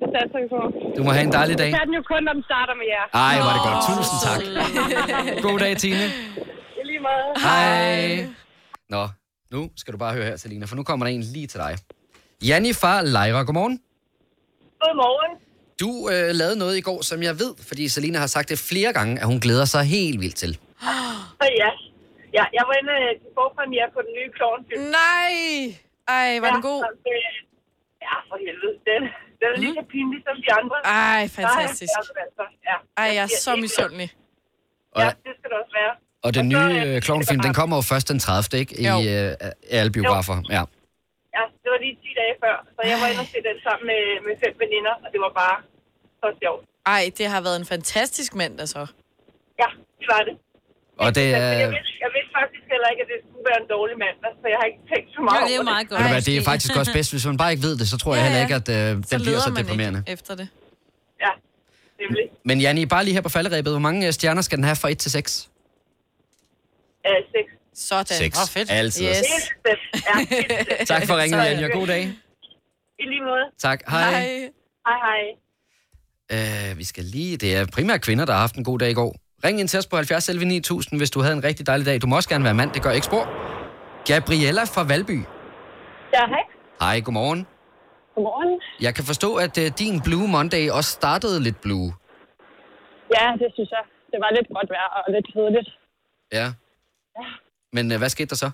[SPEAKER 8] Det satser vi på.
[SPEAKER 1] Du må have en dejlig dag.
[SPEAKER 8] Det kan den jo kun, når den starter med jer.
[SPEAKER 1] Ej, hvor er det godt. Tusind tak. God dag, Tine.
[SPEAKER 8] I lige meget.
[SPEAKER 1] Hej. Nå, nu skal du bare høre her, Selina, for nu kommer der en lige til dig. Janni fra Lejre, godmorgen.
[SPEAKER 8] Godmorgen.
[SPEAKER 1] Du øh, lavede noget i går, som jeg ved, fordi Selina har sagt det flere gange, at hun glæder sig helt vildt til.
[SPEAKER 8] Så ja. ja jeg var inde øh, til forpremiere på den nye klovnfilm.
[SPEAKER 5] Nej! Ej, var den god?
[SPEAKER 8] Ja,
[SPEAKER 5] Mm.
[SPEAKER 8] så, øh, ja, for helvede. Den, den er lige så pinlig som de andre.
[SPEAKER 5] Ej, fantastisk.
[SPEAKER 8] Nej, altså, altså, ja.
[SPEAKER 5] Ej, jeg er
[SPEAKER 8] siger
[SPEAKER 5] så
[SPEAKER 8] det.
[SPEAKER 5] misundelig.
[SPEAKER 1] Og,
[SPEAKER 8] Det skal det også være.
[SPEAKER 1] og den nye øh, klovnfilm, den kommer jo først den 30. ikke?
[SPEAKER 8] Jo.
[SPEAKER 1] I øh, alle biografer. Ja.
[SPEAKER 8] Ja, det var lige 10 dage før, så jeg var inde og se den sammen med, med fem veninder, og det var bare så sjovt.
[SPEAKER 5] Ej, det har været en fantastisk mandag så.
[SPEAKER 8] Ja, det var det.
[SPEAKER 1] Og det
[SPEAKER 8] Men jeg,
[SPEAKER 1] er...
[SPEAKER 8] vidste, jeg vidste faktisk heller ikke, at det skulle være en dårlig mandag, så jeg har ikke tænkt så meget
[SPEAKER 5] Ja, det er
[SPEAKER 8] over
[SPEAKER 5] meget
[SPEAKER 1] Ved du hvad, det er faktisk også bedst, hvis man bare ikke ved det, så tror jeg heller ikke, at øh, den bliver så deprimerende.
[SPEAKER 5] Ikke efter det.
[SPEAKER 8] Ja, nemlig.
[SPEAKER 1] Men Janni, bare lige her på falderæbet, hvor mange øh, stjerner skal den have fra 1 til
[SPEAKER 8] Øh,
[SPEAKER 1] 6?
[SPEAKER 8] seks.
[SPEAKER 5] Sådan.
[SPEAKER 1] Seks. Åh, fedt. Altid.
[SPEAKER 8] Yes.
[SPEAKER 1] Yes.
[SPEAKER 8] Helt fedt. Ja, helt fedt.
[SPEAKER 1] Tak for ringen,
[SPEAKER 8] Så,
[SPEAKER 1] Janni, og god dag.
[SPEAKER 8] I lige måde.
[SPEAKER 1] Tak, hej.
[SPEAKER 8] Hej, hej.
[SPEAKER 1] Øh, vi skal lige... Det er primært kvinder, der har haft en god dag i går. Ring ind til os på 70 11 9000, hvis du havde en rigtig dejlig dag. Du må også gerne være mand, det gør ikke spor. Gabriella fra Valby.
[SPEAKER 9] Ja, hej.
[SPEAKER 1] Hej, godmorgen.
[SPEAKER 9] Godmorgen.
[SPEAKER 1] Jeg kan forstå, at øh, din Blue Monday også startede lidt blue.
[SPEAKER 9] Ja, det synes jeg. Det var lidt godt vejr og lidt kedeligt.
[SPEAKER 1] Ja. Men øh, hvad skete der så?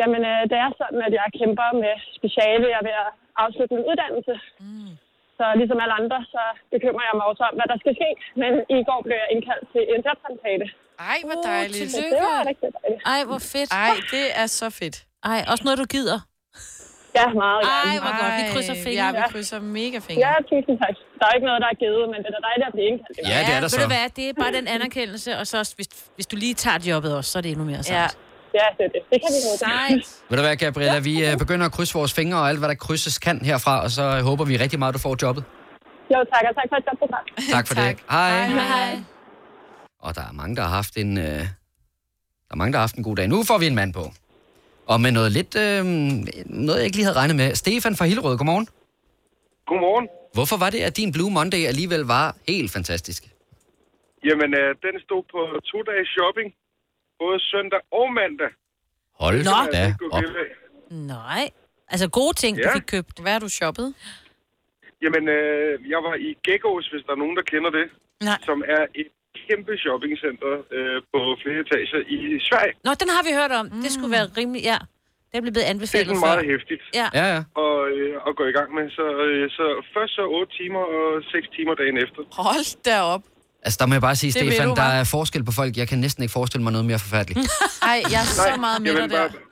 [SPEAKER 9] Jamen, øh, det er sådan, at jeg kæmper med speciale. Jeg er ved at afslutte min uddannelse. Mm. Så ligesom alle andre, så bekymrer jeg mig også om, hvad der skal ske. Men i går blev jeg indkaldt til en jobsamtale.
[SPEAKER 5] Ej, hvor dejligt.
[SPEAKER 9] Så det var rigtig dejligt.
[SPEAKER 11] Ej, hvor fedt.
[SPEAKER 5] Ej, det er så fedt.
[SPEAKER 11] Ej, også noget, du gider.
[SPEAKER 9] Ja, meget
[SPEAKER 11] Ej, hvor godt. Vi krydser fingre.
[SPEAKER 5] Ja, vi krydser mega fingre.
[SPEAKER 9] Ja, tusind tak. Der er ikke noget, der er givet, men det er da dejligt at blive indkaldt.
[SPEAKER 1] Ja, det er der
[SPEAKER 11] ved
[SPEAKER 1] så.
[SPEAKER 11] Du hvad, det er bare den anerkendelse, og så også, hvis, hvis du lige tager jobbet også, så er det endnu mere sejt.
[SPEAKER 9] Ja. Ja, det er det. Det kan vi godt.
[SPEAKER 11] Sejt.
[SPEAKER 1] Ved du hvad, Gabriella, vi øh, begynder at krydse vores fingre og alt, hvad der krydses kan herfra, og så øh, håber vi rigtig meget, du får jobbet.
[SPEAKER 9] Jo, tak. Og tak for et godt program.
[SPEAKER 1] Tak for det. Hej.
[SPEAKER 9] Hej.
[SPEAKER 1] Og der er mange, der har haft en... Øh, der er mange, der har haft en god dag. Nu får vi en mand på. Og med noget lidt... Øh, noget, jeg ikke lige havde regnet med. Stefan fra Hillerød, godmorgen.
[SPEAKER 3] Godmorgen.
[SPEAKER 1] Hvorfor var det, at din Blue Monday alligevel var helt fantastisk?
[SPEAKER 3] Jamen, øh, den stod på to dage shopping, både søndag og mandag.
[SPEAKER 1] Hold
[SPEAKER 3] Så øh,
[SPEAKER 1] Nå.
[SPEAKER 3] jeg
[SPEAKER 1] da
[SPEAKER 3] ikke gået
[SPEAKER 1] op.
[SPEAKER 3] glip af.
[SPEAKER 11] Nej. Altså gode ting, ja. du
[SPEAKER 3] Ja.
[SPEAKER 11] fik købt. Hvad har du shoppet?
[SPEAKER 3] Jamen, øh, jeg var i Geckos, hvis der er nogen, der kender det,
[SPEAKER 2] Nej.
[SPEAKER 3] som er et kæmpe shoppingcenter øh, på flere etager i Sverige.
[SPEAKER 11] Nå, den har vi hørt om. Mm. Det skulle være rimelig... Ja, det er blevet
[SPEAKER 3] Det er
[SPEAKER 11] anbefalet
[SPEAKER 3] sådan
[SPEAKER 11] før.
[SPEAKER 3] meget hæftigt
[SPEAKER 11] Ja.
[SPEAKER 1] ja, ja.
[SPEAKER 3] Og, øh, at gå i gang med. Så, øh, så først så 8 timer og 6 timer dagen efter.
[SPEAKER 5] Hold da op.
[SPEAKER 1] Altså, der må jeg bare sige,
[SPEAKER 5] Det ved
[SPEAKER 1] Stefan,
[SPEAKER 5] du,
[SPEAKER 1] der
[SPEAKER 5] hva'?
[SPEAKER 1] er forskel på folk. Jeg kan næsten ikke forestille mig noget mere forfærdeligt.
[SPEAKER 5] Ej, jeg er så
[SPEAKER 3] Nej,
[SPEAKER 5] meget med
[SPEAKER 3] jeg
[SPEAKER 5] dig
[SPEAKER 3] vil
[SPEAKER 5] der.
[SPEAKER 3] bare-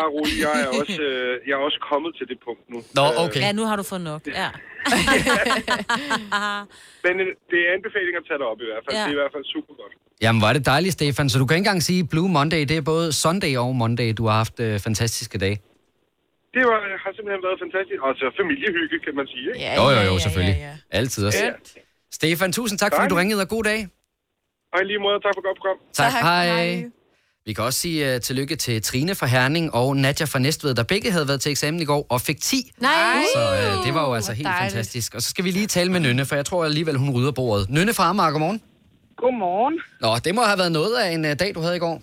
[SPEAKER 3] Bare rolig, jeg er, også, øh, jeg er også kommet til det punkt nu.
[SPEAKER 1] Nå,
[SPEAKER 3] Øh,
[SPEAKER 1] okay.
[SPEAKER 11] Ja, nu har du fået nok. Ja.
[SPEAKER 3] Men øh, det er anbefaling at tage det op i hvert fald.
[SPEAKER 11] Ja.
[SPEAKER 3] Ja. Det er i hvert fald super godt.
[SPEAKER 1] Jamen, var det dejligt, Stefan. Så du kan ikke engang sige, Blue Monday, det er både Sunday og Monday, du har haft øh, fantastiske dage.
[SPEAKER 3] Det var, øh, har simpelthen været fantastisk. Og så familiehygge, kan man sige. Ikke?
[SPEAKER 1] Ja, jo, jo, jo, selvfølgelig. Ja, ja. Altid også.
[SPEAKER 3] Ja.
[SPEAKER 1] Stefan, tusind tak, fordi du ringede, og god dag.
[SPEAKER 3] Og i lige måde, tak for godt program.
[SPEAKER 1] Tak, hej. Vi kan også sige uh, tillykke til Trine fra Herning og Nadja fra Næstved, der begge havde været til eksamen i går og fik 10.
[SPEAKER 5] Nej.
[SPEAKER 1] Så uh, det var jo altså helt
[SPEAKER 5] dejligt.
[SPEAKER 1] fantastisk. Og så skal vi lige tale med Nynne, for jeg tror alligevel, hun rydder bordet. Nynne fra Amager, godmorgen.
[SPEAKER 3] Godmorgen.
[SPEAKER 1] Nå, det må have været noget af en uh, dag, du havde i går.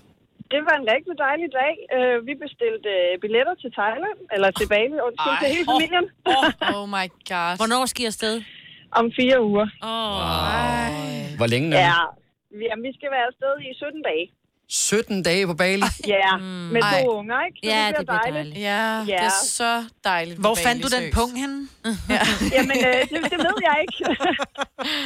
[SPEAKER 9] Det var en rigtig dejlig dag. Øh, vi bestilte øh, billetter til Thailand, eller til Bali, og til hele familien.
[SPEAKER 5] Oh, oh my god.
[SPEAKER 11] Hvornår skal I afsted?
[SPEAKER 9] Om fire uger.
[SPEAKER 11] Oh.
[SPEAKER 1] Ah. Hvor længe, Nynne?
[SPEAKER 9] Ja, vi, jamen, vi skal være afsted i 17 dage.
[SPEAKER 1] 17 dage på Bali.
[SPEAKER 9] Ja,
[SPEAKER 2] Mm.
[SPEAKER 9] med to
[SPEAKER 5] Ej.
[SPEAKER 9] unger, ikke?
[SPEAKER 5] Ja, det bliver dejligt. Ja, det er så dejligt.
[SPEAKER 2] Hvor fandt du den pung henne?
[SPEAKER 9] Jamen, øh, det, det ved jeg ikke.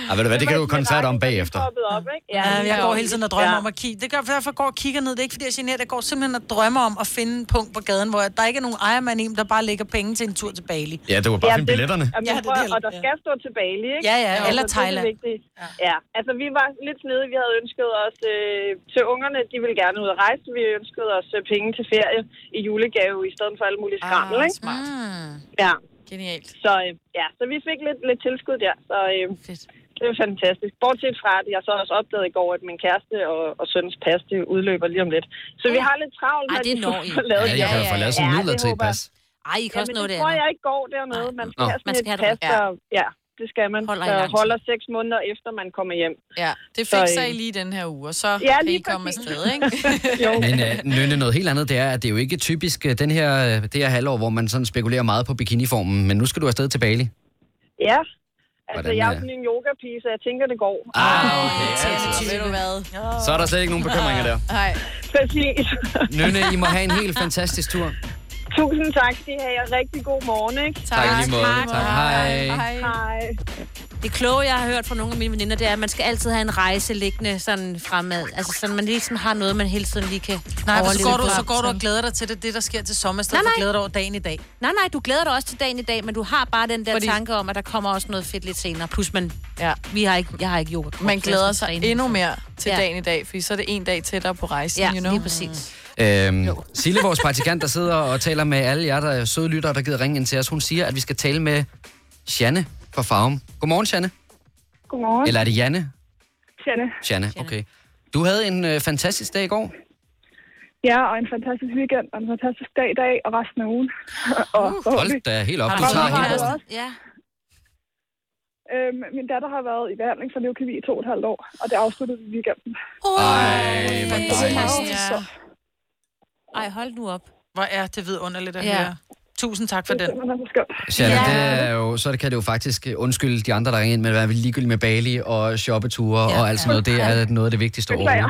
[SPEAKER 1] Ah, ved du hvad, det kan du koncert om bagefter.
[SPEAKER 9] Poppet op, ikke?
[SPEAKER 2] Ja,
[SPEAKER 9] lige
[SPEAKER 2] jeg går
[SPEAKER 9] deroppe.
[SPEAKER 2] hele tiden og drømmer
[SPEAKER 9] Ja.
[SPEAKER 2] ja. om at kigge. Det gør, derfor går jeg og kigger ned. Det er ikke, fordi jeg er generet. Jeg går simpelthen og drømmer om at finde en punkt på gaden, hvor jeg- der ikke er nogen ejermand i, men der bare lægger penge til en tur til Bali.
[SPEAKER 1] Ja, det var bare finde billetterne.
[SPEAKER 9] Jamen,
[SPEAKER 2] Ja,
[SPEAKER 9] ja,
[SPEAKER 2] det
[SPEAKER 9] det
[SPEAKER 2] er
[SPEAKER 9] prøver,
[SPEAKER 2] det,
[SPEAKER 9] og der skal stå til Bali, ikke? Altså,
[SPEAKER 2] Ja, ja, eller
[SPEAKER 9] det er
[SPEAKER 2] Thailand.
[SPEAKER 9] Det vigtige. Ja. ja, altså vi var lidt snedige. Vi havde ønsket os øh, til ungerne, de ville gerne ud at rejse. Vi ønskede os øh, penge til ferie i julegave, i stedet for alle mulige skrammel,
[SPEAKER 5] Ah,
[SPEAKER 9] ikke?
[SPEAKER 5] smart.
[SPEAKER 9] Ja.
[SPEAKER 5] Genialt.
[SPEAKER 9] Så øh, ja, så vi fik lidt, lidt tilskud der, så øh, det var fantastisk. Bortset fra, at jeg så også opdagede i går, at min kæreste og, og søns pas, det udløber lige om lidt. Så vi har lidt travlt,
[SPEAKER 11] Ej,
[SPEAKER 9] med,
[SPEAKER 11] det
[SPEAKER 9] at de
[SPEAKER 11] når I.
[SPEAKER 9] får lavet
[SPEAKER 1] Ja, jeg kan jo få lavet sådan
[SPEAKER 9] Ja,
[SPEAKER 1] midler
[SPEAKER 9] det
[SPEAKER 1] til et
[SPEAKER 9] håber jeg.
[SPEAKER 1] pas.
[SPEAKER 11] Ej, I kan også nå
[SPEAKER 9] det
[SPEAKER 11] det
[SPEAKER 9] tror
[SPEAKER 11] andet.
[SPEAKER 9] jeg ikke går dernede. Man skal
[SPEAKER 1] Nå.
[SPEAKER 9] have sådan
[SPEAKER 11] Man skal
[SPEAKER 9] et
[SPEAKER 11] have
[SPEAKER 9] pas,
[SPEAKER 11] det rigtigt.
[SPEAKER 9] der, ja, det skal man.
[SPEAKER 5] Holder
[SPEAKER 9] Holder,
[SPEAKER 5] i lang tid.
[SPEAKER 9] holder seks måneder efter, man kommer hjem.
[SPEAKER 5] Ja, det
[SPEAKER 9] Så,
[SPEAKER 5] fik sig
[SPEAKER 9] øh,
[SPEAKER 5] lige den her uge, og så
[SPEAKER 9] Ja,
[SPEAKER 5] kan I
[SPEAKER 9] lige
[SPEAKER 5] komme
[SPEAKER 9] præcis.
[SPEAKER 5] afsted, ikke?
[SPEAKER 1] Men øh, Nynne, noget helt andet, det er, at det er jo ikke typisk øh, den her, øh, det her halvår, hvor man sådan spekulerer meget på bikiniformen, men nu skal du afsted til Bali.
[SPEAKER 9] Ja. Altså,
[SPEAKER 1] Hvordan,
[SPEAKER 9] jeg er
[SPEAKER 1] øh?
[SPEAKER 9] jo sådan en yoga-pige, så jeg tænker, det går.
[SPEAKER 1] Ah,
[SPEAKER 5] okay, altså. Ved du hvad?
[SPEAKER 1] Så er der slet ikke nogen bekymringer der.
[SPEAKER 5] Nej.
[SPEAKER 9] Præcis.
[SPEAKER 1] Nynne, I må have en helt fantastisk tur.
[SPEAKER 9] Tusind tak, de har jeg rigtig god morgen, ikke?
[SPEAKER 1] Tak i lige måde. Tak. Hej.
[SPEAKER 9] Hej.
[SPEAKER 11] Det kloge, jeg har hørt fra nogle af mine veninder, det er, at man skal altid have en rejse liggende sådan fremad. Altså, så man ligesom har noget, man hele tiden lige kan
[SPEAKER 2] Nej, for så
[SPEAKER 11] overleve
[SPEAKER 2] går, du,
[SPEAKER 11] på.
[SPEAKER 2] så går du og glæder dig til det, det der sker til sommer,
[SPEAKER 11] Nej,
[SPEAKER 2] i stedet for
[SPEAKER 11] nej.
[SPEAKER 2] glæder dig over dagen i dag.
[SPEAKER 11] Nej, nej, du glæder dig også til dagen i dag, men du har bare den der Fordi... tanke om, at der kommer også noget fedt lidt senere. Plus, man, ja. vi har ikke, jeg har ikke yoga.
[SPEAKER 5] Man glæder sig endnu mere til dagen i dag, fordi så er det en dag tættere på rejsen,
[SPEAKER 11] Ja,
[SPEAKER 5] you know? Mm.
[SPEAKER 11] lige præcis.
[SPEAKER 1] Øhm, Sille, vores praktikant, der sidder og taler med alle jer, der er søde lyttere, der gider ringe ind til os, hun siger, at vi skal tale med Janne fra Farum. Godmorgen, Janne.
[SPEAKER 9] Godmorgen.
[SPEAKER 1] Eller er det Janne?
[SPEAKER 9] Tjene.
[SPEAKER 1] Janne, okay. Du havde en øh, fantastisk dag i går.
[SPEAKER 25] Ja, og en fantastisk weekend, og en fantastisk dag i dag, og resten af ugen. og
[SPEAKER 1] Uh, Hold da helt op. Du tager helt op.
[SPEAKER 11] Ja.
[SPEAKER 25] Øhm, min datter har været i behandling for leukemi i to og et halvt år, og det afsluttede vi i weekenden.
[SPEAKER 1] Ej, hvor dejligt.
[SPEAKER 2] Ja.
[SPEAKER 11] Ej, hold nu op.
[SPEAKER 2] Hvor er det vidunderligt at
[SPEAKER 25] Ja.
[SPEAKER 2] ja. høre. Tusind tak for den.
[SPEAKER 1] Janne, det er jo, så kan det jo faktisk øh, undskylde de andre, der ringer ind, men være ligegyldigt med Bali og shoppeture ja, og alt sådan noget. Det er noget af det vigtigste overhovedet.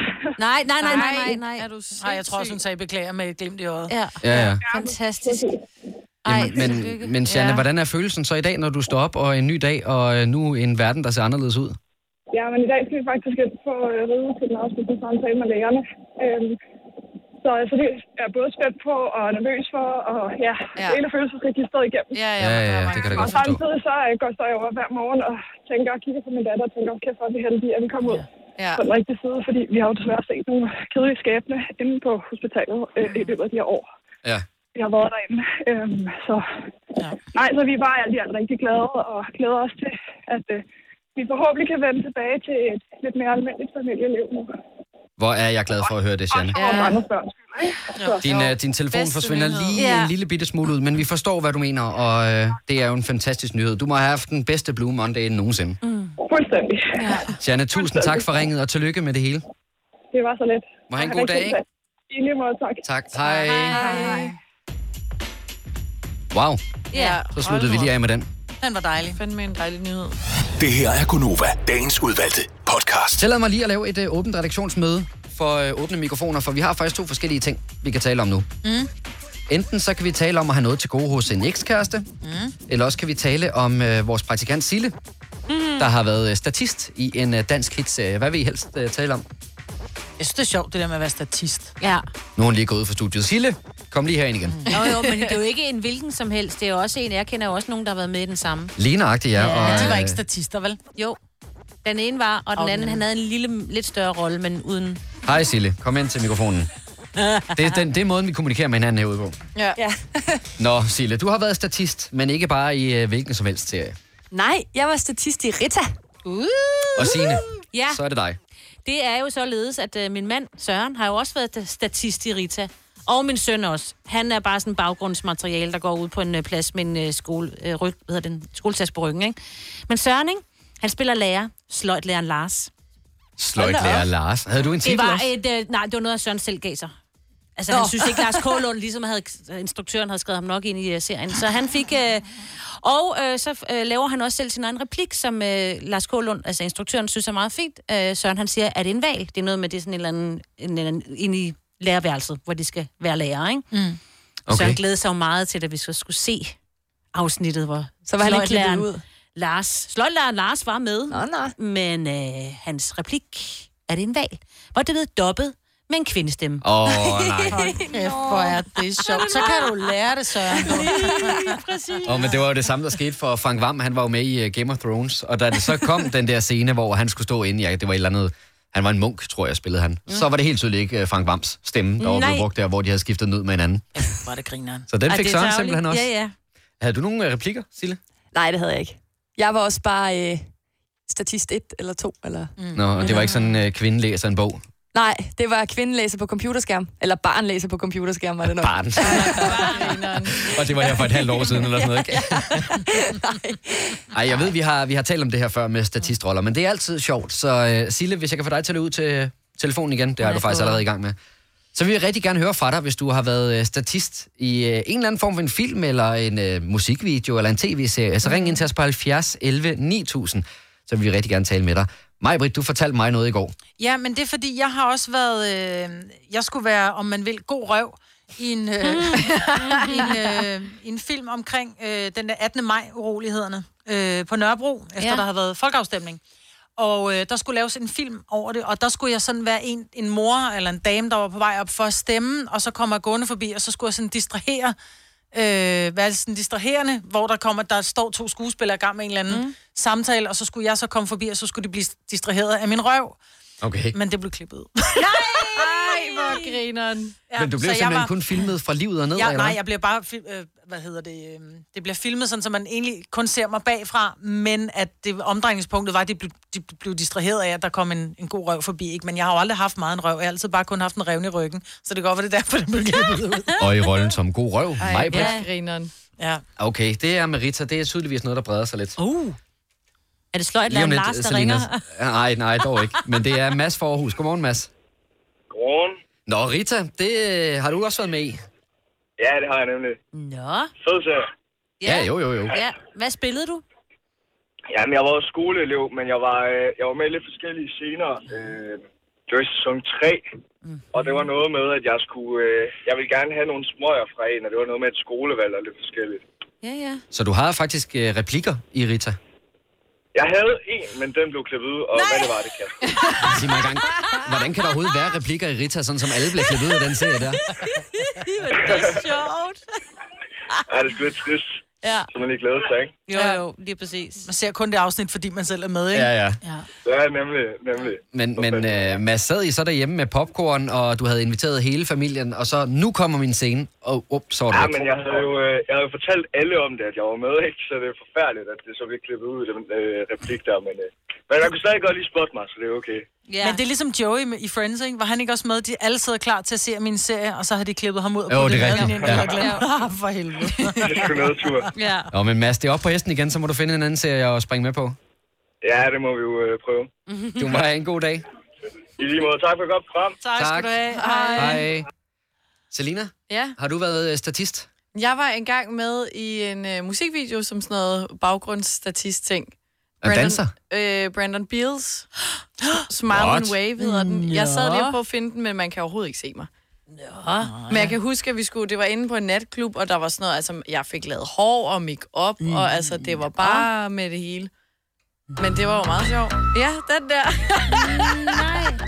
[SPEAKER 11] Nej, nej, nej, nej, nej. nej.
[SPEAKER 5] Er du
[SPEAKER 2] Nej, jeg tror også, hun sagde beklager med et glimt i øjet.
[SPEAKER 11] Ja.
[SPEAKER 1] Ja, ja.
[SPEAKER 11] Fantastisk.
[SPEAKER 1] Jamen, men, men Janne,
[SPEAKER 25] Ja.
[SPEAKER 1] hvordan er følelsen så i dag, når du står op og en ny dag, og øh, nu en verden, der ser anderledes ud?
[SPEAKER 25] Ja, men i dag skal vi faktisk ind for at ride til den afsluttende samtale med lægerne. Øhm, så altså, det er jeg både spændt på og nervøs for, og ja, ja. hele følelsesregisteret igennem.
[SPEAKER 1] ja, Ja, ja, det kan jeg da
[SPEAKER 25] Og
[SPEAKER 1] godt forstå.
[SPEAKER 25] samtidig så øh, går står jeg over hver morgen og tænker og kigger på min datter og tænker, okay, hvor er vi heldige, at vi kom ud
[SPEAKER 5] ja.
[SPEAKER 25] på den rigtige side, fordi vi har jo desværre set nogle kedelige skæbne inde på hospitalet øh, i løbet af de her år.
[SPEAKER 1] Ja.
[SPEAKER 25] Vi har været derinde. Øhm, så... Ja. Nej, så vi er bare alt i alt rigtig glade og glæder os til, at øh,
[SPEAKER 12] vi forhåbentlig kan vende tilbage til et lidt mere almindeligt familieliv nu.
[SPEAKER 1] Hvor er jeg glad for at høre det, Sianne.
[SPEAKER 12] Og mange børn.
[SPEAKER 1] Din, øh, din telefon
[SPEAKER 12] Bedste
[SPEAKER 1] forsvinder
[SPEAKER 12] nyhed.
[SPEAKER 1] lige
[SPEAKER 12] Ja.
[SPEAKER 1] en lille bitte smule ud, men vi forstår, hvad du mener, og øh, det er jo en fantastisk nyhed. Du må have haft den bedste Blue Monday end nogensinde.
[SPEAKER 12] Mm. Fuldstændig. Ja.
[SPEAKER 1] Sianne, tusind tak for ringet, og tillykke med det hele.
[SPEAKER 12] Det var så lidt.
[SPEAKER 1] Må have en god dag, ikke?
[SPEAKER 12] I lige måde, tak.
[SPEAKER 1] Tak. Hej.
[SPEAKER 2] Hej.
[SPEAKER 1] Wow,
[SPEAKER 2] Ja.
[SPEAKER 1] så sluttede vi lige af med den.
[SPEAKER 2] Den var dejlig. Fandt med en dejlig nyhed.
[SPEAKER 6] Det her er Gonova, dagens udvalgte podcast.
[SPEAKER 1] Tillad mig lige at lave et øh, åbent redaktionsmøde for øh, åbne mikrofoner, for vi har faktisk to forskellige ting, vi kan tale om nu.
[SPEAKER 2] Mm.
[SPEAKER 1] Enten så kan vi tale om at have noget til gode hos en ekskæreste,
[SPEAKER 2] Mm.
[SPEAKER 1] eller også kan vi tale om øh, vores praktikant Sille,
[SPEAKER 2] Mm.
[SPEAKER 1] der har været øh, statist i en øh, dansk hitserie. Hvad vil I helst øh, tale om?
[SPEAKER 2] Jeg synes, det er sjovt, det der med at være statist.
[SPEAKER 11] Ja.
[SPEAKER 1] Nu er hun lige gået ud fra studiet. Sille, kom lige herind igen. Mm.
[SPEAKER 11] Jo, jo, men det er jo ikke en hvilken som helst. Det er jo også en, jeg kender jo også nogen, der har været med i den samme.
[SPEAKER 1] Lige nøjagtigt, ja. Og,
[SPEAKER 11] Men de var
[SPEAKER 1] øh,
[SPEAKER 11] ikke statister, vel? Jo. Den ene var, og den
[SPEAKER 1] Og den
[SPEAKER 11] anden, han
[SPEAKER 1] anden.
[SPEAKER 11] havde en lille, lidt større rolle, men uden...
[SPEAKER 1] Hej Sille, kom ind til mikrofonen. Det er, den, det er måden, vi kommunikerer med hinanden herude på.
[SPEAKER 11] Ja. ja.
[SPEAKER 1] Nå, Sille, du har været statist, men ikke bare i øh, hvilken som helst serie.
[SPEAKER 13] Nej, jeg var statist i Rita.
[SPEAKER 11] Uh.
[SPEAKER 1] Og Signe,
[SPEAKER 11] Ja.
[SPEAKER 1] så er det dig.
[SPEAKER 11] Det er jo således, at øh, min mand Søren har jo også været sta- statist i Rita. Og min søn også. Han er bare sådan baggrundsmateriale, der går ud på en øh, plads med en øh, skole, øh, ryg, hvad hedder den, skoletaske på ryggen. Ikke? Men Søren, ikke? han spiller lærer. Sløjtlæreren Lars. Hold da
[SPEAKER 1] Sløjtlærer
[SPEAKER 11] op.
[SPEAKER 1] Lars. Havde du en
[SPEAKER 11] det
[SPEAKER 1] titel
[SPEAKER 11] var
[SPEAKER 1] også?
[SPEAKER 11] et, øh, nej, det var noget, Søren selv gav sig. Altså,
[SPEAKER 13] Nå.
[SPEAKER 11] han synes ikke, Lars Kålund, ligesom havde, instruktøren havde skrevet ham nok ind i øh, serien. Så han fik... Øh, og øh, så øh, laver han også selv sin egen replik, som øh, Lars Kålund, altså instruktøren, synes er meget fint. Øh, Søren, han siger, er det en valg? Det er noget med, det er sådan en eller anden... En, eller anden ind i lærerværelset, hvor de skal være lærere, ikke?
[SPEAKER 13] Mm.
[SPEAKER 11] Okay. Søren
[SPEAKER 13] Okay.
[SPEAKER 11] glædede sig jo meget til, at vi så skulle se afsnittet, hvor
[SPEAKER 13] Så var han ikke klippet
[SPEAKER 11] sløjtlæreren
[SPEAKER 13] ud.
[SPEAKER 11] Lars, sløjtlæreren Lars var med, nå, nå. men øh, hans replik, er det en valg, var det blevet dobbet med en kvindestemme.
[SPEAKER 1] Åh, nej.
[SPEAKER 2] Hold kæft, hvor er det sjovt. Så kan du lære det, Søren.
[SPEAKER 1] Åh, oh, men det var jo det samme, der skete for Frank Vam. Han var jo med i uh, Game of Thrones, og da det så kom den der scene, hvor han skulle stå inde, ja, det var et eller andet, han var en munk, tror jeg, spillede han. Mm. Så var det helt tydeligt ikke øh, Frank Vams stemme, der var
[SPEAKER 11] Nej.
[SPEAKER 1] blevet brugt der, hvor de havde skiftet ned med hinanden.
[SPEAKER 2] Var det grineren.
[SPEAKER 1] Så den
[SPEAKER 13] Ej,
[SPEAKER 1] fik
[SPEAKER 13] det er
[SPEAKER 1] Søren
[SPEAKER 13] tarveligt.
[SPEAKER 1] simpelthen også.
[SPEAKER 13] Ja, ja.
[SPEAKER 1] Havde du nogle øh, replikker, Sille?
[SPEAKER 13] Nej, det havde jeg ikke. Jeg var også bare øh, statist 1 eller 2. Eller... Mm.
[SPEAKER 1] Nå, og det var ikke sådan, øh, kvinden læser en bog.
[SPEAKER 13] Nej, det var kvindelæser på computerskærm. Eller barnlæser på computerskærm, var det nok.
[SPEAKER 1] Barn. Og det var her for et halvt år siden, eller sådan noget, ikke? Ej, jeg ved, vi har, vi har talt om det her før med statistroller, men det er altid sjovt. Så uh, Sille, hvis jeg kan få dig til at løbe ud til øh, telefonen igen, det er du
[SPEAKER 15] jeg
[SPEAKER 1] faktisk
[SPEAKER 15] prøver.
[SPEAKER 1] allerede i gang med. Så vil jeg rigtig gerne høre fra dig, hvis du har været øh, statist i øh, en eller anden form for en film, eller en øh, musikvideo, eller en tv-serie. Så ring ind til os på 70 11 9000, så vil vi rigtig gerne tale med dig. Majbrit, du fortalte mig noget i går.
[SPEAKER 2] Ja, men det er fordi, jeg har også været... Øh, jeg skulle være, om man vil, god røv i en, øh, i en, øh, i en film omkring øh, den der 18. maj-urolighederne øh, på Nørrebro, efter
[SPEAKER 11] Ja.
[SPEAKER 2] ja. der havde været folkeafstemning. Og øh, der skulle laves en film over det, og der skulle jeg sådan være en, en mor eller en dame, der var på vej op for at stemme, og så kommer jeg gående forbi, og så skulle jeg sådan distrahere, øh, være sådan distraherende, hvor der kommer, der står to skuespillere i gang med en eller anden mm. samtale, og så skulle jeg så komme forbi, og så skulle de blive distraheret af min røv.
[SPEAKER 1] Okay.
[SPEAKER 2] Men det blev klippet ud.
[SPEAKER 13] Nej, hvor grineren.
[SPEAKER 1] Ja, men du blev
[SPEAKER 2] så jeg
[SPEAKER 1] simpelthen var...
[SPEAKER 2] var-
[SPEAKER 1] kun filmet fra livet og ned,
[SPEAKER 2] Ja,
[SPEAKER 1] eller
[SPEAKER 2] nej,
[SPEAKER 1] hvad?
[SPEAKER 2] jeg bliver bare... Fil- øh, hvad hedder det? Øh, det bliver filmet sådan, så man egentlig kun ser mig bagfra, men at det omdrejningspunktet var, at de blev, de blev distraheret af, at der kom en, en god røv forbi. Ikke? Men jeg har jo aldrig haft meget en røv. Jeg har altid bare kun haft en revne i ryggen. Så det går for det er derfor, det blev klippet ud.
[SPEAKER 1] Og i rollen som god røv, Majbrit.
[SPEAKER 2] ja.
[SPEAKER 13] grineren.
[SPEAKER 2] Ja.
[SPEAKER 1] Okay, det er Merita. Det er tydeligvis noget, der breder sig lidt.
[SPEAKER 11] Uh. Er det sløjt,
[SPEAKER 1] Lige om
[SPEAKER 11] Lars,
[SPEAKER 1] lidt,
[SPEAKER 11] der
[SPEAKER 1] Selina.
[SPEAKER 11] ringer?
[SPEAKER 1] Nej, nej, dog ikke. Men det er Mads fra Aarhus. Godmorgen, Mads.
[SPEAKER 10] Godmorgen.
[SPEAKER 1] Nå, Rita, det øh, har du også været med i.
[SPEAKER 10] Ja, det har jeg nemlig.
[SPEAKER 11] Nå.
[SPEAKER 10] Fed serie.
[SPEAKER 1] Ja, jo, jo, jo.
[SPEAKER 11] Ja. Hvad spillede du?
[SPEAKER 10] Jamen, jeg var også skoleelev, men jeg var, øh, jeg var med i lidt forskellige scener. Øh, det var i sæson 3,
[SPEAKER 11] Mhm.
[SPEAKER 10] og det var noget med, at jeg skulle... Øh, jeg ville gerne have nogle smøger fra en, og det var noget med et skolevalg og lidt forskelligt.
[SPEAKER 11] Ja, ja.
[SPEAKER 1] Så du har faktisk øh, replikker i Rita.
[SPEAKER 10] Jeg havde en, men den blev klippet ud, og Nej. hvad det var, det kan. jeg-
[SPEAKER 1] Sig mig engang, hvordan kan der overhovedet være replikker i Rita, sådan som alle bliver klippet ud af den serie der?
[SPEAKER 11] det er sjovt.
[SPEAKER 10] Ja, det er sgu lidt trist.
[SPEAKER 26] Ja.
[SPEAKER 3] Så man lige glæder sig, ikke?
[SPEAKER 26] Jo, jo, lige præcis.
[SPEAKER 2] Man ser kun det afsnit, fordi man selv er med, ikke?
[SPEAKER 1] Ja, ja.
[SPEAKER 3] Ja, nemlig, nemlig.
[SPEAKER 1] Men, men øh, Mads, sad I så derhjemme med popcorn, og du havde inviteret hele familien, og så nu kommer min scene, og up, så er det
[SPEAKER 3] Ja,
[SPEAKER 1] væk.
[SPEAKER 3] men jeg havde jo øh, jeg havde jo fortalt alle om det, at jeg var med, ikke? Så det er forfærdeligt, at det så bliver klippet ud, den øh, replik der. Men, øh, men jeg kunne stadig godt lige spotte mig, så det er okay.
[SPEAKER 2] Ja. Men det er ligesom Joey med- i Friends, ikke? Var han ikke også med? De alle sidder klar til at se min serie, og så har de klippet ham ud. og
[SPEAKER 1] Jo,
[SPEAKER 2] puttet
[SPEAKER 1] det er
[SPEAKER 2] maden
[SPEAKER 1] rigtigt.
[SPEAKER 2] ind, og jeg
[SPEAKER 1] Ja.
[SPEAKER 2] glemte- Ah, For helvede.
[SPEAKER 3] Det er sgu noget tur.
[SPEAKER 26] Ja.
[SPEAKER 1] Nå, men Mads, det er op på hesten igen, så må du finde en anden serie at springe med på.
[SPEAKER 3] Ja, det må vi jo øh, prøve.
[SPEAKER 1] Du må have en god dag.
[SPEAKER 3] I lige måde, tak for et godt program.
[SPEAKER 5] Tak skal du have. Hej.
[SPEAKER 1] Hej. Selina,
[SPEAKER 5] Ja,
[SPEAKER 1] har du været øh, statist?
[SPEAKER 5] jeg var engang med i en øh, musikvideo som sådan noget baggrundsstatist-ting.
[SPEAKER 1] Og danser?
[SPEAKER 5] Øh, Brandon Beals. Smile and
[SPEAKER 1] What?
[SPEAKER 5] Wave hedder den. Jeg sad lige
[SPEAKER 11] Nå.
[SPEAKER 5] og prøvede at finde den, men man kan overhovedet ikke se mig. Men jeg kan huske, at vi skulle, det var inde på en natklub, og der var sådan noget, altså jeg fik lavet hår og make-up, mm. og altså det var bare med det hele. Men det var jo meget sjovt. Ja, den der. Nej.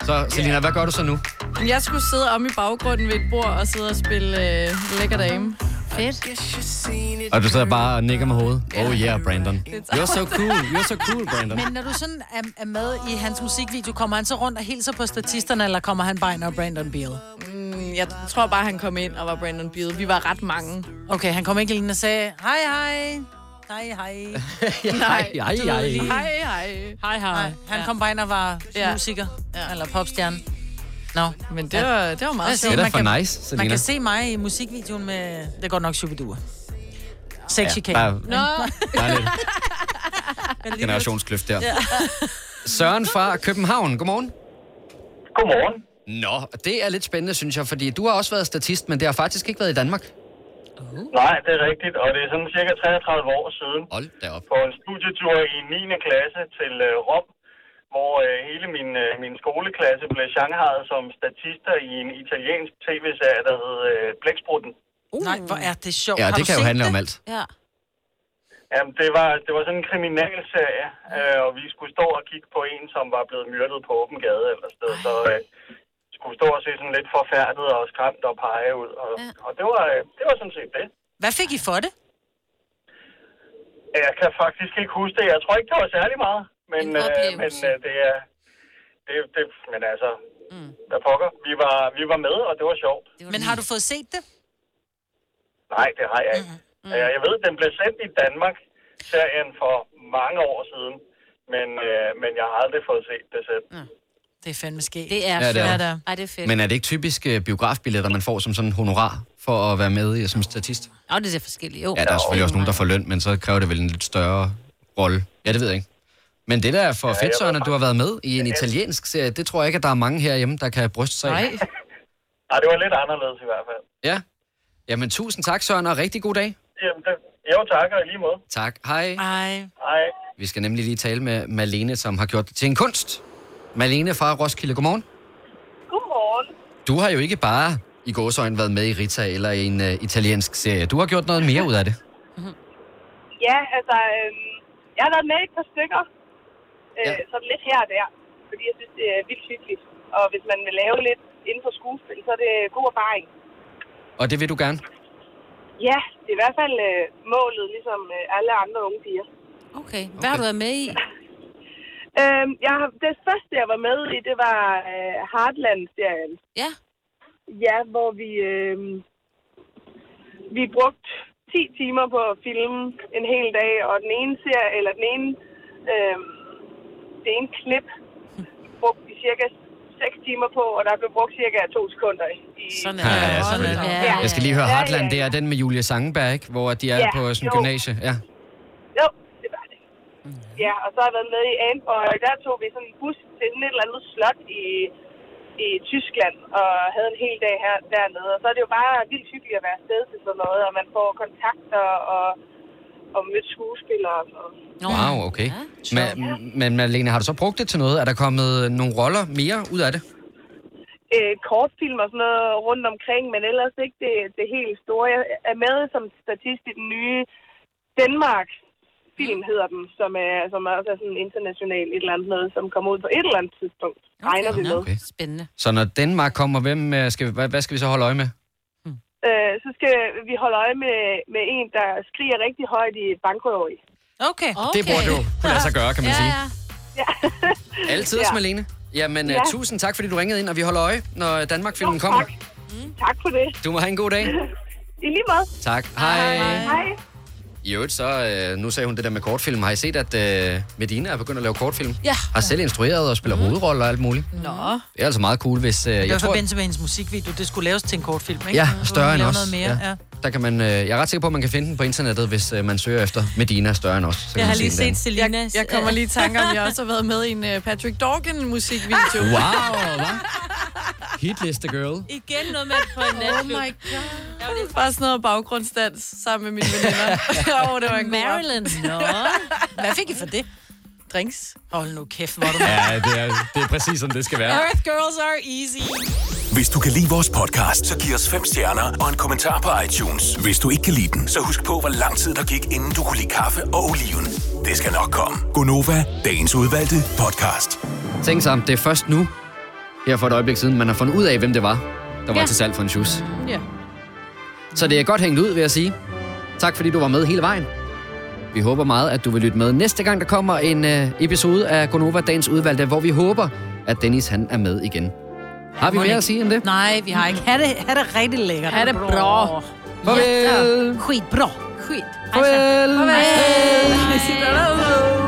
[SPEAKER 1] Så Selina, hvad gør du så nu?
[SPEAKER 5] Jeg skulle sidde om i baggrunden ved et bord og sidde og spille øh, lækker dame. Fedt.
[SPEAKER 1] Og du sidder bare og nikker med hovedet. Oh yeah, Brandon. You're so cool, you're so cool, Brandon.
[SPEAKER 2] Men når du sådan er, er med i hans musikvideo, kommer han så rundt og hilser på statisterne, eller kommer han bare ind og Brandon Beal?
[SPEAKER 5] Mm, jeg tror bare, han kom ind og var Brandon Beal. Vi var ret mange.
[SPEAKER 2] Okay, han kom ikke lige ind og sagde, hej, hej. Hej, hej.
[SPEAKER 5] Nej,
[SPEAKER 1] hej,
[SPEAKER 2] du er
[SPEAKER 1] hej.
[SPEAKER 2] lige-
[SPEAKER 5] Hej, hej.
[SPEAKER 2] Hej, hej. Han
[SPEAKER 5] Ja.
[SPEAKER 2] kom bare ind og var
[SPEAKER 5] Ja.
[SPEAKER 2] musiker, eller popstjerne. Nå,
[SPEAKER 5] men det var- det var meget sjovt.
[SPEAKER 1] Det er da for nice, Selina.
[SPEAKER 2] Man kan se mig i musikvideoen med, det er godt nok Shubidua.
[SPEAKER 1] Ja,
[SPEAKER 2] Sexy ja,
[SPEAKER 1] der er- der er lidt
[SPEAKER 2] lidt
[SPEAKER 1] generationskløft der. Søren fra København, godmorgen.
[SPEAKER 15] Godmorgen.
[SPEAKER 1] Nå, det er lidt spændende, synes jeg, fordi du har også været statist, men det har faktisk ikke været i Danmark.
[SPEAKER 15] Uh. Nej, det er rigtigt, og det er sådan cirka 33 år siden.
[SPEAKER 1] Hold da op.
[SPEAKER 15] På en studietur i 9. klasse til øh, Rom, hvor øh, hele min, øh, min skoleklasse blev shanghajet som statister i en italiensk tv-serie, der hed øh, Blæksprutten.
[SPEAKER 2] Uh. Nej, hvor er det sjovt.
[SPEAKER 15] Ja,
[SPEAKER 2] Har
[SPEAKER 15] det
[SPEAKER 2] du
[SPEAKER 15] kan jo
[SPEAKER 2] set
[SPEAKER 15] handle om
[SPEAKER 2] det?
[SPEAKER 15] alt.
[SPEAKER 2] Ja.
[SPEAKER 15] Jamen, det var, det var sådan en kriminalserie, øh, og vi skulle stå og kigge på en, som var blevet myrdet på åben gade eller sted, så øh, skulle stå og se sådan lidt forfærdet og skræmt og pege ud, og, og det, var, øh, det var sådan set det.
[SPEAKER 2] Hvad fik I for det?
[SPEAKER 15] Jeg kan faktisk ikke huske det. Jeg tror ikke, det var særlig meget. Men,
[SPEAKER 2] En
[SPEAKER 15] øh,
[SPEAKER 2] oplevelse.
[SPEAKER 15] men øh, det er... Det, det, men altså, mm. hvad pokker. Vi var, vi var med, og det var sjovt.
[SPEAKER 2] Men har du fået set det?
[SPEAKER 15] Nej, det har jeg
[SPEAKER 2] Mm-hmm.
[SPEAKER 15] ikke. Mm. Mm. Jeg ved, den blev sendt i Danmark, serien for mange år siden. Men, øh, men jeg har aldrig fået set det selv. Mm.
[SPEAKER 2] Det er fandme sket.
[SPEAKER 11] Det er
[SPEAKER 1] Ja, det er
[SPEAKER 11] fedt.
[SPEAKER 1] det.
[SPEAKER 11] Ja, Ej, det er fedt.
[SPEAKER 1] Men er det ikke typisk øh, biografbilletter, man får som sådan honorar for at være med i, som statist?
[SPEAKER 11] Åh, det er forskelligt. Jo.
[SPEAKER 1] Ja, der er selvfølgelig også nogen, der får løn, men så kræver det vel en lidt større rolle. Ja, det ved jeg ikke. Men det der er for
[SPEAKER 15] Ja, jeg
[SPEAKER 1] fedt, Søren,
[SPEAKER 15] var-
[SPEAKER 1] at du har været med i en italiensk serie, det tror jeg ikke, at der er mange herhjemme, der kan bryste sig af.
[SPEAKER 15] Nej, det var lidt anderledes i hvert fald.
[SPEAKER 1] Ja. Jamen, tusind tak, Søren, og rigtig god dag.
[SPEAKER 15] Jamen, det, jo, tak, og i lige måde.
[SPEAKER 1] Tak. Hej.
[SPEAKER 2] Hej.
[SPEAKER 15] Hej.
[SPEAKER 1] Vi skal nemlig lige tale med Malene, som har gjort det til en kunst. Malene fra Roskilde, godmorgen.
[SPEAKER 8] Godmorgen.
[SPEAKER 1] Du har jo ikke bare i gåsøjne været med i Rita eller i en uh, italiensk serie. Du har gjort noget mere ud af det.
[SPEAKER 8] Ja, altså, øhm, jeg har været med i et par stykker. Øh, ja. Sådan lidt her og der. Fordi jeg synes, det er vildt hyggeligt. Og hvis man vil lave lidt inden for skuespil, så er det god erfaring.
[SPEAKER 1] Og det vil du gerne.
[SPEAKER 8] Ja, det er i hvert fald øh, målet, ligesom øh, alle andre unge piger.
[SPEAKER 11] Okay. Hvad har du været med i?
[SPEAKER 8] Øhm, jeg, har- det første, jeg var med i, det var øh, Heartland-serien.
[SPEAKER 11] Ja.
[SPEAKER 8] Ja, hvor vi, øh, vi brugte 10 timer på at filme en hel dag, og den ene serie, eller den ene, øh, det ene klip, brugte vi cirka 6 timer på, og der blev brugt cirka 2 sekunder i... Sådan
[SPEAKER 1] Ja, ja, selvfølgelig. Jeg skal lige høre Heartland, det er den med Julia Sangenberg, ikke? Hvor de er
[SPEAKER 8] Ja,
[SPEAKER 1] på sådan en
[SPEAKER 8] jo.
[SPEAKER 1] gymnasie. Ja.
[SPEAKER 8] Jo, det var det. Ja, og så har jeg været med i Amp, og der tog vi sådan en bus til sådan et eller andet slot i, i Tyskland, og havde en hel dag her, dernede. Og så er det jo bare vildt hyggeligt at være afsted til sådan noget, og man får kontakter og, og mødt skuespillere og sådan noget.
[SPEAKER 1] Wow, okay. Men, men Malene, har du så brugt det til noget? Er der kommet nogle roller mere ud af det?
[SPEAKER 8] øh, kortfilm og sådan noget rundt omkring, men ellers ikke det, det helt store. Jeg er med som statist i den nye Danmark film hedder den, som er, som også er sådan international et eller andet noget, som kommer ud på et eller andet tidspunkt. Okay, regner vi med.
[SPEAKER 1] Okay.
[SPEAKER 11] Spændende.
[SPEAKER 1] Så når Danmark kommer, hvem øh, skal, vi- hvad, hvad skal vi så holde øje med?
[SPEAKER 14] øh, så skal vi holde øje med, med en, der skriger rigtig højt i bankrøveri.
[SPEAKER 2] Okay.
[SPEAKER 14] okay.
[SPEAKER 1] Det burde jo kunne lade sig gøre, kan man sige. Altid, ja.
[SPEAKER 14] Ja.
[SPEAKER 1] Malene. Jamen, ja.
[SPEAKER 14] Ja.
[SPEAKER 1] tusind tak, fordi du ringede ind, og vi holder øje, når Danmark-filmen kommer.
[SPEAKER 14] tak. Mm. Tak for det.
[SPEAKER 1] Du må have en god dag.
[SPEAKER 14] I lige måde.
[SPEAKER 1] Tak. Hej.
[SPEAKER 14] Hej.
[SPEAKER 1] I øvrigt så, øh, nu sagde hun det der med kortfilm. Har I set, at øh, Medina er begyndt at lave kortfilm?
[SPEAKER 2] Ja.
[SPEAKER 1] Har selv instrueret og spiller mm. hovedroller og alt muligt.
[SPEAKER 2] Nå.
[SPEAKER 1] Det er altså meget cool, hvis... Øh,
[SPEAKER 2] Det var
[SPEAKER 1] jeg
[SPEAKER 2] i
[SPEAKER 1] tror,
[SPEAKER 2] forbindelse med hendes musikvideo. Det skulle laves til en kortfilm, ikke?
[SPEAKER 1] Ja,
[SPEAKER 2] Så kunne
[SPEAKER 1] større
[SPEAKER 2] hun
[SPEAKER 1] end
[SPEAKER 2] lave
[SPEAKER 1] os.
[SPEAKER 2] Noget mere.
[SPEAKER 1] Ja.
[SPEAKER 2] Ja.
[SPEAKER 1] der kan man, øh, jeg er ret sikker på, at man kan finde den på internettet, hvis øh, man søger efter Medina større end os. Så kan
[SPEAKER 5] Jeg
[SPEAKER 1] man
[SPEAKER 5] har
[SPEAKER 1] se
[SPEAKER 5] lige
[SPEAKER 1] den
[SPEAKER 5] set
[SPEAKER 1] derinde.
[SPEAKER 5] Selinas... Jeg, jeg kommer lige i tanke om, at jeg også har været med i en øh, Patrick Dorgan musikvideo.
[SPEAKER 1] Wow, hva'? Hitliste girl.
[SPEAKER 5] Igen noget med på en Oh my god. Jeg var bare sådan noget baggrundsdans sammen med mine veninder. Åh, oh, det var en
[SPEAKER 2] Marilyn.
[SPEAKER 5] Nå.
[SPEAKER 2] Hvad fik I for det?
[SPEAKER 5] Drinks.
[SPEAKER 2] Hold nu kæft, hvor er du
[SPEAKER 6] Ja, det er, det er præcis, som det skal være.
[SPEAKER 5] Earth girls are easy.
[SPEAKER 6] Hvis du kan lide vores podcast, så giv os fem stjerner og en kommentar på iTunes. Hvis du ikke kan lide den, så husk på, hvor lang tid der gik, inden du kunne lide kaffe og oliven. Det skal nok komme. Gonova, dagens udvalgte podcast.
[SPEAKER 1] Tænk sig om, det er først nu, her for et øjeblik siden, man har fundet ud af, hvem det var, der var
[SPEAKER 2] Ja.
[SPEAKER 1] ja. til salg for en shoes.
[SPEAKER 5] Ja.
[SPEAKER 1] Så det er godt hængt ud, vil jeg sige. Tak fordi du var med hele vejen. Vi håber meget, at du vil lytte med næste gang, der kommer en øh, episode af Gonova Dagens Udvalgte, hvor vi håber, at Dennis han er med igen. Har vi
[SPEAKER 2] Mon
[SPEAKER 1] mere
[SPEAKER 2] ikke.
[SPEAKER 1] at sige end det?
[SPEAKER 2] Nej, vi har ikke. Ha' det, ha det rigtig lækkert.
[SPEAKER 1] Ha' det bra. Farvel.
[SPEAKER 2] Skid bra.
[SPEAKER 5] Skit.
[SPEAKER 2] Altså,
[SPEAKER 1] Farvel.
[SPEAKER 5] Farvel. Farvel.